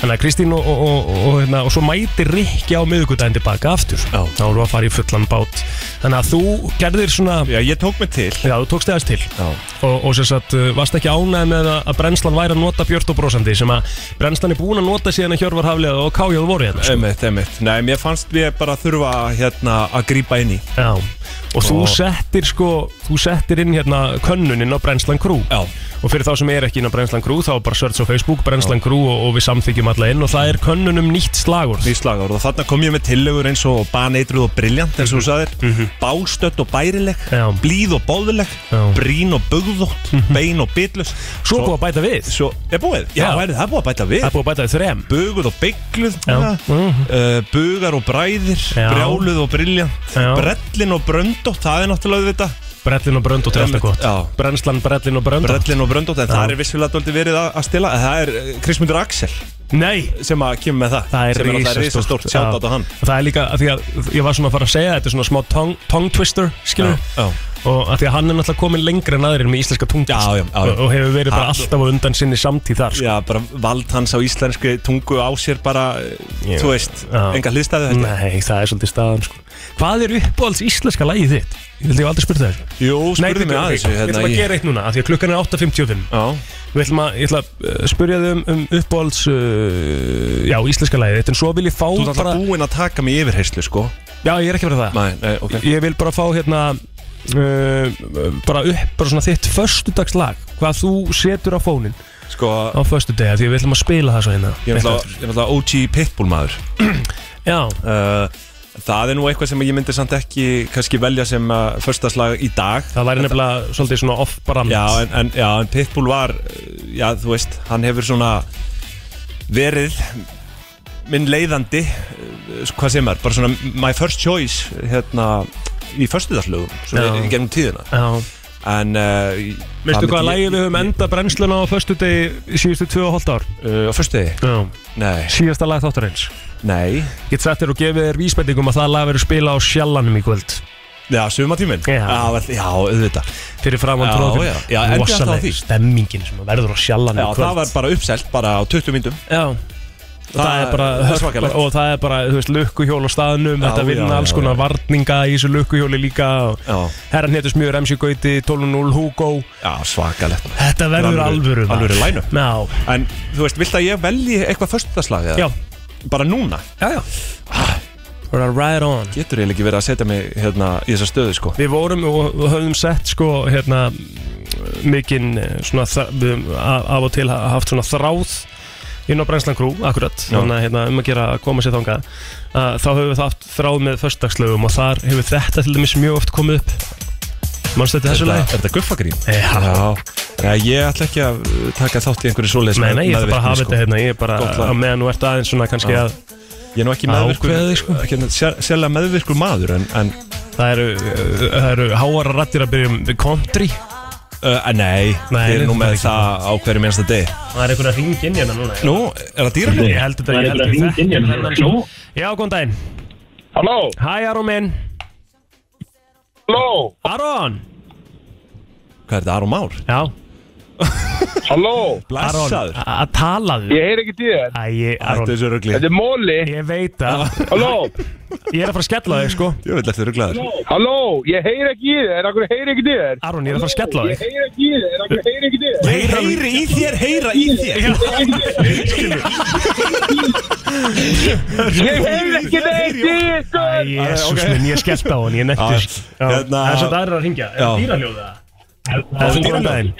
þannig að Kristín og, og, og, og, hérna, og svo mæti Rikki á miðugudaginn tilbaka aftur Já. þá erum við að fara í fullan bát þannig að þú gerðir svona Já, ég tók mig til Já, þú tókst eðast til Já. og, og sem sagt, uh, varst ekki ánægð með að að brennslan væri að nota Björn og Brósandi sem að brennslan er búin að nota síðan að Hjörvar Haflega og Kájóð voru hérna sko. Einmitt, einmitt Nei, mér fannst við bara þurfa hérna að grípa inn í Já, og þú Og- settir sko, þú settir inn hérna könnuninn á Brennslan Crew Já. og fyrir þá sem er ekki inn á Brennslan Crew þá bara search á Facebook Brennslan Crew og, og við samþykjum alla inn og það er könnunum nýtt slagorð Nýtt slagorð og þarna kom ég með tillögur eins og baneitruð og brilljant eins og þú sagðir Bástödd og bærileg, Mhm. Já. Mhm. blíð og bóðileg, brín og bugðótt, bein og bitlust Svo er búið að bæta við Svo er búið, já, Já. væri, það er búið að bæta við Það er búið að bæta við þrem Buguð og byggluð, Já. Mhm. uh, bugar og bræðir, brjáluð og brilljant Brellin og bröndótt, það er náttúrulega þetta Brellin og bröndótt er alltaf gott Brennslan, brellin og bröndótt Brellin og bröndótt, en Já. það er vissulega dóldi verið að, að stila en Það er eh, Krismundur Axel Nei sem að kemur með það, Það er sem er alltaf risastórt risastórt sjátt á hann Já. Það er líka að því að ég var svona að fara að segja Þetta er svona smá tongue, tongue twister skilur Já, já. Og að því að hann er náttúrulega komin lengra en aðrir með íslenska tungust já, já, já, já. Og og hefur verið bara Hann- alltaf á undan sinni samtíð þar sko. Já, bara vald hans á íslenski tungu á sér bara, Ég- þú veist, Já. enga hliðstæðu þetta Nei, það er svolítið staðan sko. Hvað er uppáhalds íslenska lagið þitt? Ég vildi ég aldrei spyrta þessu Jú, Nei, spurðu mig ok, að þessu Við ætlum að gera eitt núna, af því að klukkan er 8.55 Já Við ætlum að, ég ætla að uh, spyrja þau um, um uppáhalds uh, Já, íslenska lagið þitt En svo vil ég fá Þú ert bara- alltaf búinn að taka mig yfirheyslu, sko Já, ég er ekki að vera það Nei, nei, ok Ég vil bara fá hérna uh, bara upp, bara svona þitt föstudagslag, hvað þú setur á fónin Sko, á föstudegi, af því að við ætlum að spila það svo hérna ég er náttúrulega- ég er náttúrulega OG Pitbull maður [CLEARS THROAT] Já uh, Það er nú eitthvað sem ég myndi samt ekki kannski velja sem uh, förstaslag í dag Það væri nefnilega svolítið svona off-brand já en, en, já, en Pitbull var, uh, já, þú veist, hann hefur svona verið minn leiðandi, uh, hvað sem er, bara svona my first choice hérna í förstuðarslögum, svona Já. í gegnum tíðina Já En uh, í- Veistu það hvaða myndi lægi ég- við höfum enda brennsluna á föstudegi síðustu tvö og hálft ár? Uh, á föstudegi? Já Nei Síðasta lag þáttarins Nei Get sagt þér og gefið þér vísbendingum að það lag verður spila á sjallanum í kvöld Já, sumatíminn Já, vel- já auðvitað Fyrir framann Já, tróðfinn já, já, endilega þá því. Stemmingin sem verður á sjallanum Já, í kvöld það var bara uppselt bara á 20 myndum Já Það, er bara svakalegt og það er bara, þú veist, lukkuhjól á staðnum, Já, þetta vinna já, já, alls konar varninga í þessu lukkuhjóli líka og herran hétus mjög MC Gauti, 12.0 Hugo Já, svakalegt Þetta verður alvöru maður. Alvöru lænu Já En þú veist, vilt að ég velji eitthvað föstudaslag eða? Já. Bara núna? Ah. Já, já Bara right on Getur eiginlega ekki verið að setja mig hérna í þessa stöðu sko Við vorum og og höfðum sett sko hérna mikinn eh, svona þra- við höfum a- af og til ha- haft svona þráð inn á Brænslan Crew, akkurat Já. þannig að hérna, um að gera að koma sér þangað uh, þá höfum við það haft þráð með föstudagslögum og þar hefur þetta til dæmis mjög oft komið upp Manstu þetta þessu lagi? Er þetta guffagrín? Já. Já, ég ætla ekki að uh, taka þátt í einhverju svoleiðis Nei, nei, ég ætla bara að hafa meðvirkni, þetta hérna, ég er bara sko. Gott lag. að meðan þú ert aðeins svona kannski Já. að Ég er nú ekki meðvirkur Ákveðið, sko Sérlega meðvirkur maður en, en það eru, uh, það eru háara rættir að byrja um country Uh, nei, nei, þið þetta er nú er með ekki það á hverju minnsta degi Það er einhvern að ringa inn hérna núna já. Nú, er það dýralíf? Ég held þetta, Það er ég einhver held að hringja inn þetta hérna. þennan- Nú? Já, góðan daginn Halló Hæ, Aron minn Halló Aron Hvað er þetta, Aron Már? Já Halló Blessaður Að talaðu Ég heyri ekki til þér Æ, ég- Aron Þetta er svo ruggli Þetta er móli Ég veit það Halló Ég er að fara að skella þig, sko Ég vil eftir rugglaður Halló Ég heyri ekki í þér Akkur heyri ekki í þér Aron, ég er að fara að skella Ég heyri ekki í þér Akkur heyri ekki í þér Ég heyri í þér Heyra í þér [LAUGHS] Ég heyri ekki neitt í ykkur Jésús minn, ég skellt á hann, ég nettur Já, hérna- Það er svo það er að ringja, er það Já. dýraljóða? Það er góðan daginn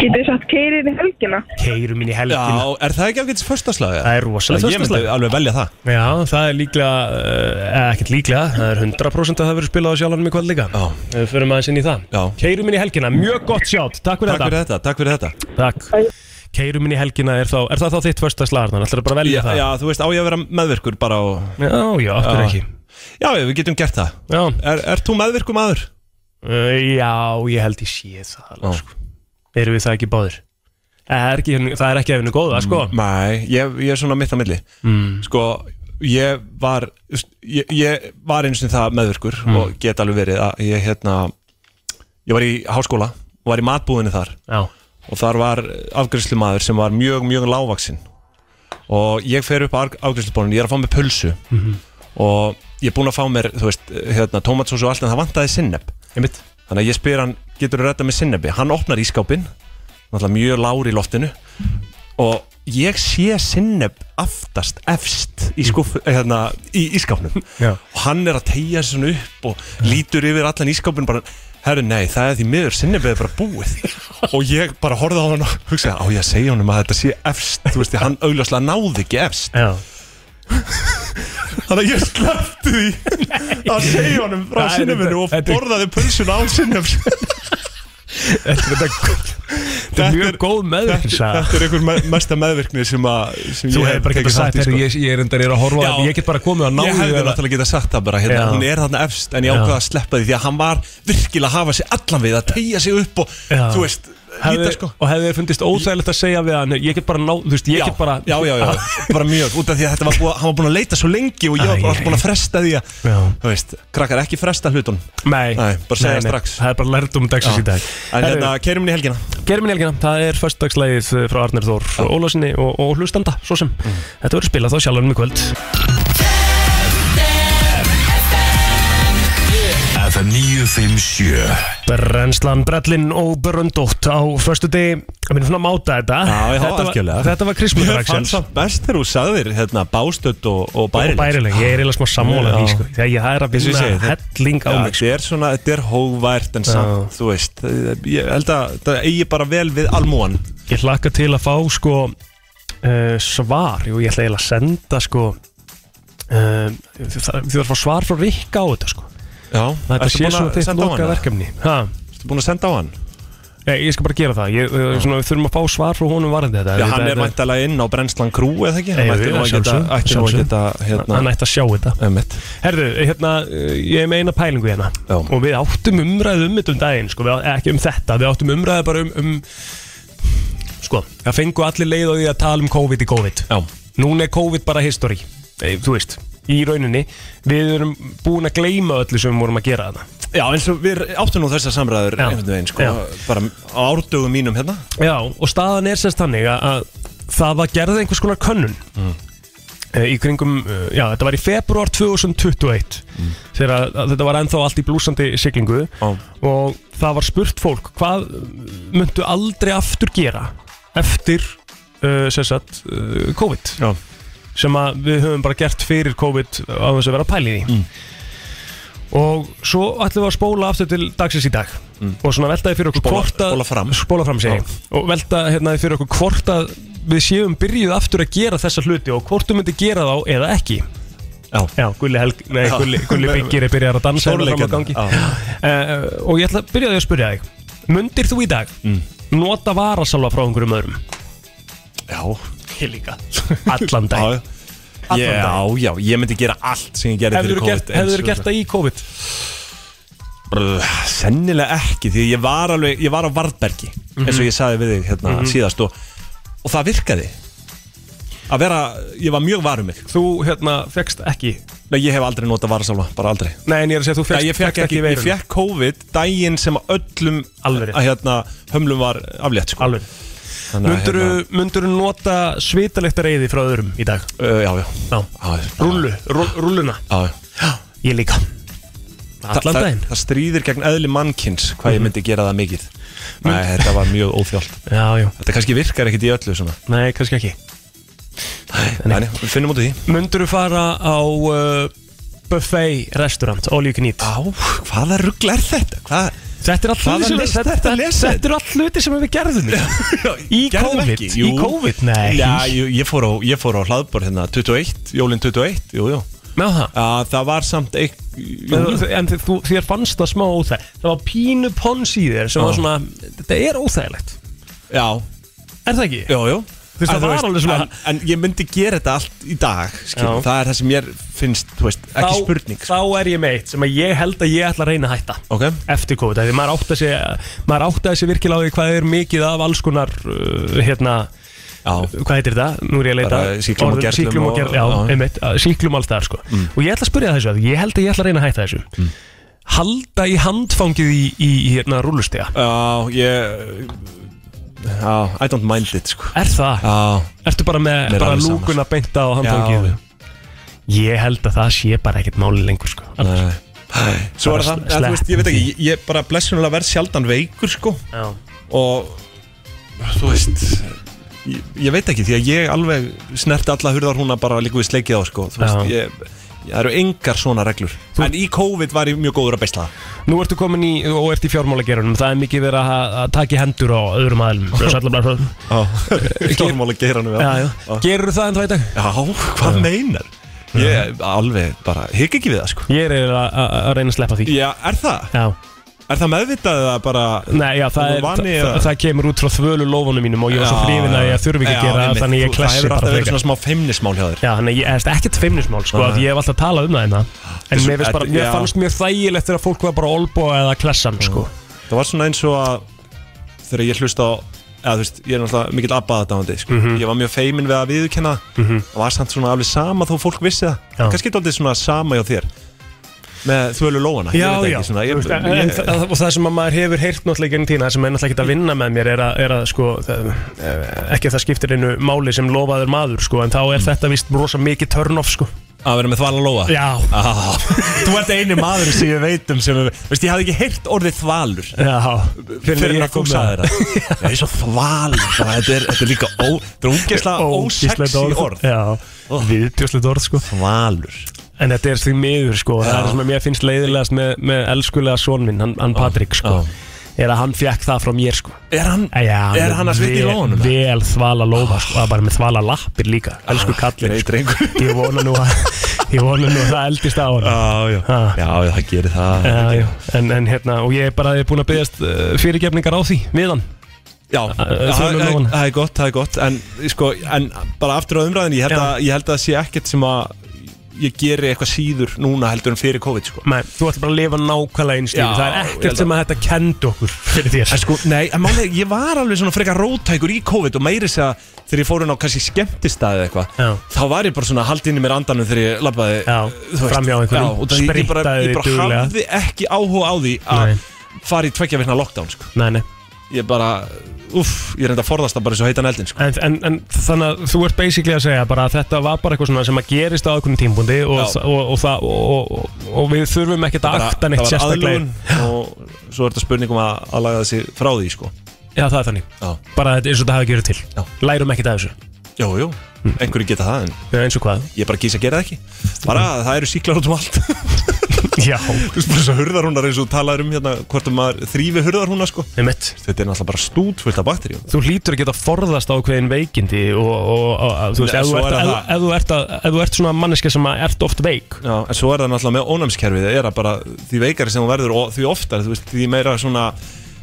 Getur þið satt keirið í helgina? Keirum inn í helgina Já, er það ekki ágætis förstaslag? Það er rosalega Ég myndi föstudagslag. alveg velja það Já, það er líklega, eh, ekkert líklega, það er 100% að það verður spilað á sjálfanum í kvöld líka Já Við förum aðeins inn í það Já Keirum inn í helgina, mjög gott sjátt, takk fyrir Takk fyrir þetta þetta, takk fyrir þetta Takk Keirum inn í helgina, er, þá, er það þá þitt första slagarnan? Ætlar bara að velja já, það? já, þú veist, á ég að vera meðvirkur bara á Já, já, af hverju ekki? Já, já, við getum gert það Já Er, er þú meðvirkur maður? Uh, já, ég held ég sé það alveg, sko. Erum við það ekki báðir? Eh, Er ekki, það er ekki efinu góða, sko Nei, ég, ég er svona mitt að milli Mm. Sko, ég var ég, ég var eins og það meðvirkur Mm. og get alveg verið að ég hérna ég var í háskóla og var í matbúðinni þar Já. og þar var afgjörslu maður sem var mjög, mjög lágvaksinn og ég fer upp að afgjörsluborðinu, ég er að fá mér pulsu Mhm. og ég er búinn að fá mér þú veist, hérna, tomatsós og allt en það vantaði sinneb Einmitt. þannig að ég spyr hann, getur þú rætta með sinnebi hann opnar ískápinn, náttúrulega mjög lágur í loftinu og ég sé sinneb aftast efst í, skúf, hérna, í ískápnum Já. og hann er að tegja sig svona upp og lítur yfir allan ískápinn bara herru nei, það er því miður sinnebið er bara [LAUGHS] búið og ég bara horfði á hann og hugsaði á ég að segja honum að þetta sé efst þú veist, því hann augljóslega náði ekki efst Já. [LAUGHS] þannig að ég sleppti því að segja honum frá Það er sinnebinu þetta- og þetta- borðaði pulsun á sinnebs Þetta er mjög góð meðvirkni saga. Þetta er einhver me mesta meðvirkni sem, að, sem [LAUGHS] Þú ég hefur bara tekið getað þátt sagt, í, "Heyrðu, sko." ég, ég er endar, ég er að horfa á Já. þetta, Ég get bara komið að ná Ég hefði náttúrulega getað sagt það bara hérna, Já. Hún er þarna efst en ég Já. ákvaða að sleppa því Því að hann var virkilega að hafa sig allan við Að tegja sig upp og Já. þú veist hefði, líta, sko. Og hefði þér fundist óþægilegt að segja við hann Ég get bara ná, þú veist, ég Já, get bara já, já, já, bara mjög Út af því að þetta var búið, hann var búin að leita svo lengi Og ég var bara alltaf búin að fresta því að Já. Þú veist, krakkar ekki fresta hlutun Nei, Nei, bara segja Nei, nei, strax Það er bara lærdum dagsins Já. í dag En hérna, keirum inn í helgina Keirum inn í helgina, það er föstudagslægið frá Arnir Þór Ólásinni og, og hlustanda, svo sem Mhm. Þetta verður spilað þá sjálfanum í kvöld FM 957 Brennslan, brellin og bröndótt á förstu degi, ég minn svona máta þetta Já, já, Ah, þetta, algjörlega var, þetta var Christmas Ég fann Axels samt best þegar þú sagðir hérna, Bástödd og, og og bærileg bærileg, ég er eiginlega smá sammála því sko. þegar ég það er Eins og að ég vinna segi, þetta- helling á Já, mig sko. Þetta er svona, þetta er hóvært en Já. samt, þú veist Ég held að það eigi bara vel við almúan ég hlakka til að fá sko uh, svar, jú ég ætla eiginlega að senda sko eh, uh, þú þarf að fá svar frá Rikka á þetta sko Já, þetta ertu sé búin að svona þitt senda á hann, loka eða? verkefni ha? Ertu búin að senda á hann? Ég, ég skal bara gera það, ég, eh, svona, við þurfum að fá svar frá honum varðandi þetta Já, hann Þetta- er mæntalega inn á Brennslan Krú eða ekki? Jú, Hann ætti jú, nú að geta, sjálfsögðu, ætti nú að sjálfsögðu. geta hérna, Hann ætti að sjá þetta Einmitt. Herðu, hérna, eh, ég er með eina pælingu hérna Já. og við áttum umræðu um þetta um daginn sko, við, á- ekki um þetta, við áttum umræðu bara um, um sko, það fengu allir leið á því að tala um COVID í COVID Já. Núna er COVID bara history Ei, þú veist, í rauninni við erum búin að gleyma öllu sem við vorum að gera þetta Já, eins og við áttum nú þessar samræður einhvern veginn, sko, Já. bara á árdögum mínum hérna Já, og staðan er sérst þannig að, að það var gerðið einhvers konar könnun Mm. eh, í kringum, eh, já, þetta var í februar 2021 þegar að, að þetta var ennþá allt í blúsandi siglingu og það var spurt fólk hvað myndu aldrei aftur gera eftir uh, sérst, uh, COVID já. sem að við höfum bara gert fyrir COVID á þess að vera pælið í mm. Og svo ætlum við að spóla aftur til dagsins í dag Og svona veltaði fyrir okkur Mm. Spóla- hvort að spóla fram. Spóla fram segi ég. Og veltaði hérna fyrir okkur hvort að við séum byrjuð aftur að gera þessa hluti Og hvort þú myndir gera þá eða ekki Já, Já Gulli, Helg, nei, Já. Gulli, Gulli Byggir er byrjar að dansa hérna fram á Stórleikarnir, gangi. já. Eh, Og ég ætla að byrja á því að spyrja þig Mundir þú í dag Mm. nota varasalva frá einhverjum öðrum? Já Ég líka Allan dag Já, já, ég myndi gera allt sem ég gerði Hefur fyrir sko. þú COVID gert, hefðirðu gert það í COVID? það? Sennilega ekki, því ég var alveg, ég var á Varbergi eins og ég sagði við þig hérna Mhm. síðast og, og það virkaði að vera, ég var mjög varum mig Þú hérna fegst ekki Nei, ég hef aldrei notað varasalva, bara aldrei Nei, en ég er að segja að þú fékkst- Nei, ég fekk fékkst ekki, ekki ég veiruna. fekk COVID daginn sem að öllum Alveg rétt. að hérna hömlum var aflétt sko. Alveg Munduru, hérna... munduru nota svitalikt reyði frá öðrum í dag? Uh, já, já, já. Rúllu, rú, rúlluna Já, já Ég líka Allan það, daginn. það, það stríðir gegn eðli mannkins hvað ég Mhm. myndi gera það mikið Nei, þetta var mjög óþjált Já, já Þetta kannski virkar ekkit í öllu svona Nei, kannski ekki Nei, nei, við finnum út af því Munduru fara á uh, buffet restaurant, all you can eat Á, hvaða ruggl er þetta? Hvað? Þetta er Hvaða allir list ertu að lesa? Þetta er allir hluti sem við gerðum Í Gerðum COVID, ekki, í jú. COVID, nei Já, ég, ég fór á, ég fór á hlaðbor hérna 21, jólin 21, jú, jú Með það? Já, það var samt eik, jú, En, en þið- þú, þér fannst það smá óþæg Það var pínu pons í þér sem Já. var svona, þetta er óþægilegt Já Er það ekki? Jú, jú Þú veist, En það var alveg svona- en, en ég myndi gera þetta allt í dag skil, Já. Það er það sem ég finnst, þú veist, ekki Þá- spurning sko. Þá er ég meitt sem að ég held að ég ætla að reyna að hætta okay. Eftir COVID, af því maður áttaði sig, maður áttaði sig virkilega á því hvað er mikið af alls konar uh, hérna Já. Hvað heitir þetta? Nú er ég að leita Bara sýklum og orðum, gerlum sýklum og og- gerlum, já, já. einmitt, að- sýklum alls það sko. Mm. Og ég ætla að spyrja þessu að ég held að ég ætla að reyna að hætta þessu Halda í handfangið í, í, í hérna rúllustega Já, ég Já, I don't mind it, sko Er það? Já Ertu bara með Mér er bara alveg sama, sko. lúkuna beinta á handfangið? Já. Ég held að það sé bara ekkert máli lengur sko Nei. Svo er Bara það, eða, þú veist, ég veit ekki, ég- ég bara blessunulega verð sjaldan veikur, sko Já. Og, þú veist, ég, ég veit ekki, því að ég alveg snerti alla hurðar húna bara líka við sleikið á, sko Þú veist, Já. ég, ég, það eru engar svona reglur En í COVID var ég mjög góður að beisla það Nú ertu komin í, og ert í fjármálagerunum Það er mikið verið að, að taka í hendur á öðrum [LAUGHS] aðlum Fjármála geiranum, Já, já. Gerur það ennþá í dag? Já, hvað meinar? Ég alveg bara, hygg ekki við það sko Ég er eiginlega að- að að reyna að sleppa því Já, er það? Já Er það meðvitað eða bara Nei, já, það, er, vani það, eða? það kemur út frá þvölu lófunum mínum og ég var svo Já, hrifin að ég þurfi ekki já, að gera það einmitt. þannig ég Þú- klessi Það hefur bara alltaf verið frekar svona smá feimnismál hjá þér Já, þannig ég er ekkert feimnismál sko, Nei. að ég hef alltaf talað um það hérna en Þessu- mér, finnst bara, þetta- mér já. fannst mjög þægilegt þegar fólk var bara olbo eða klessan sko. Það var svona eins og að þegar ég hlusta á eða þú veist, ég er náttúrulega mikill abbaðadándi sko. ég var mjög feimin við að viðurkenna það Mhm. það var samt svona alveg sama þó fólk vissi það Já. kannski dóttið svona sama hjá þér með þvölu lóana Já, ég veit já, ekki svona, ég, þú veist, en, en, það, og það sem að maður hefur heyrt náttúrulega genið tína sem er náttúrulega ekki að vinna með mér er að, er að sko, það, eh, ekki að það skiptir einu máli sem lofaður maður sko, en þá er þetta vist rosa mikið turn off sko. Mm. Að vera með þvala lóa Já [LAUGHS] ah, Þú ert eini maður sem ég veit um sem Veist, ég hafði ekki heyrt orðið þvalur Já, Fyrir en að þú sagði það Það er svo [LAUGHS] þvalur bara, þetta, er, þetta er líka ó, þetta er ógeðslega ósexy orð Já, oh. viðbjóðslegt orð sko. Valur En þetta er því miður sko, Já. það er það sem að mér finnst leiðilegast með, með elskulega són minn, hann, hann Patrik sko. Er að hann fjekk það frá mér sko Er hann, Já, er hann að svita í vel- lóanum? Vel þvala lófa, sko, það er bara með þvala lappir líka Elsku kallin greit Ah, drengur. [LAUGHS] Ég vona nú að, ég vona nú að það eldist á hann Já, já, já, það gerir það Já, já, en, en hérna, og ég er bara ég er búin að byggjast uh, fyrirgefningar á því, við hann Já, Þau það eru það- lóan. það er gott, það er gott En, sko, en bara aftur á umræðin ég, held að- ég held að það sé ekkert sem að Ég geri eitthvað síður núna heldur en fyrir COVID sko. Nei, þú ætti bara að lifa nákvæmlega eins lífi, Já, það er ég held ekkert sem að þetta kendi okkur fyrir þér En sko, nei, en málið, ég var alveg svona frekar rótækur í COVID og meiri segja þegar ég fór inn á kannski skemmtistæði eða eitthvað þá var ég bara svona haldið inn í mér andanum þegar ég labbaði Já, þú veist. framhjá Já, einhverjum, og það- ég- ég bara, sprittaði ég bara duglega. hafði ekki áhuga á því að Nei. fara í tveggja veikna lockdown sko. Nei, nei ég bara, uff, ég reynda að forðast það bara eins og heitan eldin sko. En, en, en þannig að þú ert basically að segja bara að þetta var bara eitthvað svona sem að gerist á einhvern tímpundi og, Já. og, og, það- og, og, og við þurfum ekkert að Bara- akta neitt það var sérstaklega aðlögun og svo er þetta spurning um að aðlaga þessi frá því sko. Já, það er þannig Já. Bara þetta- eins og þetta hafi gerið til Já. Lærum ekkert af þessu Jú, jú, einhverju geta það en Hm. Já, eins og hvað? Hm. Ég bara gís að gera það ekki Bara að það eru síklar út um allt [LAUGHS] Já Þú veist bara þess að hurðarhúnar eins og þú talaðir um hérna Hvort um maður þrýfi hurðarhúnar sko Einmitt. Þetta er náttúrulega bara stútfullt af bakteríum Þú hlýtur að geta forðast ákveðin veikindi og, og, og, og þú veist, Nei, ef þú svo er ert, það ef, það. ef þú ert, að, ef þú ert svona manneska sem að ert oft veik Já, en svo er það náttúrulega með ónæmskerfið Það er að bara því veikari sem þú verður og því oftar Þú veist, því meira svona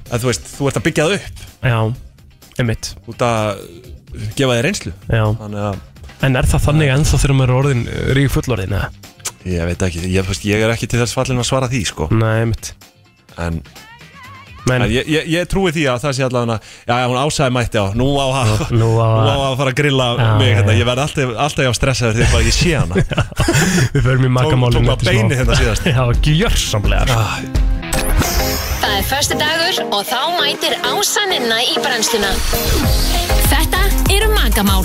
að þú veist, þú ert að byggja það upp Já, einmitt Út að gefa þér reynslu Já. Þannig að En er það þannig ennþá þegar maður er orðin rík fullorðin? eða? Ég veit ekki, ég, þú veist, ég er ekki til þess fallin að svara því sko Nei, mitt En sko. En Ég, ég, ég trúi því að það sé allan að Já, hún ásæði mætti á Nú á að, [LAUGHS] nú á að, fara að grilla Já, mig já, hérna. já. Ég verð alltaf, alltaf jafn stressaður þegar bara ég sé [LAUGHS] hana [LAUGHS] Við förum í makamálinu tók maður beinið hérna síðast. Já, gjörsamlega ah. Það er förstu dagur og þá mætir ásaninna í brennsluna. Þetta eru magamál.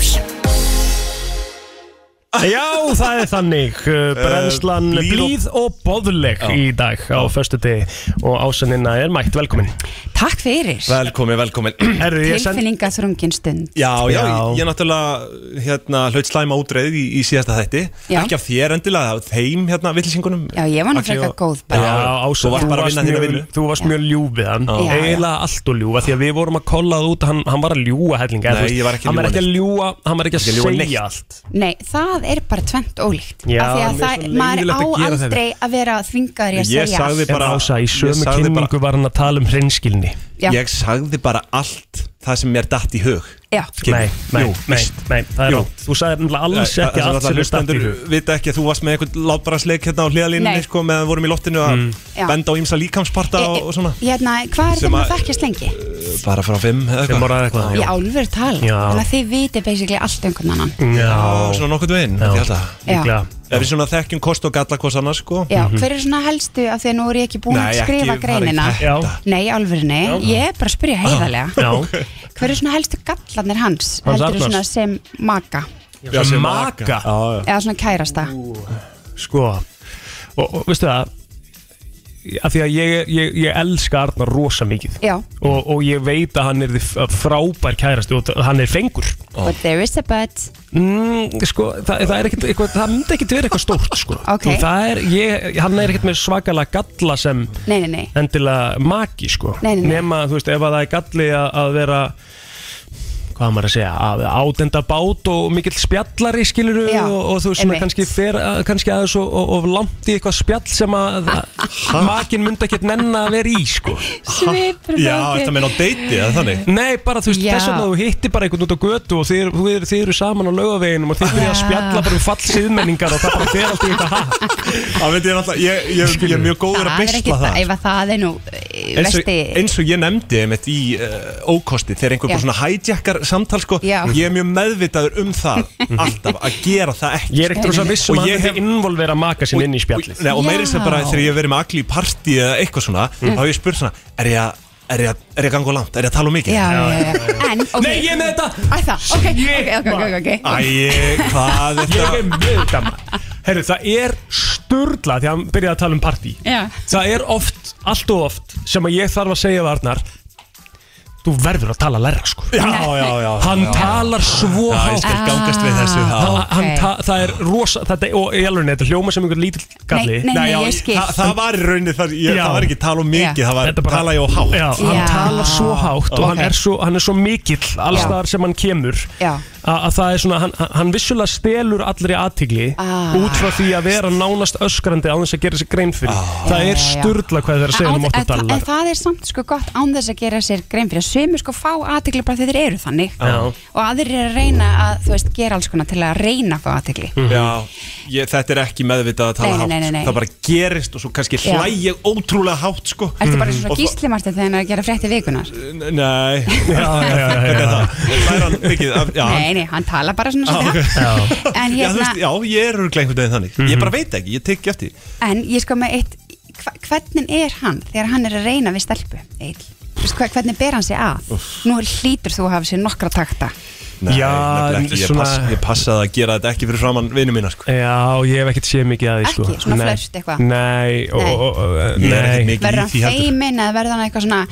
Já, það er [LAUGHS] þannig uh, Brennslan Eh, blíð, blíð og- og boðleg í dag á föstu og ásennina er mætt, velkomin Takk fyrir Velkomin, velkomin Herri, ég send Tilfinninga þrungin stund Já, já, Já. ég, ég náttúrulega hérna, hlaut slæma útreið í, í síðasta þætti Já. Ekki af þér endilega, af þeim hérna villisingunum Já, ég var nú frekar góð bara. Já, Ása, þú varst bara að vinna þína vinnu Þú varst mjög ljúf við hann, Já. eiginlega allt og ljúfa Því að við vorum að kolla það út, að hann, hann var að ljúa hellinga Nei, eða þú veist, ég var ekki að Hann var ljúga ekki að ljúa, hann var ekki að Ekki að ljúga neitt. segja allt Nei, það er bara tvennt ólíkt Já, Af því að mér er það, svo maður leiðilegt á að gera þetta. aldrei að vera þvingaður í að segja allt. En Ása, í ég sömu sagði bara- kynningu var hann að tala um hreinskilni Já. Ég sagði bara allt það sem mér datt í hug Já. Skilur. Nei, nei, Jú, nei, víst. nei, það er Jú. rátt Þú sagði nefnilega alls Það- ekki það allt sem við hlustendur stætti í hug Vita ekki að þú varst með einhvern látbarasleik hérna á hliðalínunni Nei. sko, meðan við vorum í lottinu að Mm. Já. benda á ýmsa líkamsparta og, og svona Hérna, hvað er Sem þetta að- að þekkjast lengi? Bara frá fimm eða eitthvað Fimm ára eitthvað Í álfur tal Já. Þannig að þið viti basically allt um hvernig annan Já, svona nokkurn veginn held ég held að. Já. Líklega. Ef við svona þekkjum kost og galla hvort annars sko Já, Mhm. hver er svona helstu af því að nú er ég ekki búin að Nei, ekki- skrifa það er ekki greinina þetta. Nei, alvörinni, Já. ég er bara að spyrja heiðarlega Ah, Já, Hver er svona helstu gallarnir hans? Hans Heldur Arnars? svona sem maka? Já, sem maka Eða svona kærasta? Sko Og, og veistu það að því að ég, er- ég, ég elska Arnar rosa mikið Já. og, og ég veit að hann er frábær kærasti og hann er fengur But there is a but Oh. mm, sko, það, það er ekkit eitthvað, það myndi ekkit verið eitthvað stórt sko. Ok. Þú, það er, ég, hann er ekkit með svakalega galla sem Nei, nei, nei endilega maki sko. Nei, nei, nei. nema þú veist ef að það er galli að, að vera hvað á maður að segja, að átenda bát og mikill spjallari skilur Já, og, og þú veist svona einmitt. kannski, fer, að- kannski aðeins og, og, og langt í eitthvað spjall sem [LAUGHS] að að makin myndi ekkert nenn að vera í sko. Svipur Já, þetta meina á deiti eða þannig Nei, bara þú veist, Já. þess að þú hittir bara einhvern út á götu og þið, þið, þið, þið eru saman á laugaveginum og þið byrja að Já. spjalla bara um fall siðmenningar og það bara fer allt í þetta hatt Það veit ég náttúrulega, ég, ég, ég er mjög góður að Það er ekki beisla það það, ef að það er nú eh, eins og, Vesti eins og ég nefndi einmitt í uh, ókosti þegar einhver Já. bara svona hijackar samtal sko, Já. ég er mjög meðvitaður um [LAUGHS] það alltaf að gera það ekki Ég er ekkert rosa viss um Og að ég hann hef- myndi involvera maka sinni inn í spjallið Nei, og meiri sem bara þegar ég hef verið með agli í partí eða eitthvað svona, Mm. þá hef ég spurt svona er ég að Er ég, að- er ég að ganga of langt? Er ég að tala um mikið? Já, já, já, já. En, ok Nei, ég er með þetta Æ, það, ok, ok, ok, ok, ok Æ, hvað þetta? Ég er með þetta maður Herru, það er sturla því að hann byrjaði að tala um partí Já. Það er oft, allt og oft sem að ég þarf að segja við Arnar Þú verður að tala læra sko Já, já, já Hann já. talar svo Já, hátt ég skal gangast við þessu, já. Hann- hann Ah, Ok. ta- Það er rosa þetta, Og ég alveg, þetta hljóma sem einhver lítill galli Nei, nei, nei, ég skil. það- það var í rauninni það, ég- það var ekki tala of mikið, Já. það var Þetta tala ég of hátt. Já, hann Já. talar svo hátt og Ok. hann er svo, hann er svo mikill alls Já. þar sem hann kemur Já. að að það er svona, hann, hann- hann vissulega stelur allri aðtigli Ah. út frá því að vera nánast öskrandi á þess að gera sér grein fyrir það Ah. Já, er já, já. sturla hvað það er að segja um En- en- 8 En dalar það er samt sko gott án þess að gera sér grein fyrir að sömu sko fá aðtegli bara þegar þeir eru þannig Já. og aðrir er að reyna að, þú veist, gera alls konar til að reyna að fá aðtegli Já, ég, þetta er ekki meðvitað að tala Mhm. Nei, nei, nei, hátt nei, nei. Það bara gerist og svo kannski Já. hlæ ég ótrúlega hátt sko. Ertu bara svona Og þá- gíslimartin þegar hann er að gera frétti vikunar? [LAUGHS] Nei Hvernig er það? Hlæra hann mikið af- já, Nei, nei, hann tala bara svona Já, [LAUGHS] Mhm. svona ok. En Já, þú hérna, veist, já, ég er örglega einhvern veginn þannig Ég bara veit ekki, ég tek ekki eftir en ég sko með eitt hva, Hvernig er hann þegar hann er að reyna við stelpu? Eil, hvernig ber hann sig að? Nú hlýtur þú að hafa sér nokkra takta Nei, Já, nefnilega ekki, ég, svona- pass, ég passaði að gera þetta ekki fyrir framann vinnu mína sko. Já, ég hef ekkert séð mikið að því sko. Ekki, svona Nei. flört eitthvað? Nei, og, Nei. og, og, Ég er ekkert nei. mikið Verður hann feimin eða verður hann eitthvað svona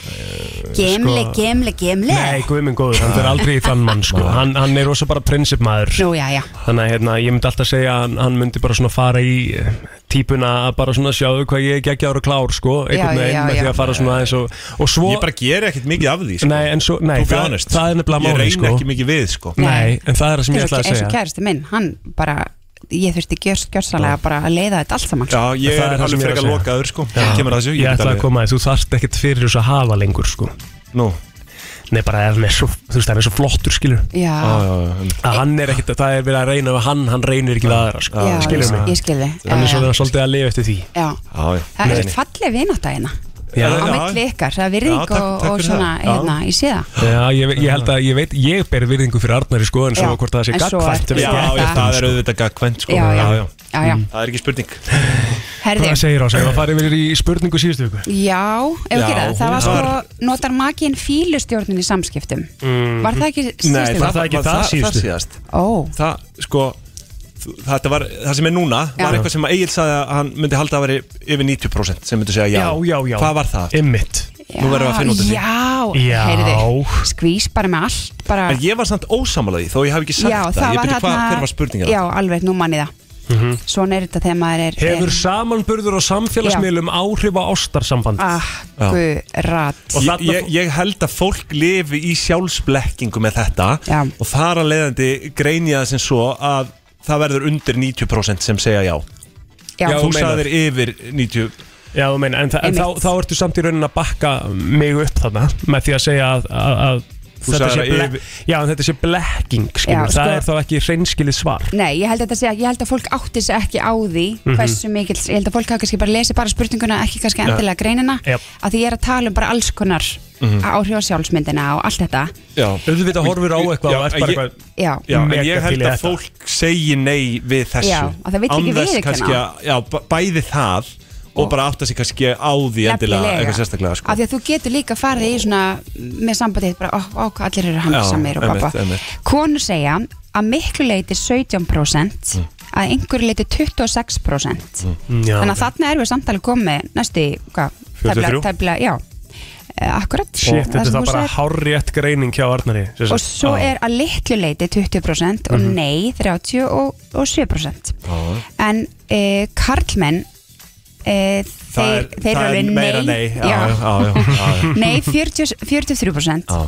Gemli, sko- gemli, gemli Nei, guðminn góður, hann fyrir aldrei í þann mann sko. hann, hann er rosa bara prinsipmaður Nú, já, já Þannig að hérna, ég myndi alltaf segja að hann, hann myndi bara svona fara í eh, típuna að bara svona sjáðu hvað ég er geggjaður og klár sko, Já, já, einhvern veginn með því já. að fara svona aðeins og, og svo Ég bara gera ekkert mikið af því sko. Nei, en svo, nei, To be það- honest. það er nefnilega Ég málið, reyni sko. ekki mikið við sko. Nei, en það er það sem ég Eins og- ætlaði að eins og segja kæristi minn, hann bara ég þurfti gjörst gjörsalega bara að leiða þetta allt saman Já, ég Það er, það sem alveg ég er að frekar segja. lokaður sko. Já. Ég kemur að þessu, Ég get ætlaði alveg- að koma að þú þarft ekkert fyrir þessu að hafa lengur sko. Nú Nei, bara ef hann er svo, þú veist, hann er svo flottur skilur Já. Já, já, Að hann er ekkert, það er verið að reyna við hann, hann reynir ekki við aðra sko. Já, Skilur ég- mig ég skil þig. Já, Hann er já. svolítið- svolítið að lifa eftir því Já, Já, það er falleg vinátt að hérna Já. á milli ykkar, það er virðing Já, takk- og, takk og fyrir svona, það. Já. hérna, ég sé það Já, ég, ég held að, ég veit, ég ber virðingu fyrir Arnar í sko en svo Já, hvort það sé en svo gagkvæmt er- veit ég Já, ekki. já, það er auðvitað gagkvæmt sko. Já, já. Já, já. Mm. Það er ekki spurning Herði, Hvað segir ás, ef að fara yfir í spurningu síðustu viku? já, ef Já, ekki það, það var hún sko var- notar makin fílustjórnin í samskiptum Mm. Var það ekki síðustu Nei, viku? það, var ekki það, það, það síðast Ó, Það, sko þú- Þetta var, það sem er núna Já. var eitthvað sem Egil sagði að hann myndi halda að veri yfir 90% sem myndi segja já Já, já, já. Hvað var það? Einmitt Nú verðum við að finna út af því Já, heyrði, skvís bara með allt bara, En ég var samt ósamála því þó ég hafi ekki sagt já, hérna- það, Ég byrja hvað, hver var spurningin? Já, alveg, nú manni það Mhm. Svona er þetta þegar maður er Hefur samanburður á samfélagsmiðlum áhrif á ástarsamband? Ah, Akkurat Og þarna- Ég, ég held að fólk lifi í sjálfsblekkingu með þetta já. og þar að leiðandi greini það sem svo að það verður undir 90% sem segja já. Já. Já, Þú þú meinar. sagðir yfir 90%. Já, þú meina, en, þa en þá, Einmitt. þá ertu samt í raunin að bakka mig upp þarna með því að segja að, að, að Þú þetta sagðir sé, að ble... yfir- já, en þetta sé blekking Já, skilur, það sko- er þá ekki hreinskilið svar Nei, ég held að þetta sé að ég held að fólk átti sig ekki á því Mhm. hversu mikil, ég held að fólk hafa kannski bara lesið bara spurninguna, ekki kannski Já. endilega greinina Jep. að því ég er að tala um bara alls konar Mhm. áhrif á sjálfsmyndina og allt þetta Já. Auðvitað horfir á eitthvað og ert bara eitthvað Já. Já, en mega ég til í held að þetta. fólk segi nei við þessu. Já, að það vill ekki Án þess viðurkenna. kannski að- Já, b- bæði það og bara átta sig kannski á því endilega Nefnilega. eitthvað sérstaklega sko. af því að þú getur líka farið í svona með sambandið bara, ó, ó, hvað allir eru hamsamir og einmitt, baba einmitt. Konur segja að miklu leiti 17% að einhverju leiti 26% Já, Mm, þannig að þarna erum við samtalið komið næstu, í, hvað, 43? tæfla, já, Eh, akkurat Shit, þetta er sem það þú sagðir. bara hárétt greining hjá Arnari sem sagt. og svo Já. er að litlu leiti 20% og Mhm. nei 37% og, og 7% en e, karlmenn e, Það þeir, er- þeir eru það er alveg meira nei nei, já, já, já, já, já. nei 40, 43% Já.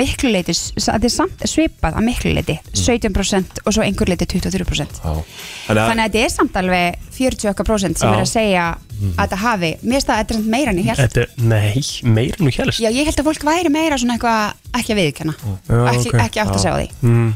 miklu leiti, s- það er samt svipað að miklu leiti, 17% og svo einhver leiti 23% Mm. Já. þannig að þetta er samt alveg 40% okkar prósent sem Já. er að segja Mm. að þetta hafi mér staði þetta er samt meira en ég held Þetta er, nei, meira nú helst Já, ég held að fólk væri meira svona eitthvað ekki að viðkjanna ekki, ok. ekki átt að segja á því, mm.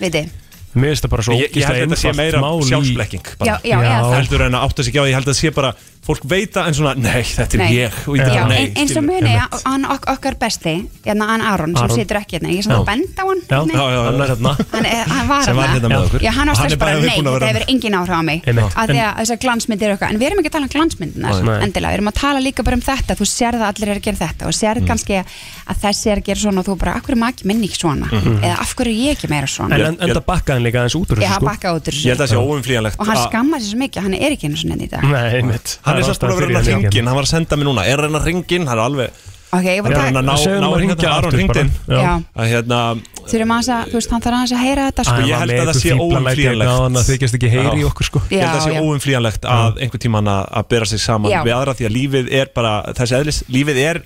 viti Mér finnst það [LAUGHS] bara svo Ég- ég held að þetta sé ógeðslega meira einfalt mál í- sjálfsblekking bara. Já, já, Já. eða það. heldur en að átta sig ekki á því, ég held að það sé bara fólk veita en svona, nei, þetta er Nei. ég og ég Já, bara, nei, ein, eins og skilur. muni að- hann ok okkar besti hérna hann Aron sem Aron. situr ekki hérna ég er svona Já. að benda á hann Já, nei. já, já, já. Hann er hérna. hann, er- hann var Sem var hérna með okkur. já, hann var Og hann strax er bara bara hérna nei viðbúinn að þetta vera- hefur engin áhrif á mig Einmitt. að því að þessar glansmyndir eru okkar en við erum ekki að tala um glansmyndinar Nei. endilega við erum að tala líka bara um þetta þú sér það allir er að gera þetta og Mm. sér kannski að þessi er að gera svona og þú bara af hverju maki minni ekki svona Mhm. eða af hverju er ég ekki meira En svona en- enda bakkaðan líka aðeins út Ég úr þessu hafa sko bakkað út úr þessu. Ég held að það sé óumflýjanlegt og hann að- skammar sér svo mikið hann er ekki einu svona enn í dag Nei, mitt Hann er samt búin að vera að ringin, hann var að senda mér núna Er hann að ringin, hann er alveg ok ég Hann var að er að taka ná, ná, Segðu honum að hérna, hringja Aron aftur bara. ringdin Já. Að hérna, þurfum aðeins að þú veist hann þarf aðeins að heyra þetta sko, sko ég held að það sé á hann að óumflýjanlegt þykjast ekki heyri í okkur, sko. Ég held að það Já, sé já. óumflýjanlegt að einhvern tíman að að bera sig saman Já. við aðra því að lífið er bara þessi eðlis, lífið er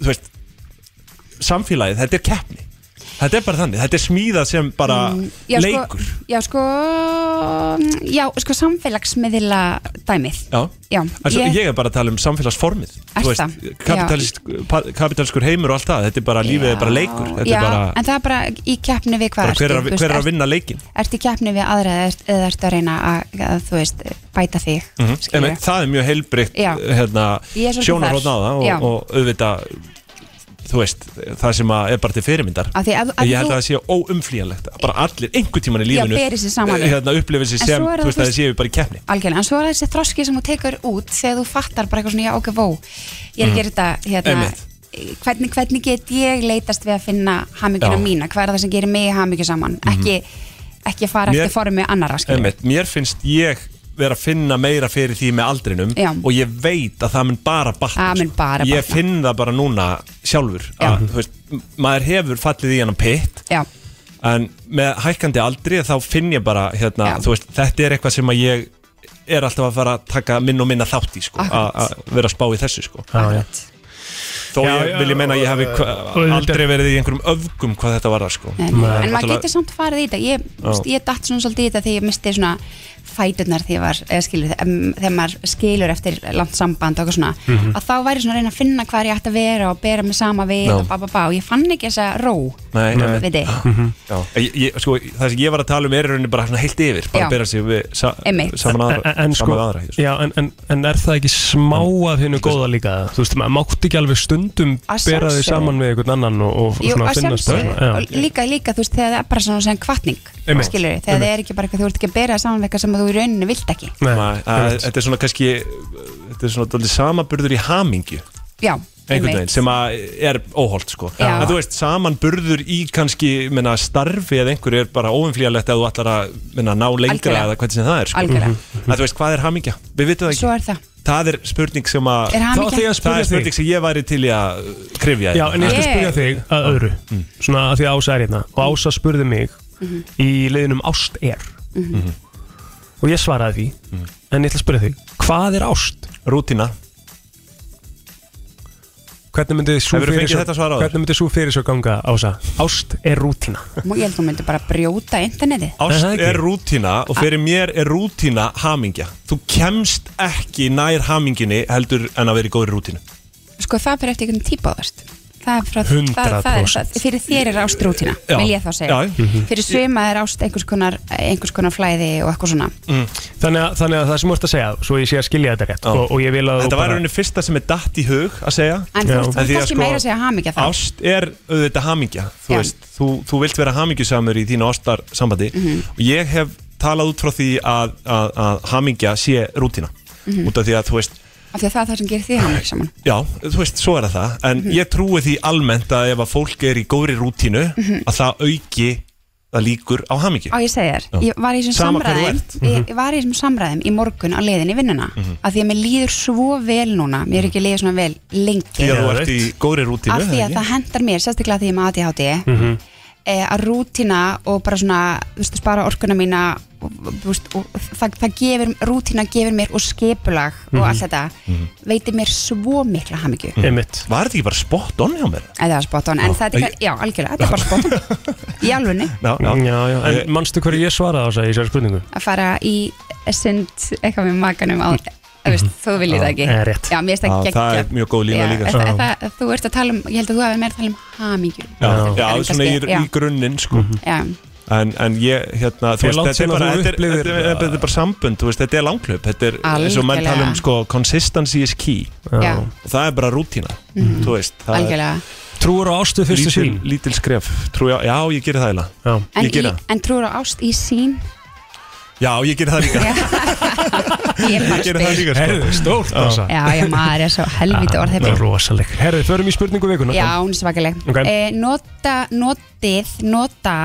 þú veist, samfélagið, þetta er keppni Þetta er bara þannig, þetta er smíðað sem bara já, leikur sko, já, sko, já, sko samfélagsmiðla dæmið Já, Já, Alls, ég... ég- er bara að tala um samfélagsformið Er Þú það? Já. kapitalist, pa- kapitalskur heimur og allt það Þetta er bara, lífið er bara leikur Þetta já, er bara, en það er bara í keppni við hvað bara hver, er að, ertu, þú hver er veist, að vinna leikin ert- Ertu í keppni við aðra eða ert- eða ertu að reyna að, að þú veist, bæta þig mm en það er mjög heilbrikt Já. hérna, Ég er svolítið sjónarhóðn á þar. það Já. og, og auðvitað þú veist, það sem að er bara til fyrirmyndar Af því að- En að ég held þú- að það sé óumflýjanlegt að bara allir, einhvern tíman í lífinu beri sig saman við. hérna, upplifir sig En sem, svo er þú það, veist, þú að það veist- séu bara í keppni Algjörlega, en svo er það þessi þroski sem þú tekur út þegar þú fattar bara eitthvað svona, já, ok, vó ég er að Mhm. gera þetta, hérna Einmitt. hvernig, hvernig get ég leitast við að finna hamingjuna Já. mína, hvað er það sem gerir mig hamingju saman, Mhm. ekki ekki fara Mér- eftir formi annara, skilur Einmitt, mér finnst ég vera að finna meira fyrir því með aldrinum Já. og ég veit að það mun bara batna sko. Það mun bara ég batna. finn það bara núna sjálfur að, þú veist, m- maður hefur fallið í hennan pitt Já. en með hækkandi aldri þá finn ég bara hérna, Já. þú veist, þetta er eitthvað sem að ég er alltaf að fara að taka minn og minna þátt í sko, að að vera að spá í þessu sko. Já, já. þó Já, ég já, vil ég meina að ég hafi og- hva- og- aldrei verið í einhverjum öfgum hvað þetta var sko. En maður getur samt farið í þetta Ég, Já. ég datt svona svolítið í þetta þegar ég misti svona fæturnar þegar, var, eða, skilur, em, þegar maður skilur eftir langt samband og eitthvað svona Mhm. að þá væri svona að reyna að finna hvað ég ætti að vera og bera mig sama við Já. og bá, bá, bá, og ég fann ekki þessa ró Nei, nei. Viti. Mhm. Já, ég, ég, sko, það sem ég var að tala um er í rauninni bara svona heilt yfir bara Já. að bera sig við sa, Einmitt. saman aðra, en, en, sko, saman við aðra ég, já, en, en, en er það ekki smá af hennu góða líka þú veist, maður mátti ekki alveg stundum Að bera þig sjálfsögðu. saman við einhvern annan og, og Jú, svona að finna sjálfsögðu. stöðna og líka, líka, þú veist, þegar það er bara svona sem kvartning, Einmitt. skilur við, þegar það Einmitt. er ekki bara eitthvað, þú ert ekki að bera þig saman við eitthvað sem þú í rauninni vilt ekki Nei, að, þetta er svona kannski þetta er svona daldið samaburður í hamingju Já, einhvern veginn sem að er óholt sko Já. en þú veist samanburður í kannski menna, starfi eða einhverju er bara óumflýjanlegt að þú ætlar að menna, ná lengra Algjörlega. eða hvernig sem það er sko. Algjörlega. að þú veist hvað er hamingja, við vitum það ekki Svo er það það er spurning sem að Er hamingja- Þá ætla ég að það spyrja er spurning sem ég væri til í að uh, krifja Já, hérna. en ég skal spyrja þig Ah. að öðru Svona að því að Ása er hérna Og Ása spurði mig Mm. Mhm. í leiðinum ást er Mhm. Og ég svaraði því En ég ætla að spyrja þig Hvað er ást? Rútina Hvernig myndi svo Hefurðu fyrir fengið þetta svar áður? Hvernig myndi svo fyrir svo ganga Ása? Ást er rútina Mú- Ég held að þú myndir bara brjóta internetið Ást er rútina Ah. og fyrir mér er rútina hamingja. Þú kemst ekki nær haminginni heldur en að vera í góðri rútinu. Sko það fyrir eftir einhvern típa þarst Það er frá, það, það er, 100%. það, fyrir þér er ást rútina, Já. vil ég þá segja Já, já. Mhm. Fyrir suma er ást einhvers konar, einhvers konar flæði og eitthvað svona Mm. þannig, að, þannig að það sem þú ert að segja Svo ég sé að skilja þetta rétt og, og ég vil að Þetta var rauninni fyrsta sem er datt í hug að segja. En þú ert þú ert því að kannski sko, meira að segja hamingja þá Ást er auðvitað hamingja. Ah. Þú Já. veist, þú, þú vilt vera hamingjusamur í þínu ástar sambandi Mhm. og ég hef talað út frá því að, að, að hamingja sé rútina. Mhm. Út af því að þú veist, Af því að það er það sem gerir því hamingja saman Já, þú veist, svo er það það En ég trúi því almennt að ef að fólk er í góðri rútínu Mhm. að það auki það líkur á hamingju Á ég segi þér, Já. ég var í þessum Sama hver þú samræðum ert. ég, ég var í þessum samræðum í morgun á leiðin í vinnuna Mhm. Af því að mér líður svo vel núna Mér er ekki liðið svona vel lengi Því að þú ert í góðri rútínu Af því að það hendar mér, sérstaklega því að ég maður ADHD -hmm. eh, að rútina og bara svona þú veist, spara orkuna mína og, þú veist, og það, það gefur, rútina gefur mér og skipulag og Mhm. allt þetta veitir mér svo mikla hamingju Einmitt. Mm. Var þetta ekki bara spot on hjá mér? Eða það er spot on, en Já. þetta er, kann- já, algjörlega, þetta er bara [LAUGHS] spot on í alvunni Já, Eh. já. já, já. En manstu hverju ég svaraði Ása í sér spurningu? að fara í sund eitthvað með makanum á þú veist, þú viljið Já, það ekki eh, rétt. Já, mér finnst Mhm. Já, það það er mjög góð lína líka. það, Já. það, Þú ert að tala um, ég held að þú hefur meira að tala um hamingju Já, já, En svona í, kannski- já. í grunninn sko. Já, en, en ég, hérna, þú Ég veist, þetta langt er síðan bara að þú þetta er, upplifðir- þetta, er, þetta er bara sambund, þú veist, þetta er langklöp þetta er eins og menn Algjörlega. tala um, sko, consistency is key Já. og það er bara rútína Mhm. þú veist, það algjörlega Trúur á ástu fyrstu sín? Lítil skref, trú, já, já, ég gerir það eiginlega. En, Ég geri í, það en trúur á ást í sín Já, ég gerir það [LAUGHS] líka Ég er bara að Ég gerir það líka sko. Herðu, stórt Já. Ása Já, já, maður er svo helvítið orð hérna. Það er rosaleg Herðu, förum í spurningu vikuna Já, hún er svakaleg Ok. eh, Nota, notið, nota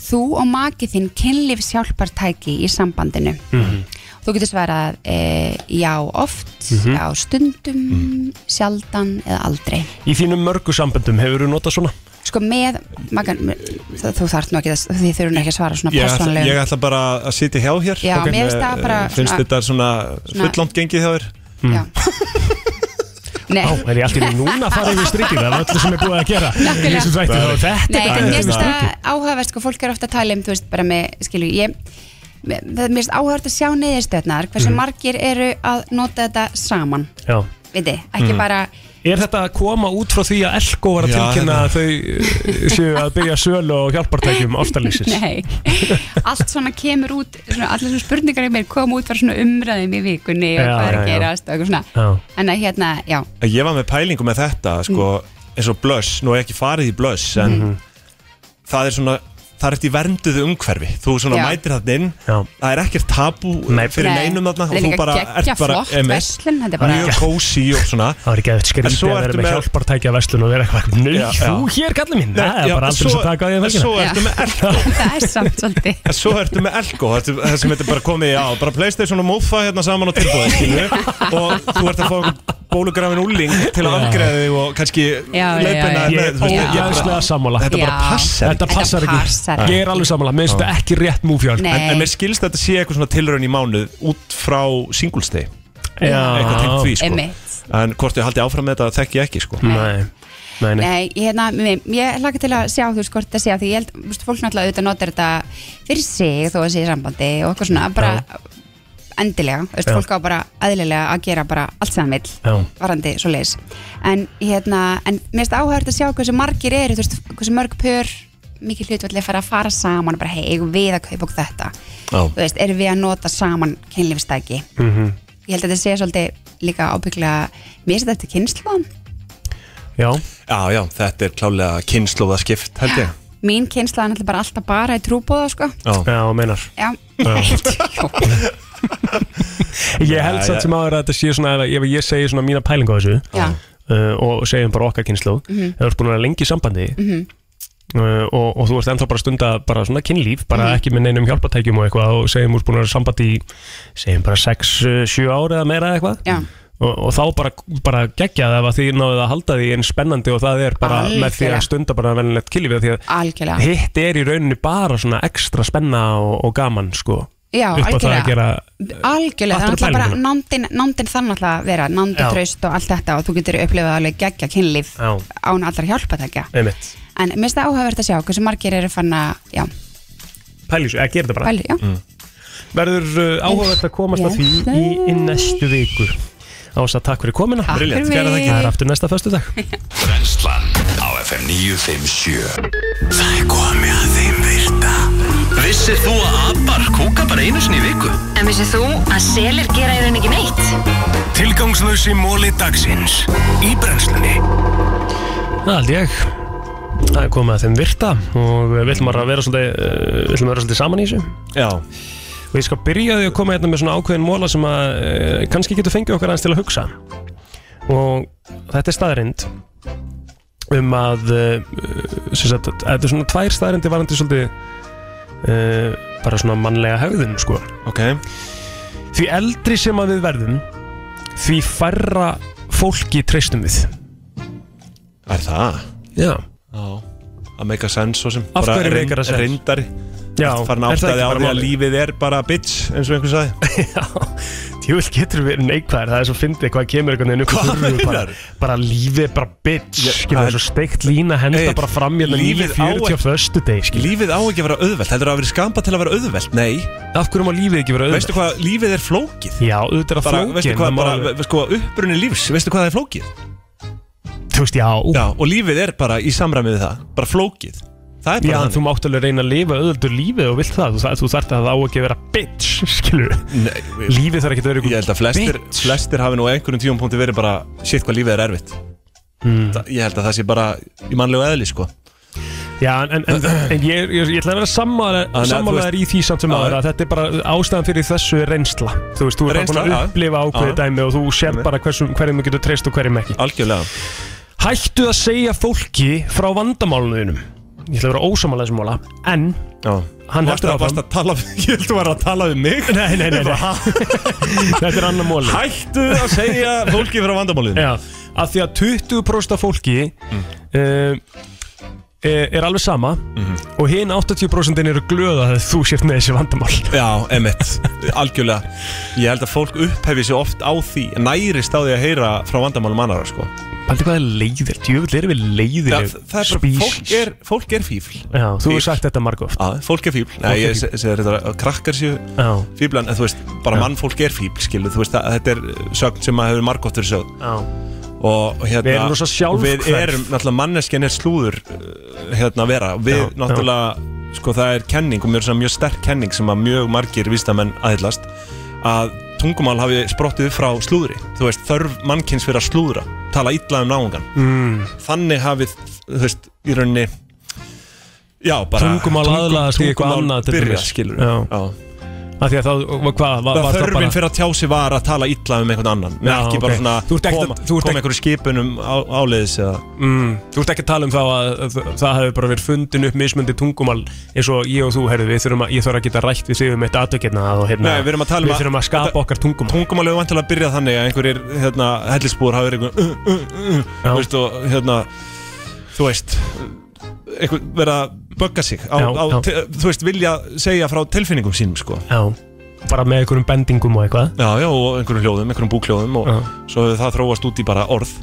þú og makið þinn kynlífs hjálpartæki í sambandinu Mhm. Þú getur svarað eh, já oft, Mhm. já stundum, Mm. sjaldan eða aldrei Í þínum mörgu samböndum hefur þú notað svona? Sko með, makan, það, þú þarf nú ekki að, þið þurfum ekki að svara svona Ég ætla, persónulegum ég ætla bara að sitja hjá hér Já, mér finnst það bara Eh, Finnst svona- þetta svona svona- fullangt gengið hjá þér? Nei. Á, er ég allt í einu núna að fara yfir strikið Það er allir sem er búið að gera í Nokkulega. þessum þætti, þá er Þetta Nei, en bara mér yfir finnst það strikið. áhugavert sko, fólk er ofta að tala um, þú veist, bara með, skilju, ég mér það- mér finnst áhugavert að sjá neyðistöðnar hversu Mhm. margir eru að nota þetta saman, Já. viti, ekki Mhm. bara Er þetta að koma út frá því að Elko var að Já, hérna. tilkynna að þau eh, séu að byrja sölu og hjálpartækjum ástarlýsins? nei, [LAUGHS] allt svona kemur út svona, allir svona spurningar í mér koma út frá svona umræðum í vikunni og Já, hvað er að já, já. gerast og eitthvað svona en að hérna, já, Ég var með pælingu með þetta Mm. sko, eins og blöss, nú er ég ekki farið í blöss en Mhm. það er svona það er eftir vernduðu umhverfi þú svona Já. mætir þarna inn það er ekkert tabú fyrir Nei. neinum þarna Það er og þú líka bara geggja flott einmitt, verslun, þetta er bara- mjög kósi og [LAUGHS] svona Það var ekki að En skrítið svo að vera ertu með með- hjálpartækja verslun og vera eitthvað Nei, Já, já. þú hér kallið mín Það er já, bara aldrei svo- svo takað ég en velkina svo ertu með elko það er samt svolítið En svo ertu með Elko, ertu, það sem þetta er bara komið á bara Playstation og Mofa hérna saman á tilbúið skilju, og þú ert að fá einhvern bólugrafin úling til að afgreða þig og kannski já, já, leipina já. Ég er ógeðslega sammála. Þetta bara Já. passar Þetta passar ekki. passar Ég er alveg sammála, mér finnst þetta ekki rétt múf hjá en, Elko. en mér skilst að þetta sé eitthvað svona tilraun í mánuð út frá Singles Day Já. eitthvað tengt því sko Einmitt. en hvort þið haldið áfram með þetta þekki ég ekki sko Nei, nei, Nei, hérna, mér- ég laka til að sjá þú veist hvort að segja því ég held, þú veist, fólk náttúrulega auðvitað notar þetta fyrir sig þó að segja sambandi og eitthvað svona, bara endilega, þú veist, Já. fólk á bara eðlilega að gera bara allt sem það vill Já. varandi svo leiðis en, hérna, en mér finnst áhært að sjá hversu margir eru, þú veist, hversu mörg pör mikið hlutvalli að fara að fara saman og bara, hei, eigum við að kaupa okkur þetta þú veist, erum við að nota saman kynlífstæki Mhm. ég held að þetta sé svolítið líka ábygglega mér finnst þetta kynnslóðan Já Já, já, þetta er klálega kynnslóðaskipt held ég mín kynnslóðan er bara alltaf bara í trúbóða sko. Já, já meinar já, Ég held Já, samt já. sem áður að þetta sé svona ef, ef ég segi svona mína pælingu á þessu Já. uh, og segjum bara okkar kynnslóð mm Mhm. -hmm. eða þú ert búin að vera lengi í sambandi Mhm. uh, og, og þú ert ennþá bara að stunda bara svona kynlíf, bara Mhm. ekki með neinum hjálpatækjum og eitthvað og segjum úr búin að vera í sambandi í segjum bara 6-7 ár eða meira eða eitthvað Já. og, og þá bara, bara geggja það að því náðuð að halda því einn spennandi og það er bara með því að Algjörlega. stunda bara venilegt kynlíf af því að algjörlega hitt er í rauninni bara svona ekstra spenna og, og gaman sko Já, upp á það að algjörlega. gera Algjörlega, það er Aftur á náttúrulega bara pælinguna. nándin, nándin þann alltaf að vera, nándi Já. traust og allt þetta og þú getur upplifað alveg geggja kynlíf Já. án allra hjálpatækja einmitt en mér finnst það áhugavert að sjá hversu margir eru fann að já, pælis, eða gera þetta bara Pæli, já. verður uh, áhugavert að komast að því í, í næstu viku Ása, takk fyrir komina Takk fyrir Brilliant. Gerðu það ekki. mig. það er aftur næsta föstudag Brennslan á FM 957 Það er komið að þeim virta Vissir þú að abar kúka bara einu sinni í viku? En vissið þú að selir gera í raun ekki neitt? Tilgangslösi móli dagsins Í brennslunni Mhm. Það held ég Það er komið að þeim virta og við ætlum bara að vera svolítið, uh, við ætlum að vera svolítið saman í þessu Já Og ég skal byrja á því að koma hérna með svona ákveðin móla sem að uh, kannski getur fengið okkar aðeins til að hugsa Og þetta er staðrind um að uh, sem sagt, að þetta er svona tvær staðrindi varandi svolítið uh, bara svona mannlega hegðun sko okay. Því eldri sem að við verðum því færra fólki treystum við Er það? Já Já Að make a sense svo sem Af Bara hverju reyn- make a sense? Reyndari Já, Farin er það áttaði ekki á bara því að málið? lífið er bara bitch eins og einhver sagði [LAUGHS] Tjúl getur verið neikvæðir, það er svo fyndið hvað kemur einhvern veginn upp úr Hvað þurru, bara, meinar? bara lífið er bara bitch, Já, yeah, skilur það er- það er svo steikt lína henda Egill, bara fram hérna lífið á 9.40 ekki- förstu deg skilur. Lífið á ekki að vera auðvelt Heldur það að vera skampa til að vera auðvelt? Nei Af hverju má lífið ekki vera auðvelt? Veistu hvað, lífið er flókið Já, auðvitað er að Bara, flókin Veistu hvað, bara, ve- sko, upprunni lífs Veistu hvað það er flókið? Þú veist, já Já, og lífið er bara í samræmið við það Bara flókið Það er Já, bara þannig. þú mátt alveg reyna að lifa auðvöldur lífið og vilt það, þú, þú þarft að það á ekki að vera bitch, [LAUGHS] skilur Nei, Lífið þarf ekki að vera Ég held að flestir, flestir hafi nú á einhverjum tíum punkti verið bara Shit hvað lífið er erfitt Mm. Þa, Ég held að það sé bara í mannlegu eðli sko Já, en, en, en, en ég, ég, ég ætla að að vera þú sammálaðar í veist- því samt sem Já. aðra að þetta er bara ástæðan fyrir þessu er reynsla Þú veist, þú er bara Reynsla, búin já. að upplifa ákveði Já. dæmi og þú sér Einmitt. bara hversum, hverjum þú getur treyst og hverjum ekki Algjörlega Hættu að segja fólki frá vandamálunum Ég ætla að vera ósamála þessum móla En Já. hann Varstu heldur að- varstu áfram að tala um- [LAUGHS] Ég held að þú var að tala um mig Nei, nei, [LAUGHS] nei, nei. Þetta er annar móli Hættu að segja fólki frá vandamálunum Já, af því að 20% af fólki mm. er alveg sama og hinn 80% eru glöð að þú sért með þessi vandamál Já, emitt, algjörlega Ég held að fólk upphefi sig oft á því Nærist á því að heyra frá vandamálum annara sko Paldi hvað er leiðir, djöfull erum við leiðir Það, það er bara, fólk er, fólk er fífl Já, þú Fífl. hefur sagt þetta margóft Já, fólk er fíbl Nei, Fólk er ég segi se, þetta að krakkar séu Já. fíblan En þú veist, bara mannfólk er fíbl skilu Þú veist, að, þetta er sögn sem að hefur margótt verið sögn Já Og hérna Við erum rosa sjálfhverf. Við erum, náttúrulega, manneskjan er slúður uh, Hérna að vera Við, Já, náttúrulega, sko það er kenning Og mjög, svona mjög sterk kenning sem að mjög margir Vístamenn aðhyllast Að tungumál hafi sprottið frá slúðri Þú veist, þörf mannkins fyrir að slúðra Tala illa um náungan mm. Þannig hafið, þú veist, í rauninni Já, bara Tungumál aðlagast í eitthvað tungumál annað til byrja, dæmis. skilurðu. Já. Já. Af því að þá, og hvað, var, var það Þörfin bara fyrir að tjá sig var að tala illa um einhvern annan Já, Já, ekki ok. bara svona Þú ert ekkert koma, að- þú ert koma einhverju skipunum á, áleiðis eða mm, Þú ert ekki að tala um þá að, að það hefur bara verið fundin upp mismundi tungumál eins og ég og þú, herðu, við þurfum að ég þarf að geta rætt við þig um eitt atvekirna og hérna, Nei, við erum að tala um við þurfum að skapa okkar tungumál Tungumál hefur vantilega að byrja þannig að einhverjir hérna, hellisbúr hafa verið einhvern uh, uh, uh, Þú veist og hérna Þú veist einhver, vera að bögga sig á, Já, á, já. Te, Þú veist vilja segja frá tilfinningum sínum sko Já, bara með einhverjum bendingum og eitthvað Já, já, og einhverjum hljóðum, einhverjum búkljóðum og Já. svo hefur það þróast út í bara orð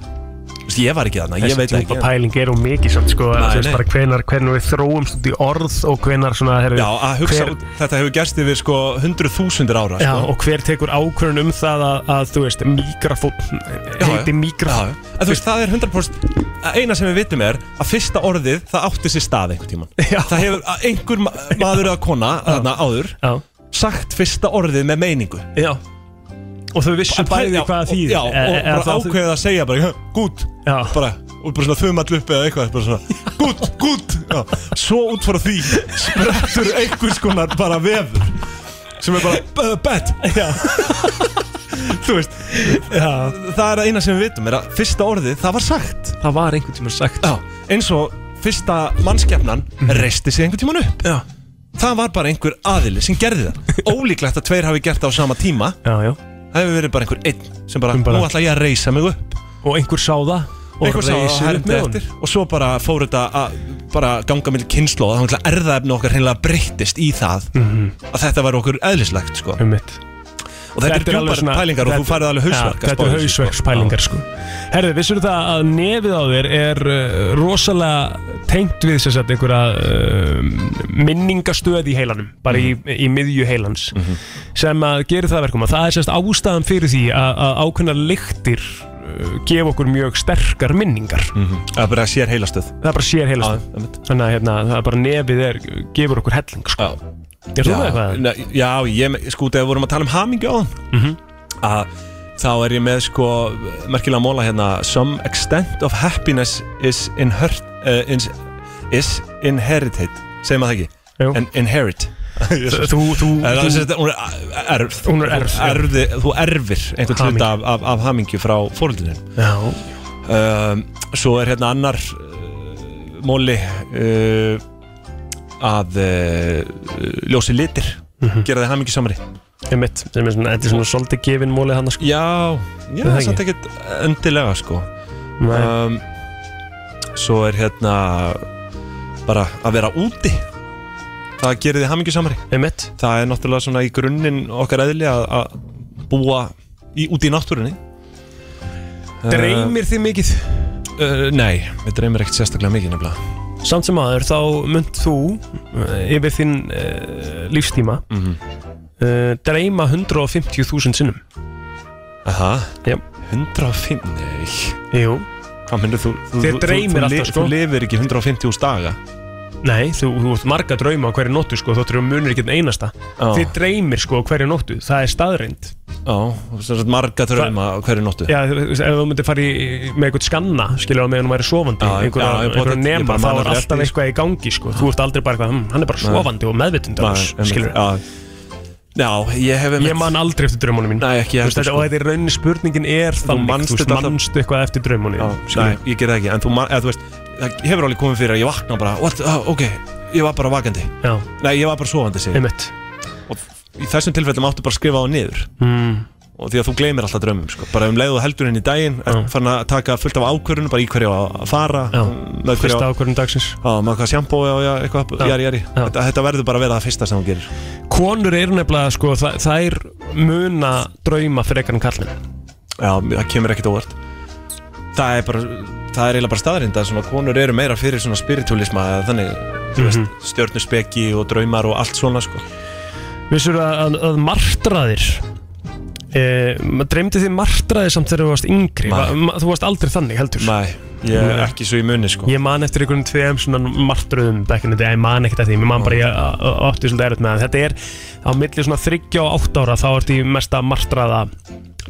Vist, ég var ekki þarna, ég Þessi veit það djúpa ekki pæling er hún mikið samt sko, Nei, nei, nei. nei. Bara, hvenar, hvenar við þróumst út í orð og hvenar svona heru, Já, að hugsa, hver, út, þetta hefur gerst yfir sko hundruð þúsundir ára já, sko. og hver tekur ákvörðun um það að, að þú veist, mikrofón heiti mikrofón En þú veist, það er 100% að eina sem við vitum er að fyrsta orðið, það átti sér stað einhvern [LAUGHS] tíman já. Það hefur að einhver ma maður eða kona, þarna áður já. sagt fyrsta orðið með meiningu Já Og þau vissu bæði já, hvað það og- þýðir. Já, E- og eða bara það- ákveðið að segja bara, gút bara, og bara svona þumall upp eða eitthvað bara svona, gút, gút já. Svo út frá því sprettur einhvers konar bara vefur sem er bara, b- bet Já Þú veist, já. það er að eina sem við vitum er að fyrsta orðið, það var sagt Það var einhvern tíma sagt Mhm. Já, eins og fyrsta mannskefnan reisti sig einhvern tíman upp já. Það var bara einhver aðili sem [LAUGHS] gerði það Ólíklegt að tveir hafi gert það á sama tíma Já, já Það hefur verið bara einhver einn sem bara, Sem bara- nú ætla ég að reisa mig upp Og einhver sá það og Einhver sá það reis og sig upp hermdi með honum. eftir Og svo bara fór þetta að bara ganga milli kynnslóð Þannig að erðaefni okkar hreinlega breyttist í það Mhm. Að þetta var okkur eðlislegt sko Einmitt. Og þetta, eru alveg djúpar svona- pælingar og þú þetta- færið alveg hausverk Já, að Þetta spá er í þessu, sko. hausverkspælingar sko Herði, vissur það að nefið á þér er uh, rosalega tengt við sem sagt einhverja uh, minningastöð í heilanum bara Mhm. í, í miðju heilans sem að gera það að verkum að það er sem sagt ástæðan fyrir því að, að ákveðna lyktir uh, gefa okkur mjög sterkar minningar Það er bara sér heilastöð Það er bara sér heilastöð Þannig að hérna, það er bara nefið er, gefur okkur helling sko. Er þú Já, með eitthvað? Mhm. ne- Já, ég, me- sko, þegar við vorum að tala um hamingju á að þá er ég með sko merkilega móla hérna Some extent of happiness is, inherit, uh, is, is inherited segir maður það ekki? Jú. En inherit [LAUGHS] Þú- þú- þú- Það er þú- sem sagt, Hún er erf Hún er erfð, Þú já. erfði- Þú erfir einhvern Hamingju. hluta af, af, af hamingju frá fóröldinu Já um, Svo er hérna annar uh, móli uh, að uh, ljósi litir gera þið hamingi samari Mhm. Ég mitt, sem er svona, þetta er svona svolítið gefin múlið hann sko. Já, Já, Er það það er ekki? samt ekkert endilega sko um, Svo er hérna bara að vera úti það gerir þið hamingi samari Einmitt. Það er náttúrulega svona í grunninn okkar eðli að, að búa í, úti í náttúrunni Dreymir þið mikið? Uh, nei, við dreymir ekkert sérstaklega mikið nefnilega Samt sem aður, þá munt þú eh, yfir þinn uh, lífstíma mm Mhm. dreyma 150.000 sinnum Aha, Já. 105, nei Jú Hvað myndir þú? þú- Þér þú- dreymir þú- þú alltaf, li- sko. Þú lifir ekki 150 daga Nei, þú, þú ert marga drauma á hverju nóttu sko, þóttir þú munir ekki einn einasta Já. Þið dreymir sko á hverju nóttu, það er staðreind Já, sem sagt marga drauma á hverju nóttu Já, þú veist, ef þú myndir fara í, með eitthvað skanna skilur á meðan hún væri sofandi Já, já, einhverja, ég einhverja potet- ég nema, bara þá man er eftir alltaf því, sko. eitthvað í gangi sko. þú ert aldrei bara eitthvað, hm, hann er bara Nei. sofandi og meðvitundar Nei, einmitt, skilur já. já, ég hef Ég man aldrei eftir draumunum mín Nei, ekki Þú veist, heldur, þetta- sko. Og þetta er raunin spurningin er þannig manst Þú veist, þetta alltaf- manstu eitthvað eftir draumunum Nei, ég ger það ekki En þú, man, eða, þú veist, það hefur alveg komið fyrir að ég vakna bara What, ah, ok, ég var bara vakandi Já. Nei, ég var bara sofandi sig Einmitt. Og í þessum tilfellum áttu bara að skrifa á niður Mm. Og því að þú gleymir alltaf draumum sko. Bara um leið og heldur henni í daginn Ert farin að taka fullt af ákvörðunum Bara í hverju á að fara Já. með hverju Fyrsta ákvörðun dagsins Já, með hvað sjampó og já, eitthvað jari, jari. Þetta, þetta verður bara að vera það fyrsta sem hún gerir Konur eru nefnilega, sko, þa- þær muna drauma frekar en kallin Já, það kemur ekkert óvart Það er bara, það er eiginlega bara staðarind að svona konur eru meira fyrir svona spiritualisma eða þannig, þú veist, Mhm. stjörnuspeki og draumar og allt svona sko Vissur að, að, að martraðir eh, maður dreymdi þið martraðir samt þegar þú varst yngri Nei. Va, ma, Þú varst aldrei þannig heldur Nei, ég er ekki svo í munni sko Ég man eftir einhvern tveim svona martröðum back in the day, ég man ekkert eftir því, ég man bara ég a- a- átti svolítið erfitt með það. Þetta er á milli svona 30 og 8 ára þá ertu í mesta martraða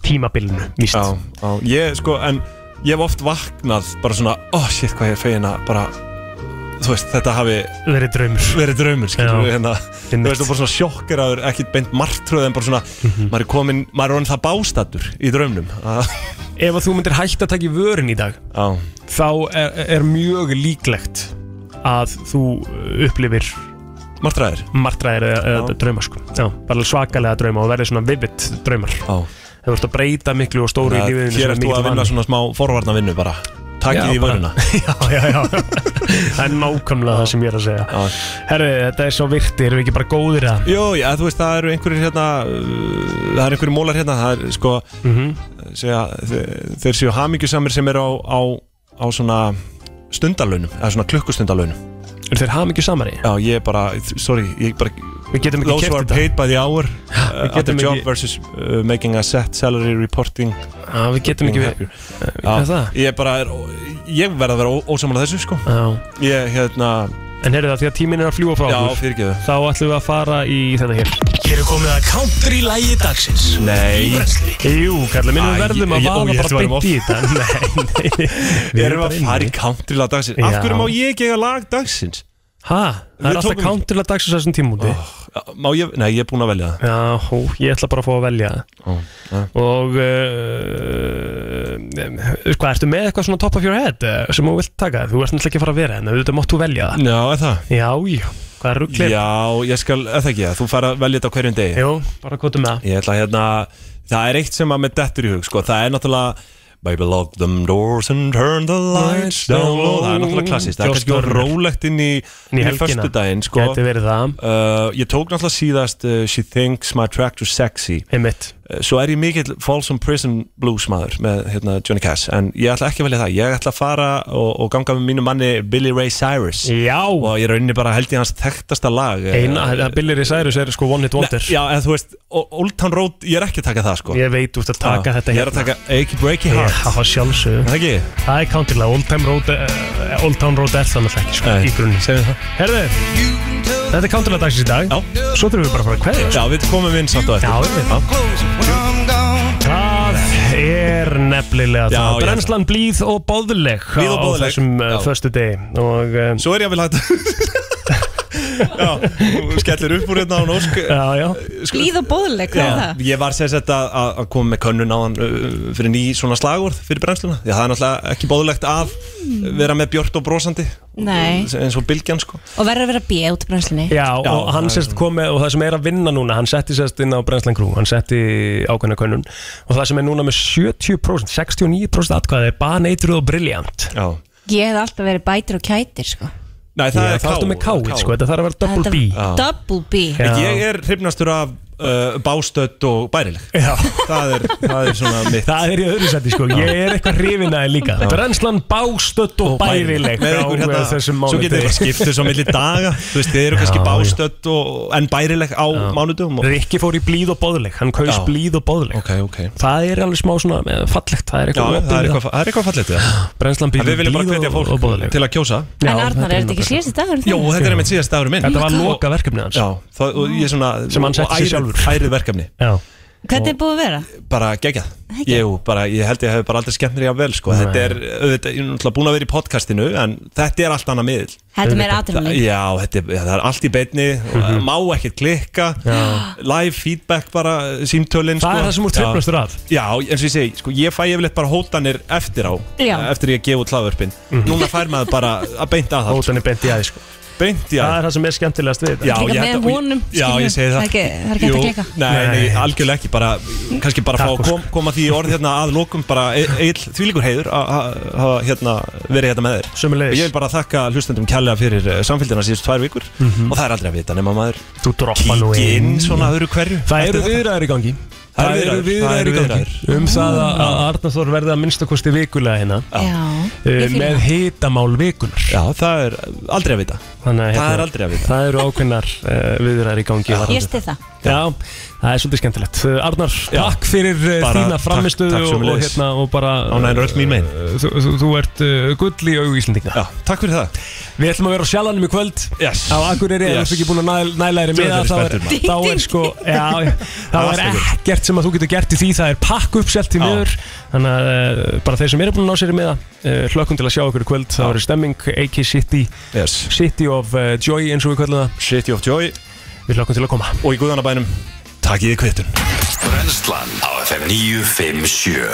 tímabilinu, víst. Já, já, ég sko, en ég hef oft vaknað bara svona, oh shit, hvað ég er fegin að bara, þú veist, þetta hafi Verið draumur Verið draumur, skilur Já. við hérna Þú veist, þú bara svona sjokkir að það er ekkit beint martröð en bara svona, Mhm. maður er komin, maður er orðin það bástatur í draumnum að- Ef að þú myndir hægt að taka í vörin í dag, Já, þá er, er mjög líklegt að þú uh, upplifir martraðir martraðir eða, eða draumar sko. Já, bara svakalega drauma og verður svona vivid draumar. Já. Það verður að breyta miklu og stóru í lífið þínu sem Hér er ert þú mikill að vinna vani. svona smá forvarnavinnu bara Já, Takið í bara- vöruna Já, já, já [LAUGHS] Það er nákvæmlega það sem ég er að segja Herri, þetta er svo virti, erum við ekki bara góðir að Jó, já, þú veist, það eru einhverjir hérna uh, Það eru Mhm. einhverjir mólar hérna Það er sko segja, þe- Þeir séu hamingjusamir sem eru á, á á svona stundalönum eða svona klukkustundalönum Er þeir hafa mikið samari? Já, ég er bara, sorry, ég bara Við getum ekki Those keypt who are þetta. paid by the hour uh, við at the getum job ekki- versus uh, making a set salary reporting Já, við getum ekki við- hvað er það? Ég bara er, ég verð að vera ó- ósammála þessu sko Já Ég, hérna En heyrðu það, því að tíminn er að fljúa frá Já, okkur, fyrirgefðu. Þá ætlum við að fara í þetta hér Hér er komið að country lægi dagsins Nei Jú, kallar minn, við Æ, verðum að ég- ó, vaða ég bara ætla að beint í [LAUGHS] þetta Nei, nei Við erum að fara í country lag dagsins Af Já. hverju má ég ekki eiga lag dagsins? Hæ? Það er alltaf country lag dagsins þessum Ah. tímúti Má ég, nei, ég er búinn að velja það Já, hú, ég ætla bara að fá að velja Ó, já. Og uh, Hvað, ertu með eitthvað svona top of your head eh, sem þú vilt taka? Þú ert náttúrulega ekki að fara að vera henni, auðvitað máttu velja það Já, er það? Já, já, hvað er rugglir? Já, ég skal, eða það ekki, að þú fara að velja þetta á hverjum degi Jú, bara kvotum með Ég ætla að hérna, það er eitt sem að með dettur í hug, sko, það er náttúrulega Baby lock them doors and turn the lights down low Það er náttúrulega klassist, það er Josh kannski of Turner. rólegt inn í, Inn í í helgina. föstudaginn, sko Gæti verið það uh, Ég tók náttúrulega síðast uh, She thinks my tractor's sexy Einmitt uh, Svo er ég mikill Folsom Prison Blues maður með hérna, Johnny Cash En ég ætla ekki að velja það, ég ætla að fara og, og ganga með mínu manni Billy Ray Cyrus Já Og ég rauninni bara held ég hans þekktasta lag eh, Eina, það Billy Ray Cyrus er sko one hit wonder Nei, Já, en þú veist, O- Old Town Road, ég er ekki að taka það sko Ég veit út að taka Já, þetta hérna. Ég er að taka Achy Breaky Já, Heart það sjálfsög Ekki? Það er country lag, Old, Time Road, uh, Old Town Road er það náttúrulega ekki sko, í grunni Segðu það Herðu, þetta er country lag dagsins í dag Já Svo þurfum við bara að fara að kveðja sko. Já, við komum inn samt og eftir Já, við veitum Það er nefnilega Já, það ég- Brennslan blíð og boðleg Blíð og boðleg. Á þessum uh, Já. förstu degi og, um, Svo er ég að vilja hætta [LAUGHS] Já, þú skellir upp úr hérna á norsk Já, já Blíð Sko- og bóðleg, hvað er Já, það? ég var sem sagt að, að að koma með könnun á hann fyrir ný svona slagvörð fyrir brennsluna Já, það er náttúrulega ekki bóðlegt að vera með björt og brosandi Hmm. Nei, eins og bylgjan sko og verður að vera B út brennslunni Já, og hann sérst komið og það sem er að vinna núna hann setti sérst inn á Brennslan Crew hann setti ákveðna könnun og það sem er núna með 70% 69% atkvæði er baneitruð og brilljant Já Ég hef alltaf verið bætir og kætir, sko Nei, það er þá ertu K- með káið, K. sko, þetta þarf að vera double Þetta- B Double B Ég er hrifnastur af uh, bástödd og bærileg Já. Það er, það er svona mitt Það er í öðru sæti, sko, ég er eitthvað hrifin aðeins líka Já. Brennslan bástödd og bærileg eh, Með ykkur hérna, svo getið þið skiptið svo milli [LAUGHS] daga Þú veist, þið eru kannski Já, bástödd og- en bærileg á mánudum Rikki fór í blíð og boðleg, hann kaus Já. blíð og boðleg okay, okay. Það er alveg smá svona eh, fallegt Það er Já, eitthvað, hérna. það er eitthvað, það er eitthvað fallegt ja. [GASPS] Brennslan En býður Við viljum bara blíð hvetja og- fólk og boðleg. til að kjósa Já, En Arnar, er þetta ekki síðasti dagur? Jó, þetta er einmitt síðast dagur minn Þetta var loka verkefni hans Já, það, og ég svona Sem hann setti og sér ærið- sjálfur. Ærið verkefni Já Hvernig er búið að vera? bara geggjað Jú, bara, ég held ég hef bara aldrei skemmt mér jafn vel sko. Nei. þetta er, auðvitað, ég er náttúrulega búin að vera í podcastinu en þetta er allt annað miðl Þetta er meira adrenalín. Þa- Já, þetta er, það er allt í beinni Mhm. og má ekkert klikka live feedback bara, símtölin Það sko. er það sem þú ert Já. hrifnastur af. Já, eins og ég segi, sko, ég fæ yfirleitt bara hótanir eftir á Já. eftir ég gefa út hlaðvörpin Núna fær maður bara að beinta að það Mhm. Hótanir beint í aði sko. Beint í Það aði er það sem er skemmtilegast við þetta. Já, ég held að- og ég- Já, ég segi það Jú, Nei, nei, algjörlega ekki bara, kannski bara fá að kom, koma því í orð hérna að lokum bara eil þvílíkur heiður að að- hafa hérna, verið hérna með þér Sömuleiðis. Og ég vil bara þakka hlustendum kærlega fyrir eh, samfylgdina síðust tvær vikur og það er aldrei að vita nema maður Mhm. Þú droppa nú kíki inn. inn svona öðru hverju Það eru Eftir þetta. viðræður í gangi Það eru viðræður, það eru viðræður. Mm. Um það að- að Arnar Þór verði að minnstakosti vikulega hérna Já, Eh, ég fíla Með það. hitamál vikunar Já, það er aldrei að vita Þannig, hérna, Það er aldrei að vita. Það eru ákveðnar uh, viðræður í gangi varðandi Ég stið það þetta. Já, það er svolítið skemmtilegt Eh, Arnar, takk fyrir eh, Bara þína takk- framistuðu takk og, og, sömuleiðis. hérna, og bara Ánægður öll mín megin. eh, Þú, þú, þú ert uh, gull í augu Íslendinga Já, takk fyrir það Við ætlum að vera á sjalanum í kvöld yes. Á Akureyri, ef Yes. við ekki búin að næla, næla þér í Djöfull miða er ég þá er, spenntur, maður. þá er sko já, já, Þá Það er er allt ykkur. ekkert sem að þú getur gert í því Það er pakk uppselt í miður Þannig að eh, bara þeir sem eru búin að ná sér í miða eh, Hlökkum til að sjá okkur í kvöld Það verður stemming, AK City yes. City of eh, Joy eins og við kvöldum það City of Joy Við hlökkum til að koma og í guðanabænum Takk ég þið kvittun Brennslan á FM 957